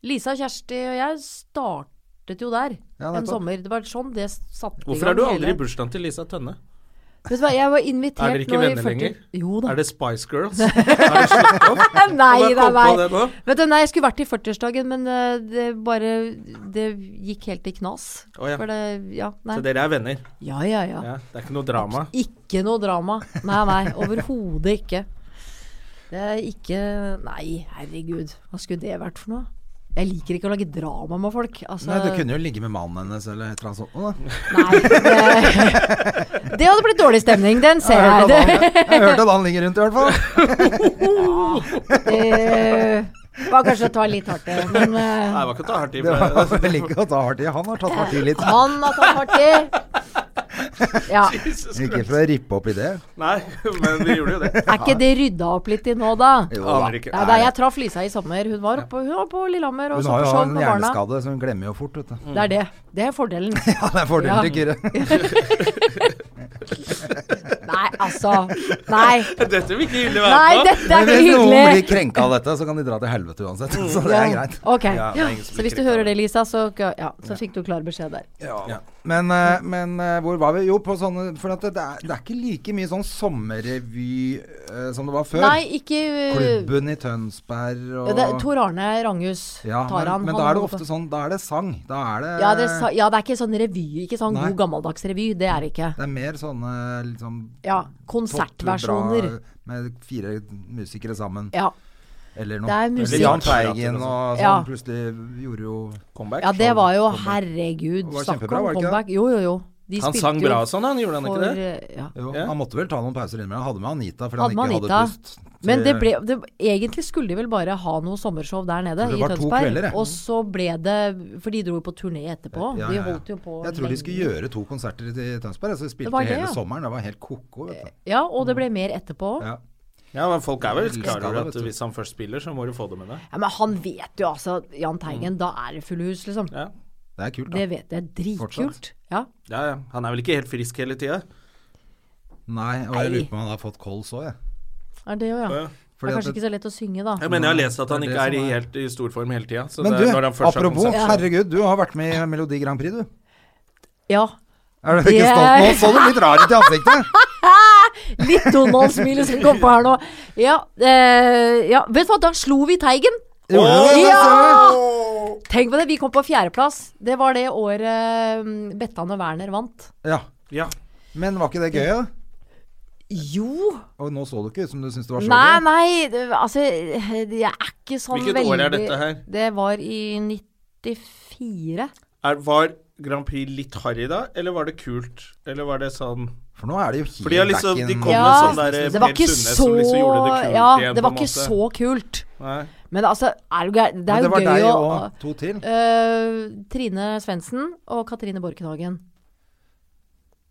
Speaker 3: Lisa, Kjersti og jeg startet jo der
Speaker 1: Ja, nettopp.
Speaker 3: en sommer. Det var sånn det satte
Speaker 2: Hvorfor er du aldri i
Speaker 3: hele-
Speaker 2: bursdagen til Lisa Tønne?
Speaker 3: Vet du hva, jeg var invitert
Speaker 2: Er
Speaker 3: nå i
Speaker 2: dere
Speaker 3: 40
Speaker 2: ikke venner lenger?
Speaker 3: Jo da.
Speaker 2: Er det Spice Girls? Er det slutt?
Speaker 3: Nei,
Speaker 2: Jeg bare
Speaker 3: nei,
Speaker 2: kom på
Speaker 3: nei.
Speaker 2: det nå.
Speaker 3: Vet du, nei, jeg skulle vært i 40-årsdagen, men eh, det bare Det gikk helt i knas.
Speaker 2: Å, ja.
Speaker 3: For det Ja, nei.
Speaker 2: Så dere er venner?
Speaker 3: Ja, ja, ja.
Speaker 2: Ja, det er ikke noe drama?
Speaker 3: Ikke noe drama. Nei, nei. Overhodet ikke. Det er ikke Nei, herregud. Hva skulle det vært for noe? Jeg liker ikke å lage drama med folk. Altså,
Speaker 1: Nei, du kunne jo ligge med mannen hennes eller et eller annet sånt. nå, Da.
Speaker 3: nei, det, det hadde blitt dårlig stemning. Den
Speaker 1: Jeg
Speaker 3: ser jeg.
Speaker 1: hørte at han,
Speaker 3: Det,
Speaker 1: jeg hørte at han ligger rundt i hvert fall.
Speaker 3: det var kanskje å ta litt hardt i, men eh,
Speaker 2: Nei, det var ikke å ta hardt i.
Speaker 1: Det
Speaker 2: for-
Speaker 1: var vel ikke å ta hardt i. Han har tatt hardt i litt.
Speaker 3: han har tatt hardt i. Ja.
Speaker 2: Jesus
Speaker 1: Ikke
Speaker 2: Christ.
Speaker 1: for å rippe opp i det.
Speaker 2: Nei, men vi gjorde jo det.
Speaker 3: Er ikke det rydda opp litt i nå, da?
Speaker 1: Jo da.
Speaker 2: Aner
Speaker 3: Nei,
Speaker 2: ikke.
Speaker 3: da jeg traff Lisa i sommer. Hun var, oppe, hun var på Lillehammer og
Speaker 1: Hun
Speaker 3: så
Speaker 1: har
Speaker 3: på
Speaker 1: jo
Speaker 3: show
Speaker 1: en
Speaker 3: med barna.
Speaker 1: hjerneskade, så hun glemmer jo fort, vet du.
Speaker 3: Det er det. Det er fordelen.
Speaker 1: Ja, det er fordelen til Kyrre.
Speaker 3: Nei, altså. Nei.
Speaker 2: Dette vil ikke Hilde
Speaker 3: Nei,
Speaker 2: være med på.
Speaker 3: dette er
Speaker 1: Men sånn
Speaker 3: ikke
Speaker 1: hvis noen blir
Speaker 3: hyggelig.
Speaker 1: krenka av dette, så kan de dra til helvete uansett. Så det er
Speaker 3: Ja.
Speaker 1: greit.
Speaker 3: Ok.
Speaker 2: Ja, det er ingen som
Speaker 3: så
Speaker 2: blir
Speaker 3: hvis du
Speaker 2: krenka av
Speaker 3: hører
Speaker 2: det.
Speaker 3: det, Lisa, så, ja, så fikk du klar beskjed der.
Speaker 1: Ja. Men, eh, men eh, hvor var vi? Jo, på sånne For at det, det, er, det er ikke like mye sånn sommerrevy eh, som det var før.
Speaker 3: Nei, ikke øh,
Speaker 1: Klubben i Tønsberg og
Speaker 3: det, er Tor Arne Ranghus
Speaker 1: ja,
Speaker 3: tar
Speaker 1: men,
Speaker 3: han.
Speaker 1: men
Speaker 3: han
Speaker 1: da er det
Speaker 3: holder på.
Speaker 1: ofte sånn Da er det sang. Da er det
Speaker 3: ja det, er sa- ja, det er ikke sånn revy, ikke sånn
Speaker 1: Nei.
Speaker 3: god gammeldags revy. Det er det ikke.
Speaker 1: Det er mer sånne liksom
Speaker 3: Ja,
Speaker 1: topp,
Speaker 3: konsertversjoner.
Speaker 1: bra, Med fire musikere sammen.
Speaker 3: Ja.
Speaker 1: Eller
Speaker 3: Det
Speaker 1: noe.
Speaker 3: er
Speaker 1: Eller
Speaker 3: musikk.
Speaker 1: Jahn Teigen og sånn.
Speaker 3: Ja.
Speaker 1: Plutselig gjorde jo
Speaker 2: Comeback.
Speaker 3: Ja, det var jo
Speaker 1: Comeback.
Speaker 3: herregud.
Speaker 1: Det var
Speaker 3: Snakk
Speaker 1: kjempebra,
Speaker 3: om
Speaker 1: var det ikke det?
Speaker 3: comeback. Jo, jo, jo. De
Speaker 2: Han
Speaker 3: spilte
Speaker 2: sang
Speaker 3: jo
Speaker 2: bra og sånn, han gjorde han
Speaker 3: for,
Speaker 2: ikke det?
Speaker 3: eh, Ja.
Speaker 1: Jo,
Speaker 2: Ja.
Speaker 1: Han måtte vel ta noen pauser innimellom. Hadde med Anita, fordi han
Speaker 3: Hadde med
Speaker 1: ikke
Speaker 3: Anita.
Speaker 1: hadde pust. til-
Speaker 3: Men det ble, det, egentlig skulle de vel bare ha noe sommershow der nede
Speaker 1: Så det
Speaker 3: i
Speaker 1: var to
Speaker 3: Tønsberg.
Speaker 1: kvelder, jeg.
Speaker 3: og så ble det For de dro jo på turné etterpå.
Speaker 1: Ja, ja,
Speaker 3: de
Speaker 1: ja.
Speaker 3: holdt jo på
Speaker 1: Jeg tror de
Speaker 3: lenge.
Speaker 1: skulle gjøre to konserter i Tønsberg. Så de spilte
Speaker 3: var det,
Speaker 1: hele
Speaker 3: ja.
Speaker 1: sommeren. Det var helt ko-ko. vet du.
Speaker 3: Ja, og det ble mer etterpå. Ja.
Speaker 1: Ja.
Speaker 2: Ja, men folk er vel
Speaker 1: Elsker
Speaker 2: klar over
Speaker 1: det,
Speaker 2: at
Speaker 1: vet du.
Speaker 2: hvis han først spiller, så må du få det med deg.
Speaker 3: Men han vet jo altså Jahn
Speaker 1: Mm.
Speaker 3: Teigen, da er det fulle hus, liksom.
Speaker 2: Ja.
Speaker 1: Det er kult, da.
Speaker 3: Det vet jeg. Dritkult.
Speaker 1: Fortsatt.
Speaker 3: Ja.
Speaker 2: Ja, ja. Han er vel ikke helt frisk hele tida?
Speaker 1: Nei, og jeg
Speaker 3: Nei.
Speaker 1: lurer på om han har fått kols òg, jeg.
Speaker 3: Er det jo, ja.
Speaker 2: Ja.
Speaker 3: Det
Speaker 1: Fordi
Speaker 3: er
Speaker 1: at
Speaker 3: kanskje
Speaker 1: det-
Speaker 3: ikke så lett å synge, da.
Speaker 2: Jeg mener jeg har lest at han
Speaker 1: Det er
Speaker 2: ikke er
Speaker 1: det
Speaker 2: i
Speaker 1: som er-
Speaker 2: helt i stor form hele tida.
Speaker 1: Men du, apropos,
Speaker 3: konsert.
Speaker 1: herregud, du har vært med i Melodi Grand Prix, du.
Speaker 3: Ja.
Speaker 1: Er du ikke
Speaker 3: Det-
Speaker 1: stolt nå? Så du litt rar ut i ansiktet?
Speaker 3: Litt Donald-smilet som kom på her nå. Ja, eh, ja. Vet du hva, da slo vi Teigen!
Speaker 1: Gjorde du det?
Speaker 3: Ja! Tenk på det, vi kom på fjerdeplass. Det var det året mm, Bettan og Werner vant.
Speaker 1: ja.
Speaker 2: Ja.
Speaker 1: Men var ikke det gøy, da?
Speaker 3: Jo!
Speaker 1: Og nå så du ikke ut som du syntes det var så
Speaker 3: Nei,
Speaker 1: gøy.
Speaker 3: nei, det- altså Jeg er ikke sånn
Speaker 2: Hvilket
Speaker 3: veldig
Speaker 2: år er dette her?
Speaker 3: Det var i 94.
Speaker 2: Er, var Grand Prix litt harry da, eller var det kult? Eller var det sånn
Speaker 1: For nå er det jo helt
Speaker 2: For de har liksom-
Speaker 1: back in-
Speaker 2: de kom
Speaker 3: Ja,
Speaker 2: med sånn der eh,
Speaker 3: Det var
Speaker 2: Per
Speaker 3: ikke
Speaker 2: Sundnes
Speaker 3: så
Speaker 2: som liksom gjorde det kult
Speaker 3: Ja,
Speaker 2: igjen,
Speaker 3: det
Speaker 2: på
Speaker 3: var
Speaker 2: en
Speaker 3: ikke
Speaker 2: måte.
Speaker 3: så kult.
Speaker 2: Nei.
Speaker 3: Men altså, er det, gøy- det
Speaker 1: Men
Speaker 3: er
Speaker 1: det
Speaker 3: jo
Speaker 1: var
Speaker 3: gøy
Speaker 1: deg
Speaker 3: å
Speaker 1: og to til.
Speaker 3: øh, Trine Svendsen og Katrine Borkenhagen.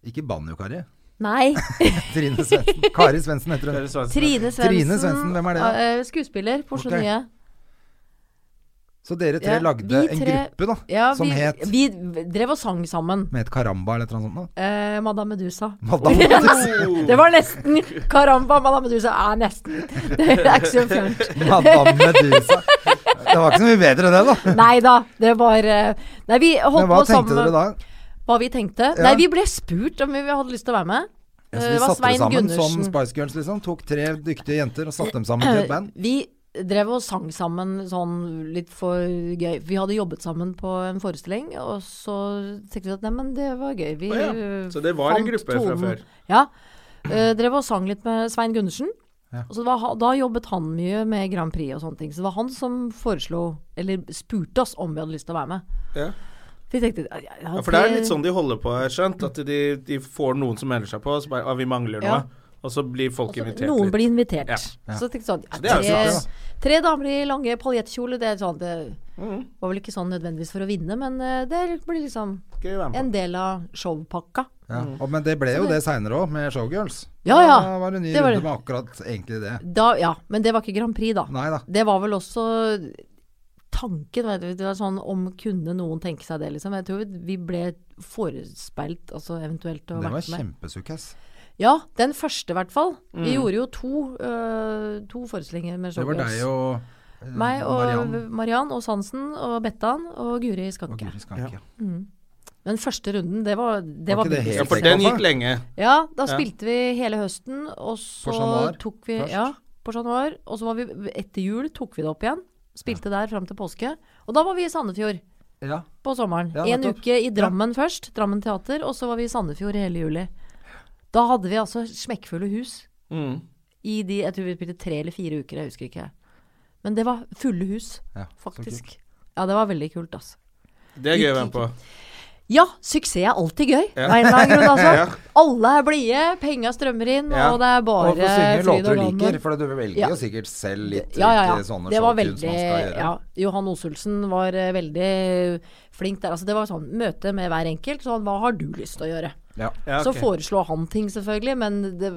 Speaker 1: Ikke banjo, Kari.
Speaker 3: Nei,
Speaker 1: Trine Svendsen. Kari Svendsen heter hun.
Speaker 2: Dere svensker.
Speaker 3: Trine Svendsen.
Speaker 1: Trine Svendsen, hvem er det da?
Speaker 3: øh, skuespiller på Oslo
Speaker 1: Ok.
Speaker 3: Nye.
Speaker 1: Så dere tre
Speaker 3: Ja,
Speaker 1: lagde
Speaker 3: vi
Speaker 1: en
Speaker 3: tre-
Speaker 1: gruppe, da,
Speaker 3: Ja,
Speaker 1: som
Speaker 3: vi,
Speaker 1: het
Speaker 3: vi drev og sang sammen.
Speaker 1: Med et karamba eller et eller annet sånt?
Speaker 3: Eh, Madame Medusa.
Speaker 1: Da. Madame,
Speaker 2: Oh.
Speaker 3: Det var nesten. Karamba, Madame Medusa er nesten. Det er ikke så fjernt.
Speaker 1: Madame Medusa. Det var ikke så mye bedre enn det, da.
Speaker 3: Nei da, det var eh, Nei, vi holdt
Speaker 1: Men hva
Speaker 3: på
Speaker 1: tenkte
Speaker 3: sammen
Speaker 1: dere da?
Speaker 3: Hva vi tenkte?
Speaker 1: Ja.
Speaker 3: Nei, vi ble spurt om vi hadde lyst til å være med.
Speaker 1: Ja, så
Speaker 3: Eh,
Speaker 1: vi
Speaker 3: det var
Speaker 1: satte det
Speaker 3: Svein
Speaker 1: sammen som
Speaker 3: Gundersen.
Speaker 1: Spice Girls, liksom. Tok tre dyktige jenter og satte dem sammen til et band.
Speaker 3: Vi drev og sang sammen sånn litt for gøy. Vi hadde jobbet sammen på en forestilling, og så tenkte vi at neimen, det var gøy. Vi
Speaker 2: Å ja,
Speaker 3: eh,
Speaker 2: så det var en
Speaker 3: fant
Speaker 2: gruppe fra
Speaker 3: tonen.
Speaker 2: før.
Speaker 3: Ja. Eh, drev og sang litt med Svein Gundersen.
Speaker 1: Ja.
Speaker 3: Og Så det var, ha- da jobbet han mye med Grand Prix og sånne ting. Så det var han som foreslo, eller spurte oss om vi hadde lyst til å være med.
Speaker 2: Ja.
Speaker 3: Vi tenkte ja, ja,
Speaker 2: Ja, for det er litt sånn de holder på, har jeg skjønt. At de, de får noen som melder seg på, og så bare ah, 'Vi mangler noe'.
Speaker 3: Ja.
Speaker 2: Og så blir folk
Speaker 3: Altså,
Speaker 2: invitert
Speaker 3: Noen
Speaker 2: litt.
Speaker 3: blir invitert.
Speaker 2: Ja.
Speaker 3: Så jeg tenkte sånn ja,
Speaker 2: det er jo smart,
Speaker 3: tre, tre damer i lange paljettkjoler, det er sånn Det
Speaker 1: Mm.
Speaker 3: var vel ikke sånn nødvendigvis for å vinne, men eh, det blir liksom
Speaker 2: Gøy å være med på.
Speaker 3: en del av showpakka.
Speaker 1: Ja. Og, men det ble jo det seinere òg, med Showgirls.
Speaker 3: Ja, ja.
Speaker 1: Da var det en ny
Speaker 3: Det var det.
Speaker 1: runde med akkurat egentlig det.
Speaker 3: Da, ja, men det var ikke Grand Prix, da.
Speaker 1: Nei da.
Speaker 3: Det var vel også tanken, vet du. Det var sånn om kunne noen tenke seg det, liksom. Jeg tror vi ble forespeilt, altså eventuelt å
Speaker 1: Det
Speaker 3: ha
Speaker 1: var
Speaker 3: vært med.
Speaker 1: kjempesukkes.
Speaker 3: Ja, den første i hvert fall. Vi gjorde jo to, eh, to forestillinger
Speaker 1: Mm.
Speaker 3: med
Speaker 1: Det var
Speaker 3: showgirls.
Speaker 1: deg og eh,
Speaker 3: Meg og
Speaker 1: Mariann
Speaker 3: Mariann. og Sansen og Bettan og Guri
Speaker 1: og
Speaker 3: Skanke.
Speaker 1: Guri Skanke.
Speaker 3: Den første runden, det var Det
Speaker 1: Var
Speaker 3: var,
Speaker 1: ikke det
Speaker 3: bittert.
Speaker 2: Ja,
Speaker 1: helt
Speaker 2: for den gikk lenge.
Speaker 3: Ja,
Speaker 2: Ja.
Speaker 3: da spilte vi hele høsten, og så
Speaker 1: På Chat Noir
Speaker 3: tok vi
Speaker 1: først.
Speaker 3: Ja, på Chat Noir. Og så var vi Etter jul tok vi det opp igjen. Spilte der fram til påske. Og da var vi i Sandefjord
Speaker 1: Ja.
Speaker 3: på sommeren.
Speaker 1: Ja,
Speaker 3: en
Speaker 1: nettopp.
Speaker 3: uke i Drammen først, Drammen teater, og så var vi i Sandefjord hele juli. Da hadde vi altså smekkfulle hus
Speaker 2: Mm.
Speaker 3: i de Jeg tror vi spilte tre eller fire uker, jeg husker ikke. Men det var fulle hus,
Speaker 1: Ja, så
Speaker 3: faktisk. Ja, det var veldig kult, altså.
Speaker 2: Det er gøy å være med på.
Speaker 3: Ja, suksess er alltid gøy. av en eller annen grunn, altså. Alle er blide, penga strømmer inn,
Speaker 2: Ja.
Speaker 3: og det er
Speaker 1: Og
Speaker 3: bare
Speaker 1: få synge
Speaker 3: fryd
Speaker 1: låter
Speaker 3: og
Speaker 1: du liker,
Speaker 3: gammen.
Speaker 1: for du velger
Speaker 3: Ja.
Speaker 1: jo sikkert selv litt
Speaker 3: Ja, ja,
Speaker 1: hvilke
Speaker 3: ja.
Speaker 1: sånne
Speaker 3: Det var
Speaker 1: showtunes
Speaker 3: veldig
Speaker 1: man skal gjøre.
Speaker 3: ja, Johan Oselsen var eh, veldig flink der. Altså, det var sånn møte med hver enkelt. Sånn, hva har du lyst til å gjøre?
Speaker 1: Ja.
Speaker 2: Ja,
Speaker 3: Så
Speaker 2: ok.
Speaker 3: foreslår han ting, selvfølgelig, men det,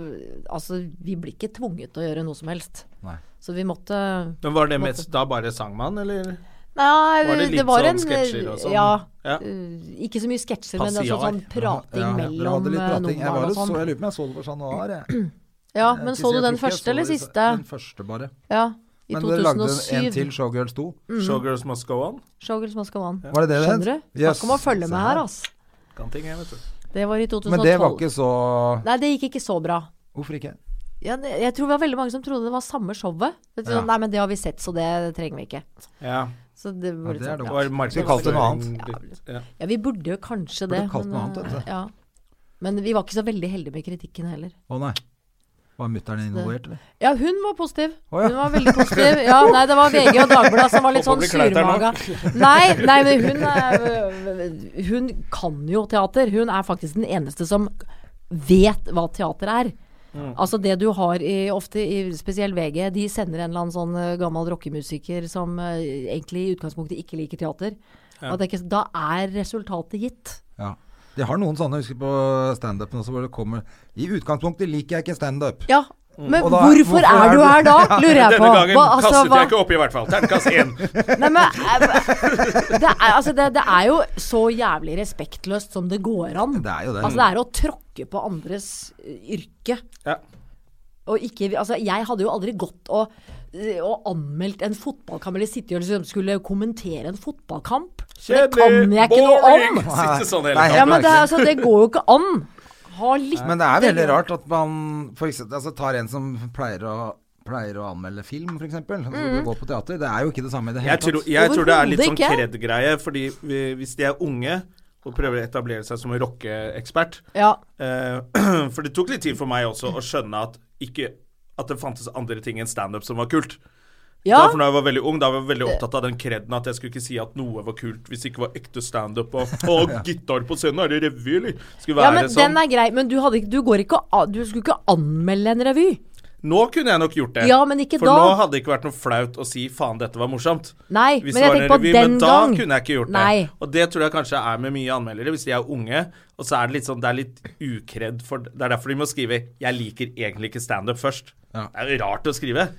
Speaker 3: altså, vi blir ikke tvunget til å gjøre noe som helst.
Speaker 1: Nei.
Speaker 3: Så vi måtte
Speaker 2: Men var det mest da bare sang man, eller?
Speaker 3: Nei,
Speaker 2: Var det
Speaker 3: Eh, det,
Speaker 2: litt
Speaker 3: var
Speaker 2: sånn
Speaker 3: en
Speaker 2: sketsjer og sånn?
Speaker 3: Ja.
Speaker 2: Ja.
Speaker 3: eh, Ikke så mye sketsjer, men altså,
Speaker 2: Passiar.
Speaker 3: sånn prating
Speaker 1: Ja, dere
Speaker 3: mellom
Speaker 1: hadde litt
Speaker 3: eh,
Speaker 1: prating. Jeg,
Speaker 3: numrene
Speaker 1: var
Speaker 3: og
Speaker 1: jo så,
Speaker 3: sånn.
Speaker 1: jeg lurer på om jeg så det for Chat Noir. jeg.
Speaker 3: Ja,
Speaker 1: Jeg skal
Speaker 3: men så
Speaker 1: si,
Speaker 3: du
Speaker 1: jeg tror ikke jeg
Speaker 3: den
Speaker 1: så
Speaker 3: første eller
Speaker 1: det-
Speaker 3: siste?
Speaker 1: Den første, bare.
Speaker 3: Ja, i
Speaker 1: Men dere lagde
Speaker 3: 2007.
Speaker 1: en til Showgirls 2.
Speaker 3: Mm.
Speaker 2: Showgirls Must Go On?
Speaker 3: Showgirls Must Go On.
Speaker 1: Var det det det het?
Speaker 3: Skjønner du?
Speaker 1: Jøss,
Speaker 3: Snakk om å følge
Speaker 1: se
Speaker 3: med her, altså, ass.
Speaker 2: Kan ting, jeg, vet du.
Speaker 3: Det var i 2012.
Speaker 1: Men det var ikke så
Speaker 3: Nei, det gikk ikke så bra.
Speaker 1: Hvorfor ikke?
Speaker 3: Ja, det, jeg tror det var veldig mange som trodde det var samme showet. Vet du,
Speaker 1: Ja.
Speaker 3: sånn, Nei, men det har vi sett, så det trenger vi ikke.
Speaker 2: Ja.
Speaker 3: Så det
Speaker 1: Ja,
Speaker 3: var litt
Speaker 1: det er dumt.
Speaker 3: sånn, ja.
Speaker 2: Var
Speaker 1: Skal vi kalle det noe annet?
Speaker 2: markedsføring- Ja.
Speaker 3: ja, vi burde jo kanskje det.
Speaker 1: Burde kalt noe
Speaker 3: men,
Speaker 1: annet, vet du.
Speaker 3: eh, ja. men vi var ikke så veldig heldige med kritikken heller.
Speaker 1: Å nei. Var mutter'n involvert, eller?
Speaker 3: Ja, hun var positiv.
Speaker 1: Å, ja.
Speaker 3: Hun var veldig positiv. Ja, nei, det var VG og Dagbladet som var litt
Speaker 2: Håper
Speaker 3: sånn
Speaker 2: det blir kleint her nå.
Speaker 3: surmaga. Nei, nei, men hun er, Hun kan jo teater. Hun er faktisk den eneste som vet hva teater er.
Speaker 2: Mm.
Speaker 3: Altså det du har i, ofte i spesiell VG, de sender en eller annen sånn eh, gammel rockemusiker som eh, egentlig i utgangspunktet ikke liker teater. Og det er ikke, da er resultatet gitt.
Speaker 1: Ja. De har noen sånne, jeg husker på standupen også, hvor det kommer I utgangspunktet liker jeg ikke standup.
Speaker 3: Ja, men
Speaker 1: Og da-
Speaker 3: hvorfor, er du her da, lurer jeg på.
Speaker 2: Denne gangen
Speaker 3: Hva- altså,
Speaker 2: kastet
Speaker 3: hva-
Speaker 2: jeg ikke opp, i hvert fall. Terningkast én.
Speaker 3: Nei, men eh, det er, altså, det, det er jo så jævlig respektløst som det går an.
Speaker 1: Det er jo det.
Speaker 3: Altså, det er å tråkke på andres eh, yrke.
Speaker 2: Ja.
Speaker 3: Og ikke, altså, jeg hadde jo aldri gått og, eh, og anmeldt en fotballkamp, eller sittet og liksom skulle kommentere en fotballkamp. Det kan jeg ikke noe om!
Speaker 2: Sitte sånn hele
Speaker 1: Nei.
Speaker 2: tiden.
Speaker 3: Ja, men det, er- altså, det går jo ikke an. Ha litt
Speaker 1: Men det er veldig rart at man for eksempel, altså, tar en som pleier å, pleier å anmelde film, f.eks. Mm. Gå på teater. Det er jo ikke det samme i det hele
Speaker 2: Jeg
Speaker 1: tatt.
Speaker 2: tror, jeg tror det er litt sånn
Speaker 3: Overhodet ikke.
Speaker 2: kred-greie, fordi vi- hvis de er unge og prøver å etablere seg som en rockeekspert
Speaker 3: Ja.
Speaker 2: eh, For det tok litt tid for meg også å skjønne at, ikke, at det fantes andre ting enn standup som var kult.
Speaker 3: ja.
Speaker 2: Da, for da jeg var veldig ung, da var jeg veldig opptatt av den kreden at jeg skulle ikke si at noe var kult hvis det ikke var ekte standup og, og gitar på scenen, er det revy, eller? Skulle
Speaker 3: Ja,
Speaker 2: være
Speaker 3: men
Speaker 2: sånn.
Speaker 3: den er grei. Men du, hadde, ikke- du, går ikke, og a- du skulle ikke anmelde en revy.
Speaker 2: Nå kunne jeg nok gjort det.
Speaker 3: Ja, men ikke
Speaker 2: for
Speaker 3: da.
Speaker 2: nå hadde det ikke vært noe flaut å si 'faen, dette var morsomt'.
Speaker 3: Nei,
Speaker 2: Hvis
Speaker 3: men
Speaker 2: det
Speaker 3: jeg
Speaker 2: var
Speaker 3: tenker på
Speaker 2: en revy,
Speaker 3: den
Speaker 2: men da
Speaker 3: gang.
Speaker 2: kunne jeg ikke gjort
Speaker 3: Nei.
Speaker 2: det. Og det tror jeg kanskje er med mye anmeldere, hvis de er unge. Og så er det litt sånn, det er litt ukredd for Det er derfor de må skrive 'Jeg liker egentlig ikke standup' først.
Speaker 1: Ja.
Speaker 2: Det er jo rart å skrive.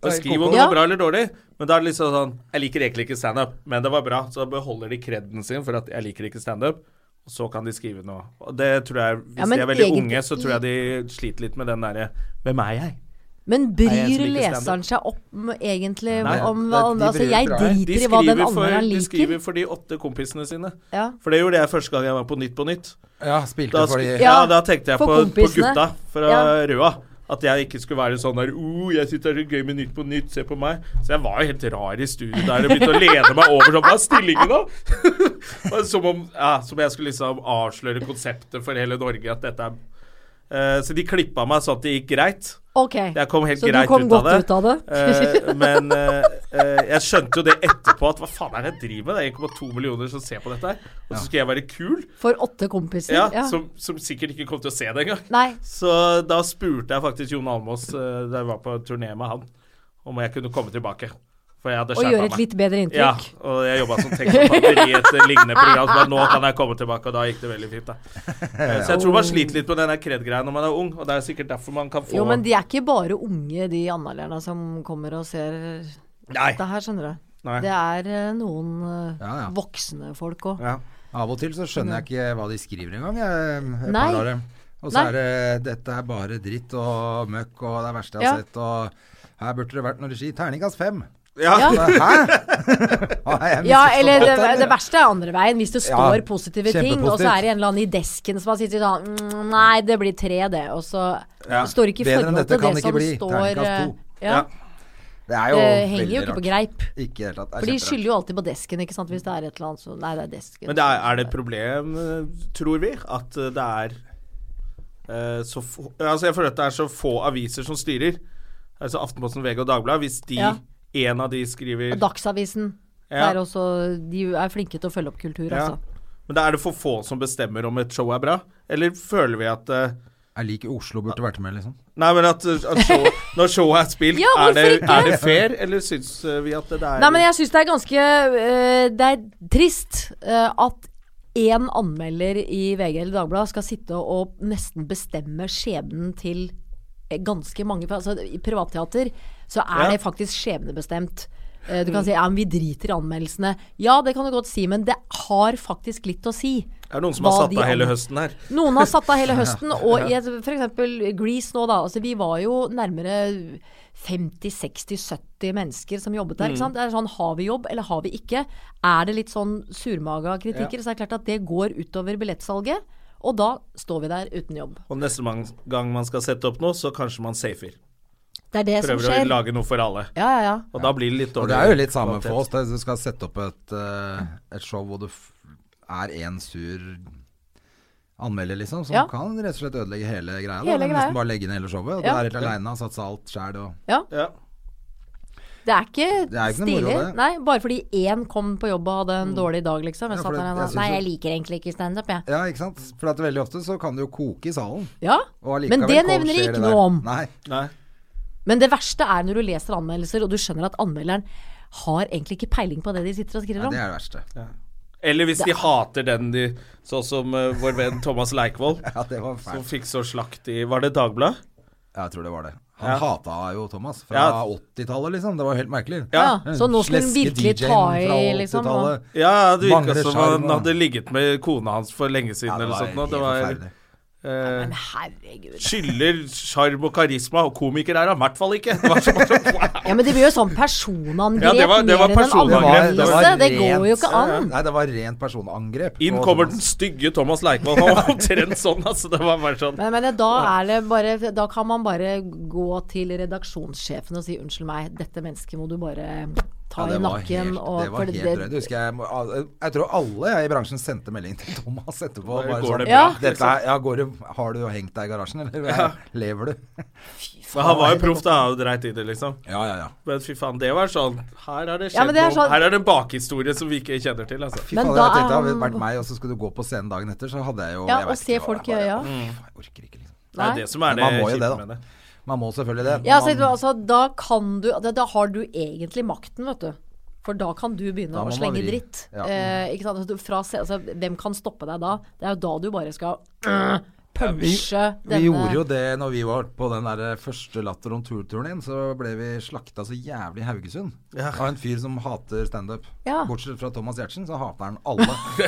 Speaker 1: Det
Speaker 2: Og
Speaker 1: er
Speaker 2: skriv om
Speaker 1: koko.
Speaker 2: det
Speaker 3: Ja.
Speaker 2: var bra eller dårlig, men da er det litt sånn sånn 'Jeg liker egentlig ikke standup, men det var bra'. Så beholder de kreden sin for at 'jeg liker ikke standup'. Og så kan de skrive noe. Og det tror jeg, Hvis
Speaker 3: Ja, men
Speaker 2: de er veldig
Speaker 3: egentlig-
Speaker 2: unge, så tror jeg de sliter litt med den derre 'Hvem er jeg?'
Speaker 3: Men
Speaker 2: Nei, jeg
Speaker 3: bryr
Speaker 2: som liker
Speaker 3: leseren seg om egentlig
Speaker 1: Nei,
Speaker 3: om
Speaker 1: det-
Speaker 3: hva
Speaker 1: de
Speaker 3: Altså,
Speaker 1: bryr-
Speaker 3: jeg
Speaker 1: nei,
Speaker 2: De
Speaker 3: driter i hva den
Speaker 2: skriver, for,
Speaker 3: andre han
Speaker 2: de
Speaker 3: liker.
Speaker 2: skriver for de åtte kompisene sine.
Speaker 3: Ja.
Speaker 2: For det gjorde jeg første gang jeg var på Nytt på Nytt.
Speaker 1: Ja, spilte
Speaker 2: Da,
Speaker 1: for
Speaker 2: sku-
Speaker 1: de
Speaker 2: ja,
Speaker 3: Ja,
Speaker 2: da tenkte jeg
Speaker 3: for
Speaker 2: på, på
Speaker 3: kompisene.
Speaker 2: gutta fra
Speaker 3: Ja.
Speaker 2: Røa. At jeg ikke skulle være sånn der oh, jeg synes det er så gøy med Nytt på Nytt, se på meg. Så jeg var jo helt rar i studio der og begynte å lene meg over sånn Hva er stillingen, da? Og som om ja, som jeg skulle liksom avsløre konseptet for hele Norge at dette er Eh, Så de klippa meg sånn at det gikk greit.
Speaker 3: Ok.
Speaker 2: Jeg kom helt
Speaker 3: Så du
Speaker 2: greit
Speaker 3: kom
Speaker 2: ut av
Speaker 3: godt
Speaker 2: det.
Speaker 3: ut av det?
Speaker 2: Eh, men eh, eh, jeg skjønte jo det etterpå, at hva faen er det jeg driver med? Det er 1,2 millioner som ser på dette her. Og så skal jeg være kul,
Speaker 3: For åtte kompiser?
Speaker 2: ja,
Speaker 3: Ja.
Speaker 2: Som, som sikkert ikke kom til å se det engang.
Speaker 3: Nei.
Speaker 2: Så da spurte jeg faktisk Jon Almaas eh, da jeg var på turné med han, om jeg kunne komme tilbake. For jeg hadde
Speaker 3: Og
Speaker 2: skjerpa
Speaker 3: gjøre
Speaker 2: meg.
Speaker 3: et litt bedre
Speaker 2: ja,
Speaker 3: inntrykk?
Speaker 2: og jeg jobba som tekstforfatter i et eh, lignende program. Så bare, nå kan jeg komme tilbake, og da gikk det veldig fint. Da. Eh, Så jeg tror man sliter litt på den der kred-greia når man er ung, og det er sikkert derfor man kan få
Speaker 3: Jo, men de er ikke bare unge, de anmelderne som kommer og ser
Speaker 2: Nei.
Speaker 3: dette her, skjønner du.
Speaker 2: Nei.
Speaker 3: Det er eh, noen eh,
Speaker 1: Ja, ja.
Speaker 3: voksne folk òg.
Speaker 2: Ja.
Speaker 1: Av og til så skjønner jeg ikke hva de skriver engang. jeg- et
Speaker 3: Mm. Nei.
Speaker 1: par av dem. Og så
Speaker 3: Nei.
Speaker 1: er det 'dette er bare dritt og møkk og det er det verste jeg har
Speaker 3: Ja.
Speaker 1: sett' og 'her burde det vært noe regi'. Terningkast fem!
Speaker 2: Ja.
Speaker 3: Ja.
Speaker 1: Hæ?! Har jeg
Speaker 3: Ja,
Speaker 1: misforstått
Speaker 3: eller det,
Speaker 1: dette, eller?
Speaker 3: det verste er andre veien. Hvis det står
Speaker 1: Ja,
Speaker 3: positive ting, og så
Speaker 1: kjempepositivt.
Speaker 3: er det en eller annen i desken som har sittet sånn mm, Nei, det blir tre, det. Og så
Speaker 2: Ja,
Speaker 3: står det ikke i
Speaker 1: bedre enn
Speaker 3: forhold
Speaker 1: dette
Speaker 3: til
Speaker 1: kan
Speaker 3: det
Speaker 1: det ikke
Speaker 3: som
Speaker 1: bli.
Speaker 3: står
Speaker 1: Terningkast
Speaker 3: eh,
Speaker 1: to.
Speaker 3: ja,
Speaker 2: Ja.
Speaker 1: Det er
Speaker 3: Det
Speaker 1: jo
Speaker 3: henger
Speaker 1: veldig
Speaker 3: jo ikke på
Speaker 1: rart.
Speaker 3: greip.
Speaker 1: Ikke i det hele tatt. Det er
Speaker 3: For de
Speaker 1: kjemperart.
Speaker 3: skylder jo alltid på desken, ikke sant. Hvis det er et eller annet så Nei, det er desken.
Speaker 2: Men det er, er det et problem, eh, tror vi, at eh, det er eh, så få Altså, jeg føler at det er så få aviser som styrer. Altså Aftenposten, VG og Dagbladet. Hvis de,
Speaker 3: Ja.
Speaker 2: en av de skriver
Speaker 3: Dagsavisen.
Speaker 2: Ja.
Speaker 3: Der også, de er flinke til å følge opp kultur,
Speaker 2: ja.
Speaker 3: altså.
Speaker 2: Men da er det for få som bestemmer om et show er bra? Eller føler vi at eh,
Speaker 1: Jeg liker Oslo burde vært med, liksom.
Speaker 2: Nei, men at, eh, at show, når showet er spilt,
Speaker 3: Ja,
Speaker 2: er, det,
Speaker 3: hvorfor ikke?
Speaker 2: er det fair, eller syns eh, vi at det er
Speaker 3: Nei, men jeg syns det er ganske øh, Det er trist øh, at én anmelder i VG eller Dagbladet skal sitte og nesten bestemme skjebnen til eh, ganske mange altså, I privatteater så
Speaker 2: Ja.
Speaker 3: er
Speaker 2: Mm.
Speaker 3: det faktisk skjebnebestemt. Eh, Du kan si ja, men vi driter i anmeldelsene. Ja, det kan du godt si, men det har faktisk litt å si.
Speaker 2: Det er noen som har
Speaker 3: hva
Speaker 2: satt
Speaker 3: de
Speaker 2: av hele
Speaker 3: anmelder.
Speaker 2: høsten her.
Speaker 3: Noen har satt av hele høsten, og i et- for eksempel Grease nå, da. Altså, vi var jo nærmere 50-60-70 mennesker som jobbet
Speaker 1: Mm.
Speaker 3: der. Ikke sant? Det er sånn, Har vi jobb, eller har vi ikke? Er det litt sånn surmaga kritikker, så er det klart at det går utover billettsalget. Og da står vi der uten jobb.
Speaker 2: Og neste man- gang man skal sette opp noe, så kanskje man safer.
Speaker 3: Det er det som
Speaker 2: Prøver å
Speaker 3: skjer.
Speaker 2: lage noe for alle.
Speaker 3: Ja, ja, ja.
Speaker 2: Og da blir det litt dårlig.
Speaker 1: Og det er jo litt samme
Speaker 2: kvalitet.
Speaker 1: for oss. det- Du skal sette opp et, eh, et show hvor det f er én sur anmelder, liksom, som
Speaker 3: Ja.
Speaker 1: kan rett og slett ødelegge hele greia. da. Du
Speaker 3: Hele
Speaker 1: må
Speaker 3: greia.
Speaker 1: nesten bare legge ned hele showet. Og
Speaker 3: Ja.
Speaker 1: Du er helt aleine og satser alt sjæl. Og...
Speaker 3: Ja.
Speaker 2: Ja.
Speaker 3: Det er ikke,
Speaker 1: Det er ikke noe moro,
Speaker 3: stilig.
Speaker 1: det. Mm.
Speaker 3: Nei, bare fordi én kom på jobb og hadde en dårlig dag, liksom.
Speaker 1: Ja,
Speaker 3: Jeg
Speaker 1: for
Speaker 3: satt
Speaker 1: det-
Speaker 3: der
Speaker 1: jeg
Speaker 3: og sa,
Speaker 1: synes
Speaker 3: Nei,
Speaker 1: jo-
Speaker 3: jeg liker egentlig ikke standup, jeg.
Speaker 1: Ja, ikke sant. For at veldig ofte så kan det jo koke i salen.
Speaker 3: Ja.
Speaker 1: Og allikevel
Speaker 3: Mm. Men det
Speaker 1: ko-
Speaker 3: nevner de
Speaker 1: skjer
Speaker 3: ikke
Speaker 1: der.
Speaker 3: noe om.
Speaker 1: Nei.
Speaker 2: Nei.
Speaker 3: Men det verste er når du leser anmeldelser, og du skjønner at anmelderen har egentlig ikke peiling på det de sitter og skriver
Speaker 1: Nei,
Speaker 3: om.
Speaker 1: det er det verste.
Speaker 2: Eller hvis de hater den de Sånn som eh, vår venn Thomas Leikvoll,
Speaker 1: Ja, det var
Speaker 2: som
Speaker 1: fælt.
Speaker 2: fikk så slakt i Var det Dagbladet?
Speaker 1: Ja, Jeg tror det var det. Han
Speaker 2: Ja.
Speaker 1: hata jo Thomas fra
Speaker 2: Ja.
Speaker 1: 80-tallet, liksom. Det var jo helt merkelig.
Speaker 2: Ja.
Speaker 3: Ja, så nå skulle hun
Speaker 1: Sleske
Speaker 3: virkelig
Speaker 1: DJ-en
Speaker 3: ta
Speaker 1: fra
Speaker 3: i, liksom. Og,
Speaker 1: 80-tallet.
Speaker 2: Ja, det virka
Speaker 1: Mangler
Speaker 2: som
Speaker 1: sjarm,
Speaker 2: han
Speaker 1: da.
Speaker 2: hadde ligget med kona hans for lenge siden
Speaker 1: Ja, det
Speaker 2: eller
Speaker 1: var
Speaker 2: sånt. nå.
Speaker 1: helt
Speaker 2: Det var eh,
Speaker 1: forferdelig.
Speaker 3: men herregud.
Speaker 2: Skylder sjarm og karisma, og komiker er han i hvert fall ikke. Det var så bare sånn, wow.
Speaker 3: Ja, men det blir jo sånn personangrep
Speaker 2: Ja, det var- det var
Speaker 3: mer enn en
Speaker 2: personangrep.
Speaker 3: anmeldelse. Det,
Speaker 2: Det
Speaker 1: var
Speaker 3: går jo ikke an.
Speaker 1: Nei, det var rent personangrep.
Speaker 2: Inn
Speaker 1: på
Speaker 2: kommer
Speaker 1: Thomas.
Speaker 2: den stygge Thomas Leikvoll. Han var omtrent sånn, altså. Det var bare sånn.
Speaker 3: Men, men da, er det bare, da kan man bare gå til redaksjonssjefen og si unnskyld meg, dette mennesket må du bare
Speaker 1: Ja,
Speaker 3: ta
Speaker 1: det
Speaker 3: i
Speaker 1: var
Speaker 3: nakken.
Speaker 1: helt-
Speaker 3: og,
Speaker 1: det var
Speaker 3: for
Speaker 1: helt drøyt. Husker jeg, må- al- jeg tror alle jeg i bransjen sendte melding til Thomas etterpå.
Speaker 2: Bare,
Speaker 1: bare
Speaker 2: går det
Speaker 1: sånn,
Speaker 3: bra?
Speaker 1: Dette er, ja, går det, har du hengt deg i garasjen, eller lever du?
Speaker 2: Men han var jo proff, da. Og dreit i det, liksom.
Speaker 1: Ja, ja, ja.
Speaker 2: Men fy faen, det var sånn Her er det
Speaker 3: Ja,
Speaker 2: skjedd
Speaker 3: men det er
Speaker 2: noe.
Speaker 3: sånn-
Speaker 2: Her er det en bakhistorie som vi ikke kjenner til, altså.
Speaker 1: Fy
Speaker 3: Men
Speaker 1: fader,
Speaker 3: da
Speaker 1: jeg tenkte,
Speaker 3: er
Speaker 1: hadde det
Speaker 3: han-
Speaker 1: vært meg, og så skulle du gå på scenen dagen etter, så hadde jeg jo
Speaker 3: Ja,
Speaker 1: jeg
Speaker 3: og
Speaker 1: vet
Speaker 3: se
Speaker 1: ikke,
Speaker 3: folk
Speaker 1: jeg
Speaker 3: i
Speaker 1: bare,
Speaker 3: øya.
Speaker 1: «Åh, faen, Jeg orker ikke, liksom.
Speaker 2: Det
Speaker 3: Nei.
Speaker 2: er det som er
Speaker 1: Men
Speaker 2: det
Speaker 1: man må jo
Speaker 2: kjipe
Speaker 1: det, da.
Speaker 2: med det.
Speaker 1: Man må selvfølgelig det.
Speaker 3: Ja, så,
Speaker 1: men man,
Speaker 3: altså, da kan du da, da har du egentlig makten, vet du. For da kan du begynne
Speaker 1: Da må
Speaker 3: å
Speaker 1: man
Speaker 3: slenge
Speaker 1: vri.
Speaker 3: dritt.
Speaker 1: Ja.
Speaker 3: Eh, ikke sant? Altså, du- Fra, se- altså, hvem kan stoppe deg da? Det er jo da du bare skal øh, punche
Speaker 1: vi gjorde jo
Speaker 3: denne
Speaker 1: det når vi var på den der eh, første Latter on tour-turen inn. Så ble vi slakta så jævlig i Haugesund av en fyr som hater standup.
Speaker 3: Ja.
Speaker 1: Bortsett fra Thomas Giertsen, så hater han alle.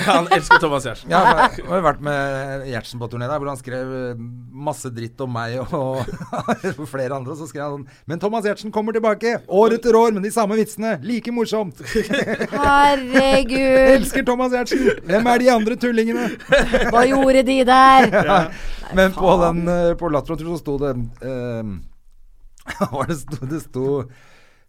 Speaker 2: Han elsker Thomas Giertsen.
Speaker 1: Ja, for jeg har jo vært med Gjertsen på turné der, hvor han skrev eh, masse dritt om meg og og flere andre. Og så skrev han sånn Men Thomas Giertsen kommer tilbake! År etter år med de samme vitsene! Like morsomt!
Speaker 3: Herregud,
Speaker 1: Elsker Thomas Giertsen! Hvem er de andre tullingene?
Speaker 3: hva gjorde de der?
Speaker 1: Men på den eh, på Latron-turen så sto det eh, hva var det sto, Det sto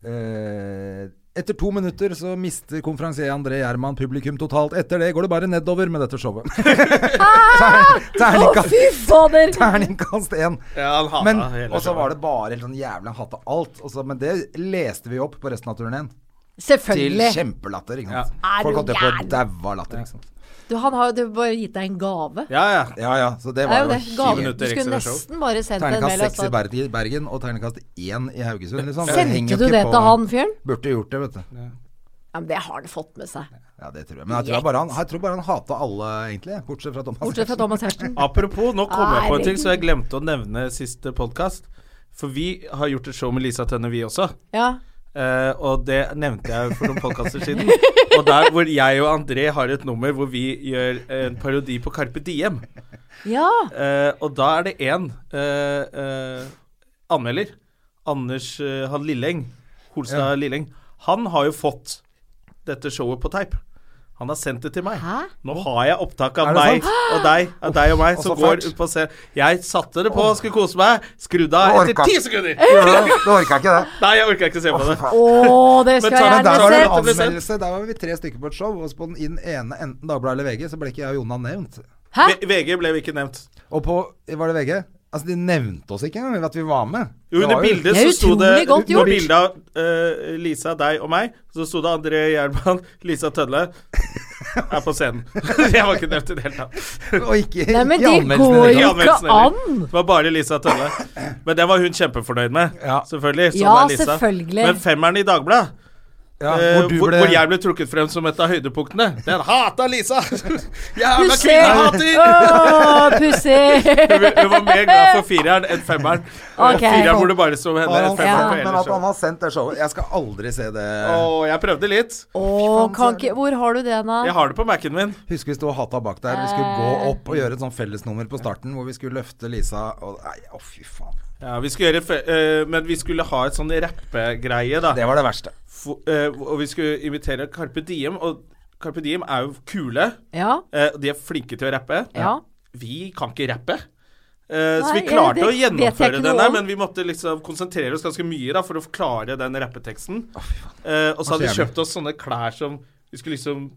Speaker 1: eh, etter to minutter så mister konferansier André Gjerman publikum totalt. Etter det går det bare nedover med dette showet. Ter-
Speaker 3: Ah! Å,
Speaker 1: Terningkast
Speaker 3: fy fader!
Speaker 1: terningkast én.
Speaker 2: Ja, han hata
Speaker 1: Men,
Speaker 2: hele
Speaker 1: og så
Speaker 2: showet.
Speaker 1: var det bare helt sånn jævla hatt av alt. Og så, men det leste vi opp på resten av turneen. Til
Speaker 3: Selvfølgelig.
Speaker 1: kjempelatter. Ikke sant?
Speaker 3: Ja. Er
Speaker 1: Folk
Speaker 3: du
Speaker 1: holdt jo på å
Speaker 3: gæren?
Speaker 1: daue av latter. Ikke sant?
Speaker 3: Du, han har jo det bare gitt deg en gave.
Speaker 2: Ja, ja.
Speaker 1: Ja ja, så det
Speaker 3: Det er
Speaker 1: var
Speaker 3: jo
Speaker 1: jo
Speaker 3: det.
Speaker 1: helt-
Speaker 3: Gave. Du
Speaker 2: minutter
Speaker 3: skulle
Speaker 2: ekstra show.
Speaker 3: nesten bare sendt en mail
Speaker 1: Terningkast
Speaker 3: og
Speaker 1: seks i
Speaker 3: sagt
Speaker 1: Ber- i Bergen og terningkast én i Haugesund. Liksom. Det henger
Speaker 3: Sendte
Speaker 1: jo
Speaker 3: du
Speaker 1: ikke
Speaker 3: det
Speaker 1: på-
Speaker 3: til han fyren?
Speaker 1: Burde gjort det, vet du.
Speaker 3: Ja, men det har han fått med seg.
Speaker 1: Ja, det tror jeg. Men jeg tror bare han, jeg tror bare han hata alle, egentlig. Bortsett fra Thomas.
Speaker 3: Bortsett
Speaker 1: Giertsen.
Speaker 3: fra Thomas Hersten.
Speaker 2: Apropos, nå kom jeg på en ting
Speaker 3: Herregud.
Speaker 2: som jeg glemte å nevne siste podkast. For vi har gjort et show med Lisa Tønne, vi også.
Speaker 3: Ja.
Speaker 2: Eh, og det nevnte jeg for noen podkaster siden. Og der hvor jeg og André har et nummer hvor vi gjør en parodi på Carpe Diem.
Speaker 3: ja.
Speaker 2: Eh, og da er det én eh, eh, anmelder. Anders eh, han Lilleng. Holstad Lilleng. Han har jo fått dette showet på teip. Han har sendt det til meg.
Speaker 3: Hæ?
Speaker 2: Nå har jeg opptak av
Speaker 1: Er det
Speaker 2: meg
Speaker 1: sant?
Speaker 2: og deg av deg og meg
Speaker 1: Og
Speaker 2: som
Speaker 1: så
Speaker 2: går
Speaker 1: fælt.
Speaker 2: ut på scenen. Jeg satte det på, skulle kose meg, skrudde av
Speaker 1: Jeg
Speaker 2: etter
Speaker 1: orka
Speaker 2: ti
Speaker 1: ikke.
Speaker 2: sekunder!
Speaker 1: Gjorde du det? Du orka ikke det?
Speaker 2: Nei, jeg orka ikke se på det.
Speaker 3: Å, det skal jeg
Speaker 2: ta den
Speaker 1: Der
Speaker 2: ble
Speaker 1: var
Speaker 3: gjerne
Speaker 2: sett, det ble
Speaker 1: det en
Speaker 3: se.
Speaker 2: sett.
Speaker 1: anmeldelse. Der var vi tre stykker på et show, og så på den i den ene, enten Dagbladet eller VG, så ble ikke jeg og Jonna nevnt.
Speaker 3: Hæ?
Speaker 2: V- VG ble ikke nevnt.
Speaker 1: Og på Var det VG? Altså, de nevnte oss ikke engang at vi var med.
Speaker 2: Jo,
Speaker 1: Det
Speaker 2: under
Speaker 1: var jo-
Speaker 2: bildet
Speaker 3: Det er
Speaker 2: så sto det
Speaker 3: utrolig godt
Speaker 2: Under
Speaker 3: gjort.
Speaker 2: bildet av eh, Lisa, deg og meg, så sto det André Gjerman, Lisa Tødle er på scenen. jeg var ikke nevnt i det hele tatt.
Speaker 1: Og ikke
Speaker 3: Nei, men
Speaker 1: ikke i
Speaker 3: det
Speaker 1: anmeldelsen liksom. i
Speaker 3: går
Speaker 1: det
Speaker 2: Ikke
Speaker 1: hele tatt.
Speaker 3: jo
Speaker 2: anmeldelsen
Speaker 3: ikke
Speaker 2: heller.
Speaker 3: an!
Speaker 2: Det var bare Lisa Tønne. Men den var hun kjempefornøyd med.
Speaker 1: Ja.
Speaker 2: Selvfølgelig. Sånn
Speaker 3: Ja,
Speaker 2: er Lisa.
Speaker 3: selvfølgelig.
Speaker 2: Men femmeren i Dagbladet,
Speaker 1: Ja,
Speaker 2: eh,
Speaker 1: hvor, du
Speaker 2: hvor,
Speaker 1: ble,
Speaker 2: hvor jeg ble trukket frem som et av høydepunktene, den hata Lisa! Jævla
Speaker 3: Pussig!
Speaker 2: kvinnehater!
Speaker 3: Å, pussig!
Speaker 2: Hun hun var mer glad for fireren enn femmeren. Og
Speaker 3: Ok.
Speaker 2: Fireren hvor det bare sto henne.
Speaker 1: Har han
Speaker 2: Femmeren
Speaker 1: sendt-
Speaker 2: på
Speaker 1: Men
Speaker 2: hele
Speaker 1: at han
Speaker 2: showet.
Speaker 1: har sendt det showet Jeg skal aldri se det.
Speaker 2: Å, jeg prøvde litt.
Speaker 3: Å, kan ikke Hvor har du det, da?
Speaker 2: Jeg har det på Mac-en min.
Speaker 1: Husker vi sto og hata bak der. Vi skulle
Speaker 3: Eh.
Speaker 1: gå opp og gjøre et sånn fellesnummer på starten hvor vi skulle løfte Lisa og Nei, å fy faen.
Speaker 2: Ja, vi skulle gjøre, fe- eh, men vi skulle ha et sånn rappegreie, da.
Speaker 1: Det var det verste.
Speaker 2: F- eh, og vi skulle invitere Carpe Diem, og Carpe Diem er jo kule.
Speaker 3: Ja.
Speaker 2: Eh, og de er flinke til å rappe.
Speaker 3: Ja.
Speaker 2: Vi kan ikke rappe. Eh, så
Speaker 3: Nei,
Speaker 2: vi klarte
Speaker 3: ja,
Speaker 2: å
Speaker 3: det vet jeg
Speaker 2: gjennomføre
Speaker 3: ikke
Speaker 2: den
Speaker 3: noe
Speaker 2: der,
Speaker 3: om.
Speaker 2: men vi måtte liksom konsentrere oss ganske mye da for å klare den rappeteksten. Eh, og så hadde vi
Speaker 1: jævlig.
Speaker 2: kjøpt oss sånne klær som vi skulle liksom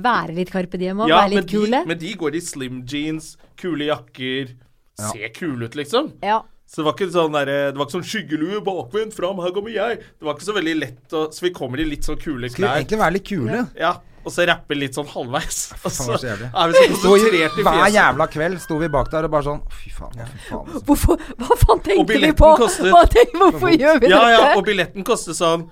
Speaker 3: være litt Carpe Diem og
Speaker 2: Ja,
Speaker 3: være
Speaker 2: men
Speaker 3: litt kule.
Speaker 2: de, men de går i slim jeans, kule jakker. Ser kule ut, liksom.
Speaker 3: Ja.
Speaker 2: Så det var ikke sånn derre Det var ikke sånn skyggelue bakvendt fram, her kommer jeg. Det var ikke så veldig lett å Så vi kommer i litt sånn kule
Speaker 1: Skulle
Speaker 2: klær.
Speaker 1: egentlig være litt kule.
Speaker 2: Ja, og så rapper litt sånn halvveis. Og så
Speaker 1: Faen, så jævlig.
Speaker 2: er vi så
Speaker 1: Sto i,
Speaker 2: konsentrert i
Speaker 1: hver
Speaker 2: fjeset.
Speaker 1: jævla kveld sto vi bak der og bare sånn Fy faen, ja, fy faen. altså.
Speaker 3: Hvorfor, hva faen tenker vi
Speaker 2: billetten
Speaker 3: på?
Speaker 2: kostet-
Speaker 3: Hva tenker, hvorfor gjør vi
Speaker 2: Ja, ja,
Speaker 3: dette?
Speaker 2: og billetten koster sånn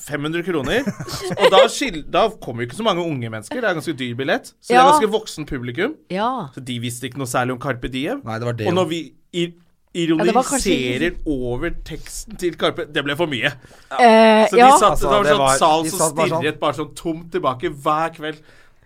Speaker 2: 500 kroner. Og da, skil, da kommer jo ikke så mange unge mennesker. Det er ganske dyr billett. Så det er
Speaker 3: Ja.
Speaker 2: ganske voksen publikum.
Speaker 3: ja.
Speaker 2: Så de visste ikke noe særlig om Carpe Diem.
Speaker 1: Nei, det var det
Speaker 2: Og
Speaker 1: jo.
Speaker 2: når vi ir
Speaker 3: det var kanskje-
Speaker 2: ironiserer over teksten til Carpe Det ble for mye.
Speaker 3: Eh,
Speaker 2: Så de
Speaker 3: ja.
Speaker 2: satt
Speaker 1: Altså,
Speaker 2: det var
Speaker 1: det
Speaker 2: sånn
Speaker 1: var-
Speaker 2: sal
Speaker 1: de
Speaker 2: som
Speaker 1: satt bare sånn.
Speaker 2: stirret bare sånn tomt tilbake hver kveld.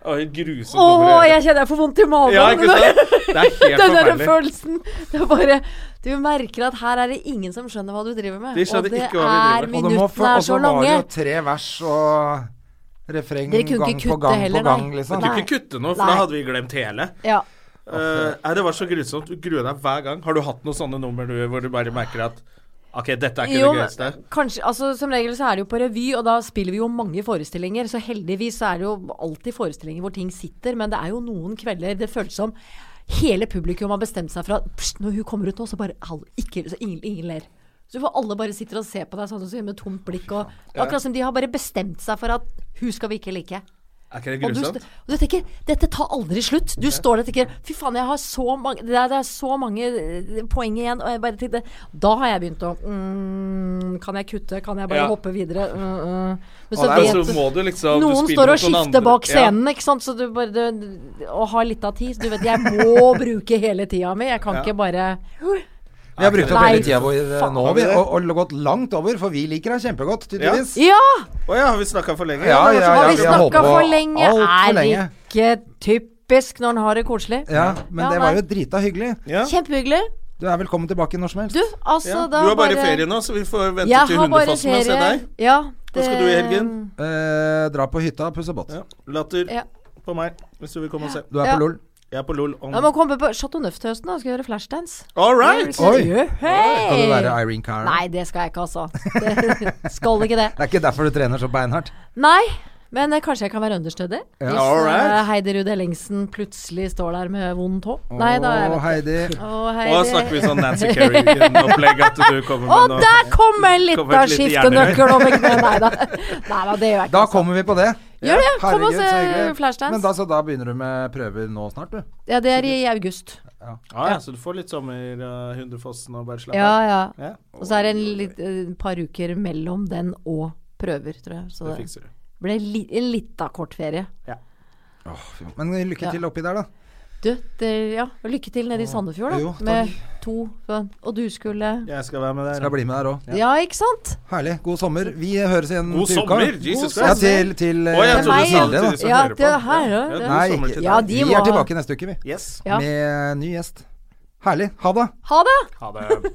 Speaker 2: Og helt grusomt.
Speaker 3: Åh,
Speaker 2: over det.
Speaker 3: jeg kjenner jeg får vondt i magen.
Speaker 2: ja, ikke sant? Det er helt
Speaker 3: Den der
Speaker 2: forferdelig.
Speaker 3: følelsen. Det er bare Du merker at her er det ingen som skjønner hva du driver med.
Speaker 2: De skjønner
Speaker 3: og det
Speaker 2: ikke hva vi driver med.
Speaker 3: er
Speaker 1: Og det må-
Speaker 3: minuttene
Speaker 1: og
Speaker 2: altså,
Speaker 3: er så
Speaker 1: så var det
Speaker 3: lange.
Speaker 1: jo tre vers og refreng
Speaker 3: Dere kunne ikke
Speaker 1: gang på
Speaker 3: kutte
Speaker 1: gang
Speaker 3: heller,
Speaker 1: på gang,
Speaker 3: nei.
Speaker 1: liksom.
Speaker 2: Du kunne
Speaker 3: Nei.
Speaker 2: ikke kutte noe, for
Speaker 3: Nei.
Speaker 2: da hadde vi glemt hele.
Speaker 3: Ja.
Speaker 2: Eh, nei, det var så grusomt. Du gruer deg hver gang. Har du hatt noen sånne nummer du, hvor du bare merker at OK, dette er ikke
Speaker 3: Jo,
Speaker 2: det gøyeste?
Speaker 3: kanskje, altså, som regel så er det jo på revy, og da spiller vi jo mange forestillinger. Så heldigvis så er det jo alltid forestillinger hvor ting sitter, men det er jo noen kvelder det føles som hele publikum har bestemt seg for at pst, når hun kommer ut nå, så bare hallo, ikke, så ingen, ingen ler. Så for alle bare sitter og ser på deg sånn og så med tomt blikk. Og, det er akkurat som de har bare bestemt seg for at hun skal vi ikke like.
Speaker 2: Er ikke det
Speaker 3: Og du,
Speaker 2: grusomt?
Speaker 3: st- og du tenker dette tar aldri slutt. Du står der og tenker fy faen, jeg har så mange det er, det er så mange eh, poeng igjen. Og jeg bare tenkte Da har jeg begynt å mm, Kan jeg kutte? Kan jeg bare
Speaker 2: Ja.
Speaker 3: hoppe videre? Mm, mm. Men
Speaker 1: Og det er
Speaker 2: Men
Speaker 1: jo
Speaker 2: så må du liksom du
Speaker 3: noen
Speaker 2: spiller mot
Speaker 3: står og
Speaker 2: noen andre.
Speaker 3: skifter bak
Speaker 2: Ja.
Speaker 3: scenen, ikke sant, så du bare du- Og har litt av tid. Så Du vet, jeg må bruke hele tida mi. Jeg kan ikke bare
Speaker 1: Vi har brukt opp
Speaker 3: Nei,
Speaker 1: hele tida vår eh, nå,
Speaker 2: har vi
Speaker 1: vi,
Speaker 2: det?
Speaker 1: og, og gått langt over, for vi liker deg kjempegodt, tydeligvis.
Speaker 3: Ja!
Speaker 2: Å ja, altså, har vi snakka for lenge?
Speaker 1: Ja,
Speaker 2: Eller?
Speaker 1: ja,
Speaker 3: Har
Speaker 1: ja,
Speaker 3: vi
Speaker 1: vi har holdt
Speaker 3: snakka
Speaker 1: på
Speaker 3: for lenge?
Speaker 1: alt for
Speaker 3: Er
Speaker 1: lenge.
Speaker 3: ikke typisk når en har det koselig.
Speaker 1: Ja, men
Speaker 3: Ja,
Speaker 1: det
Speaker 3: nei.
Speaker 1: var jo drita hyggelig.
Speaker 2: Ja.
Speaker 3: Kjempehyggelig.
Speaker 1: Du er velkommen tilbake når som helst.
Speaker 3: Du, altså,
Speaker 2: Ja.
Speaker 3: da
Speaker 2: Du har bare ferie nå, så vi får vente til Hundefossen og se deg.
Speaker 3: Ja,
Speaker 2: Hva skal du i helgen?
Speaker 1: Eh, dra på hytta, pusse båt.
Speaker 2: Ja. Latter
Speaker 3: Ja.
Speaker 2: på meg, hvis du vil komme og se.
Speaker 1: Du er
Speaker 3: Ja.
Speaker 1: på LOL.
Speaker 2: Jeg er på LOL om
Speaker 3: Jeg må komme på Chateau Neuf til høsten da, skal gjøre flashdance.
Speaker 2: All right!
Speaker 1: Oi. Skal
Speaker 3: Yeah,
Speaker 1: du være
Speaker 3: Hey!
Speaker 1: Irene Cara?
Speaker 3: Nei, det skal jeg ikke, altså. Det, skal ikke det.
Speaker 1: Det er ikke derfor du trener så beinhardt.
Speaker 3: Nei, men eh, kanskje jeg kan være understudy?
Speaker 1: Ja.
Speaker 3: Hvis
Speaker 2: All right.
Speaker 3: eh, Heidi Ruud Ellingsen plutselig står der med vond tå. Nei, da er
Speaker 1: Å,
Speaker 3: jeg vet
Speaker 1: Heidi.
Speaker 3: ikke. Å,
Speaker 2: Og da
Speaker 3: Heidi.
Speaker 2: snakker vi sånn Nancy Kerrigan-opplegg at du kommer
Speaker 3: Å,
Speaker 2: med noe
Speaker 3: der kom
Speaker 2: Kommer
Speaker 3: en liten
Speaker 2: et lite
Speaker 3: skiftenøkkel over kneet! Nei da. Nei da, det gjør jeg ikke.
Speaker 1: Da
Speaker 3: altså.
Speaker 1: kommer vi på det.
Speaker 3: Gjør det, kom og
Speaker 1: Herregud,
Speaker 3: se
Speaker 1: så hyggelig.
Speaker 3: Flashdance.
Speaker 1: Men da, så da begynner du med prøver nå snart, du?
Speaker 3: Ja, det er i i august.
Speaker 2: Ah, ja, så du får litt sommer, uh, Hundefossen og bare slappe
Speaker 3: Ja, ja.
Speaker 2: Ja,
Speaker 3: Og så er det en litt, eh, par uker mellom den og prøver, tror jeg. Så
Speaker 2: det
Speaker 3: det
Speaker 2: fikser du.
Speaker 3: ble li, en lita kort ferie.
Speaker 1: Men lykke
Speaker 3: Ja.
Speaker 1: til oppi der, da.
Speaker 3: Du, det, ja, og lykke til nede i Sandefjord, da.
Speaker 1: Jo, takk.
Speaker 3: med to sånn, Og du skulle
Speaker 2: Jeg skal være med der.
Speaker 1: Skal bli med der òg.
Speaker 3: Ja, ikke sant?
Speaker 1: Herlig. God sommer. Vi høres igjen
Speaker 2: God
Speaker 1: til uka.
Speaker 2: sommer! Jesus
Speaker 3: God
Speaker 1: Ja,
Speaker 2: Christ.
Speaker 1: til, til
Speaker 2: Å, jeg
Speaker 1: eh,
Speaker 3: trodde du sa
Speaker 1: Hilde,
Speaker 2: det til
Speaker 1: da.
Speaker 2: de som
Speaker 3: Ja,
Speaker 2: hører på.
Speaker 3: det her, ja.
Speaker 2: god
Speaker 1: Nei,
Speaker 2: sommer
Speaker 1: ikke-
Speaker 2: til
Speaker 3: Ja,
Speaker 2: deg.
Speaker 3: de
Speaker 1: vi
Speaker 3: må
Speaker 1: er
Speaker 3: ha-
Speaker 1: tilbake neste uke, vi.
Speaker 2: Yes.
Speaker 3: Ja.
Speaker 1: Med ny gjest. Herlig. Ha det.
Speaker 3: Ha det!
Speaker 2: Ha det.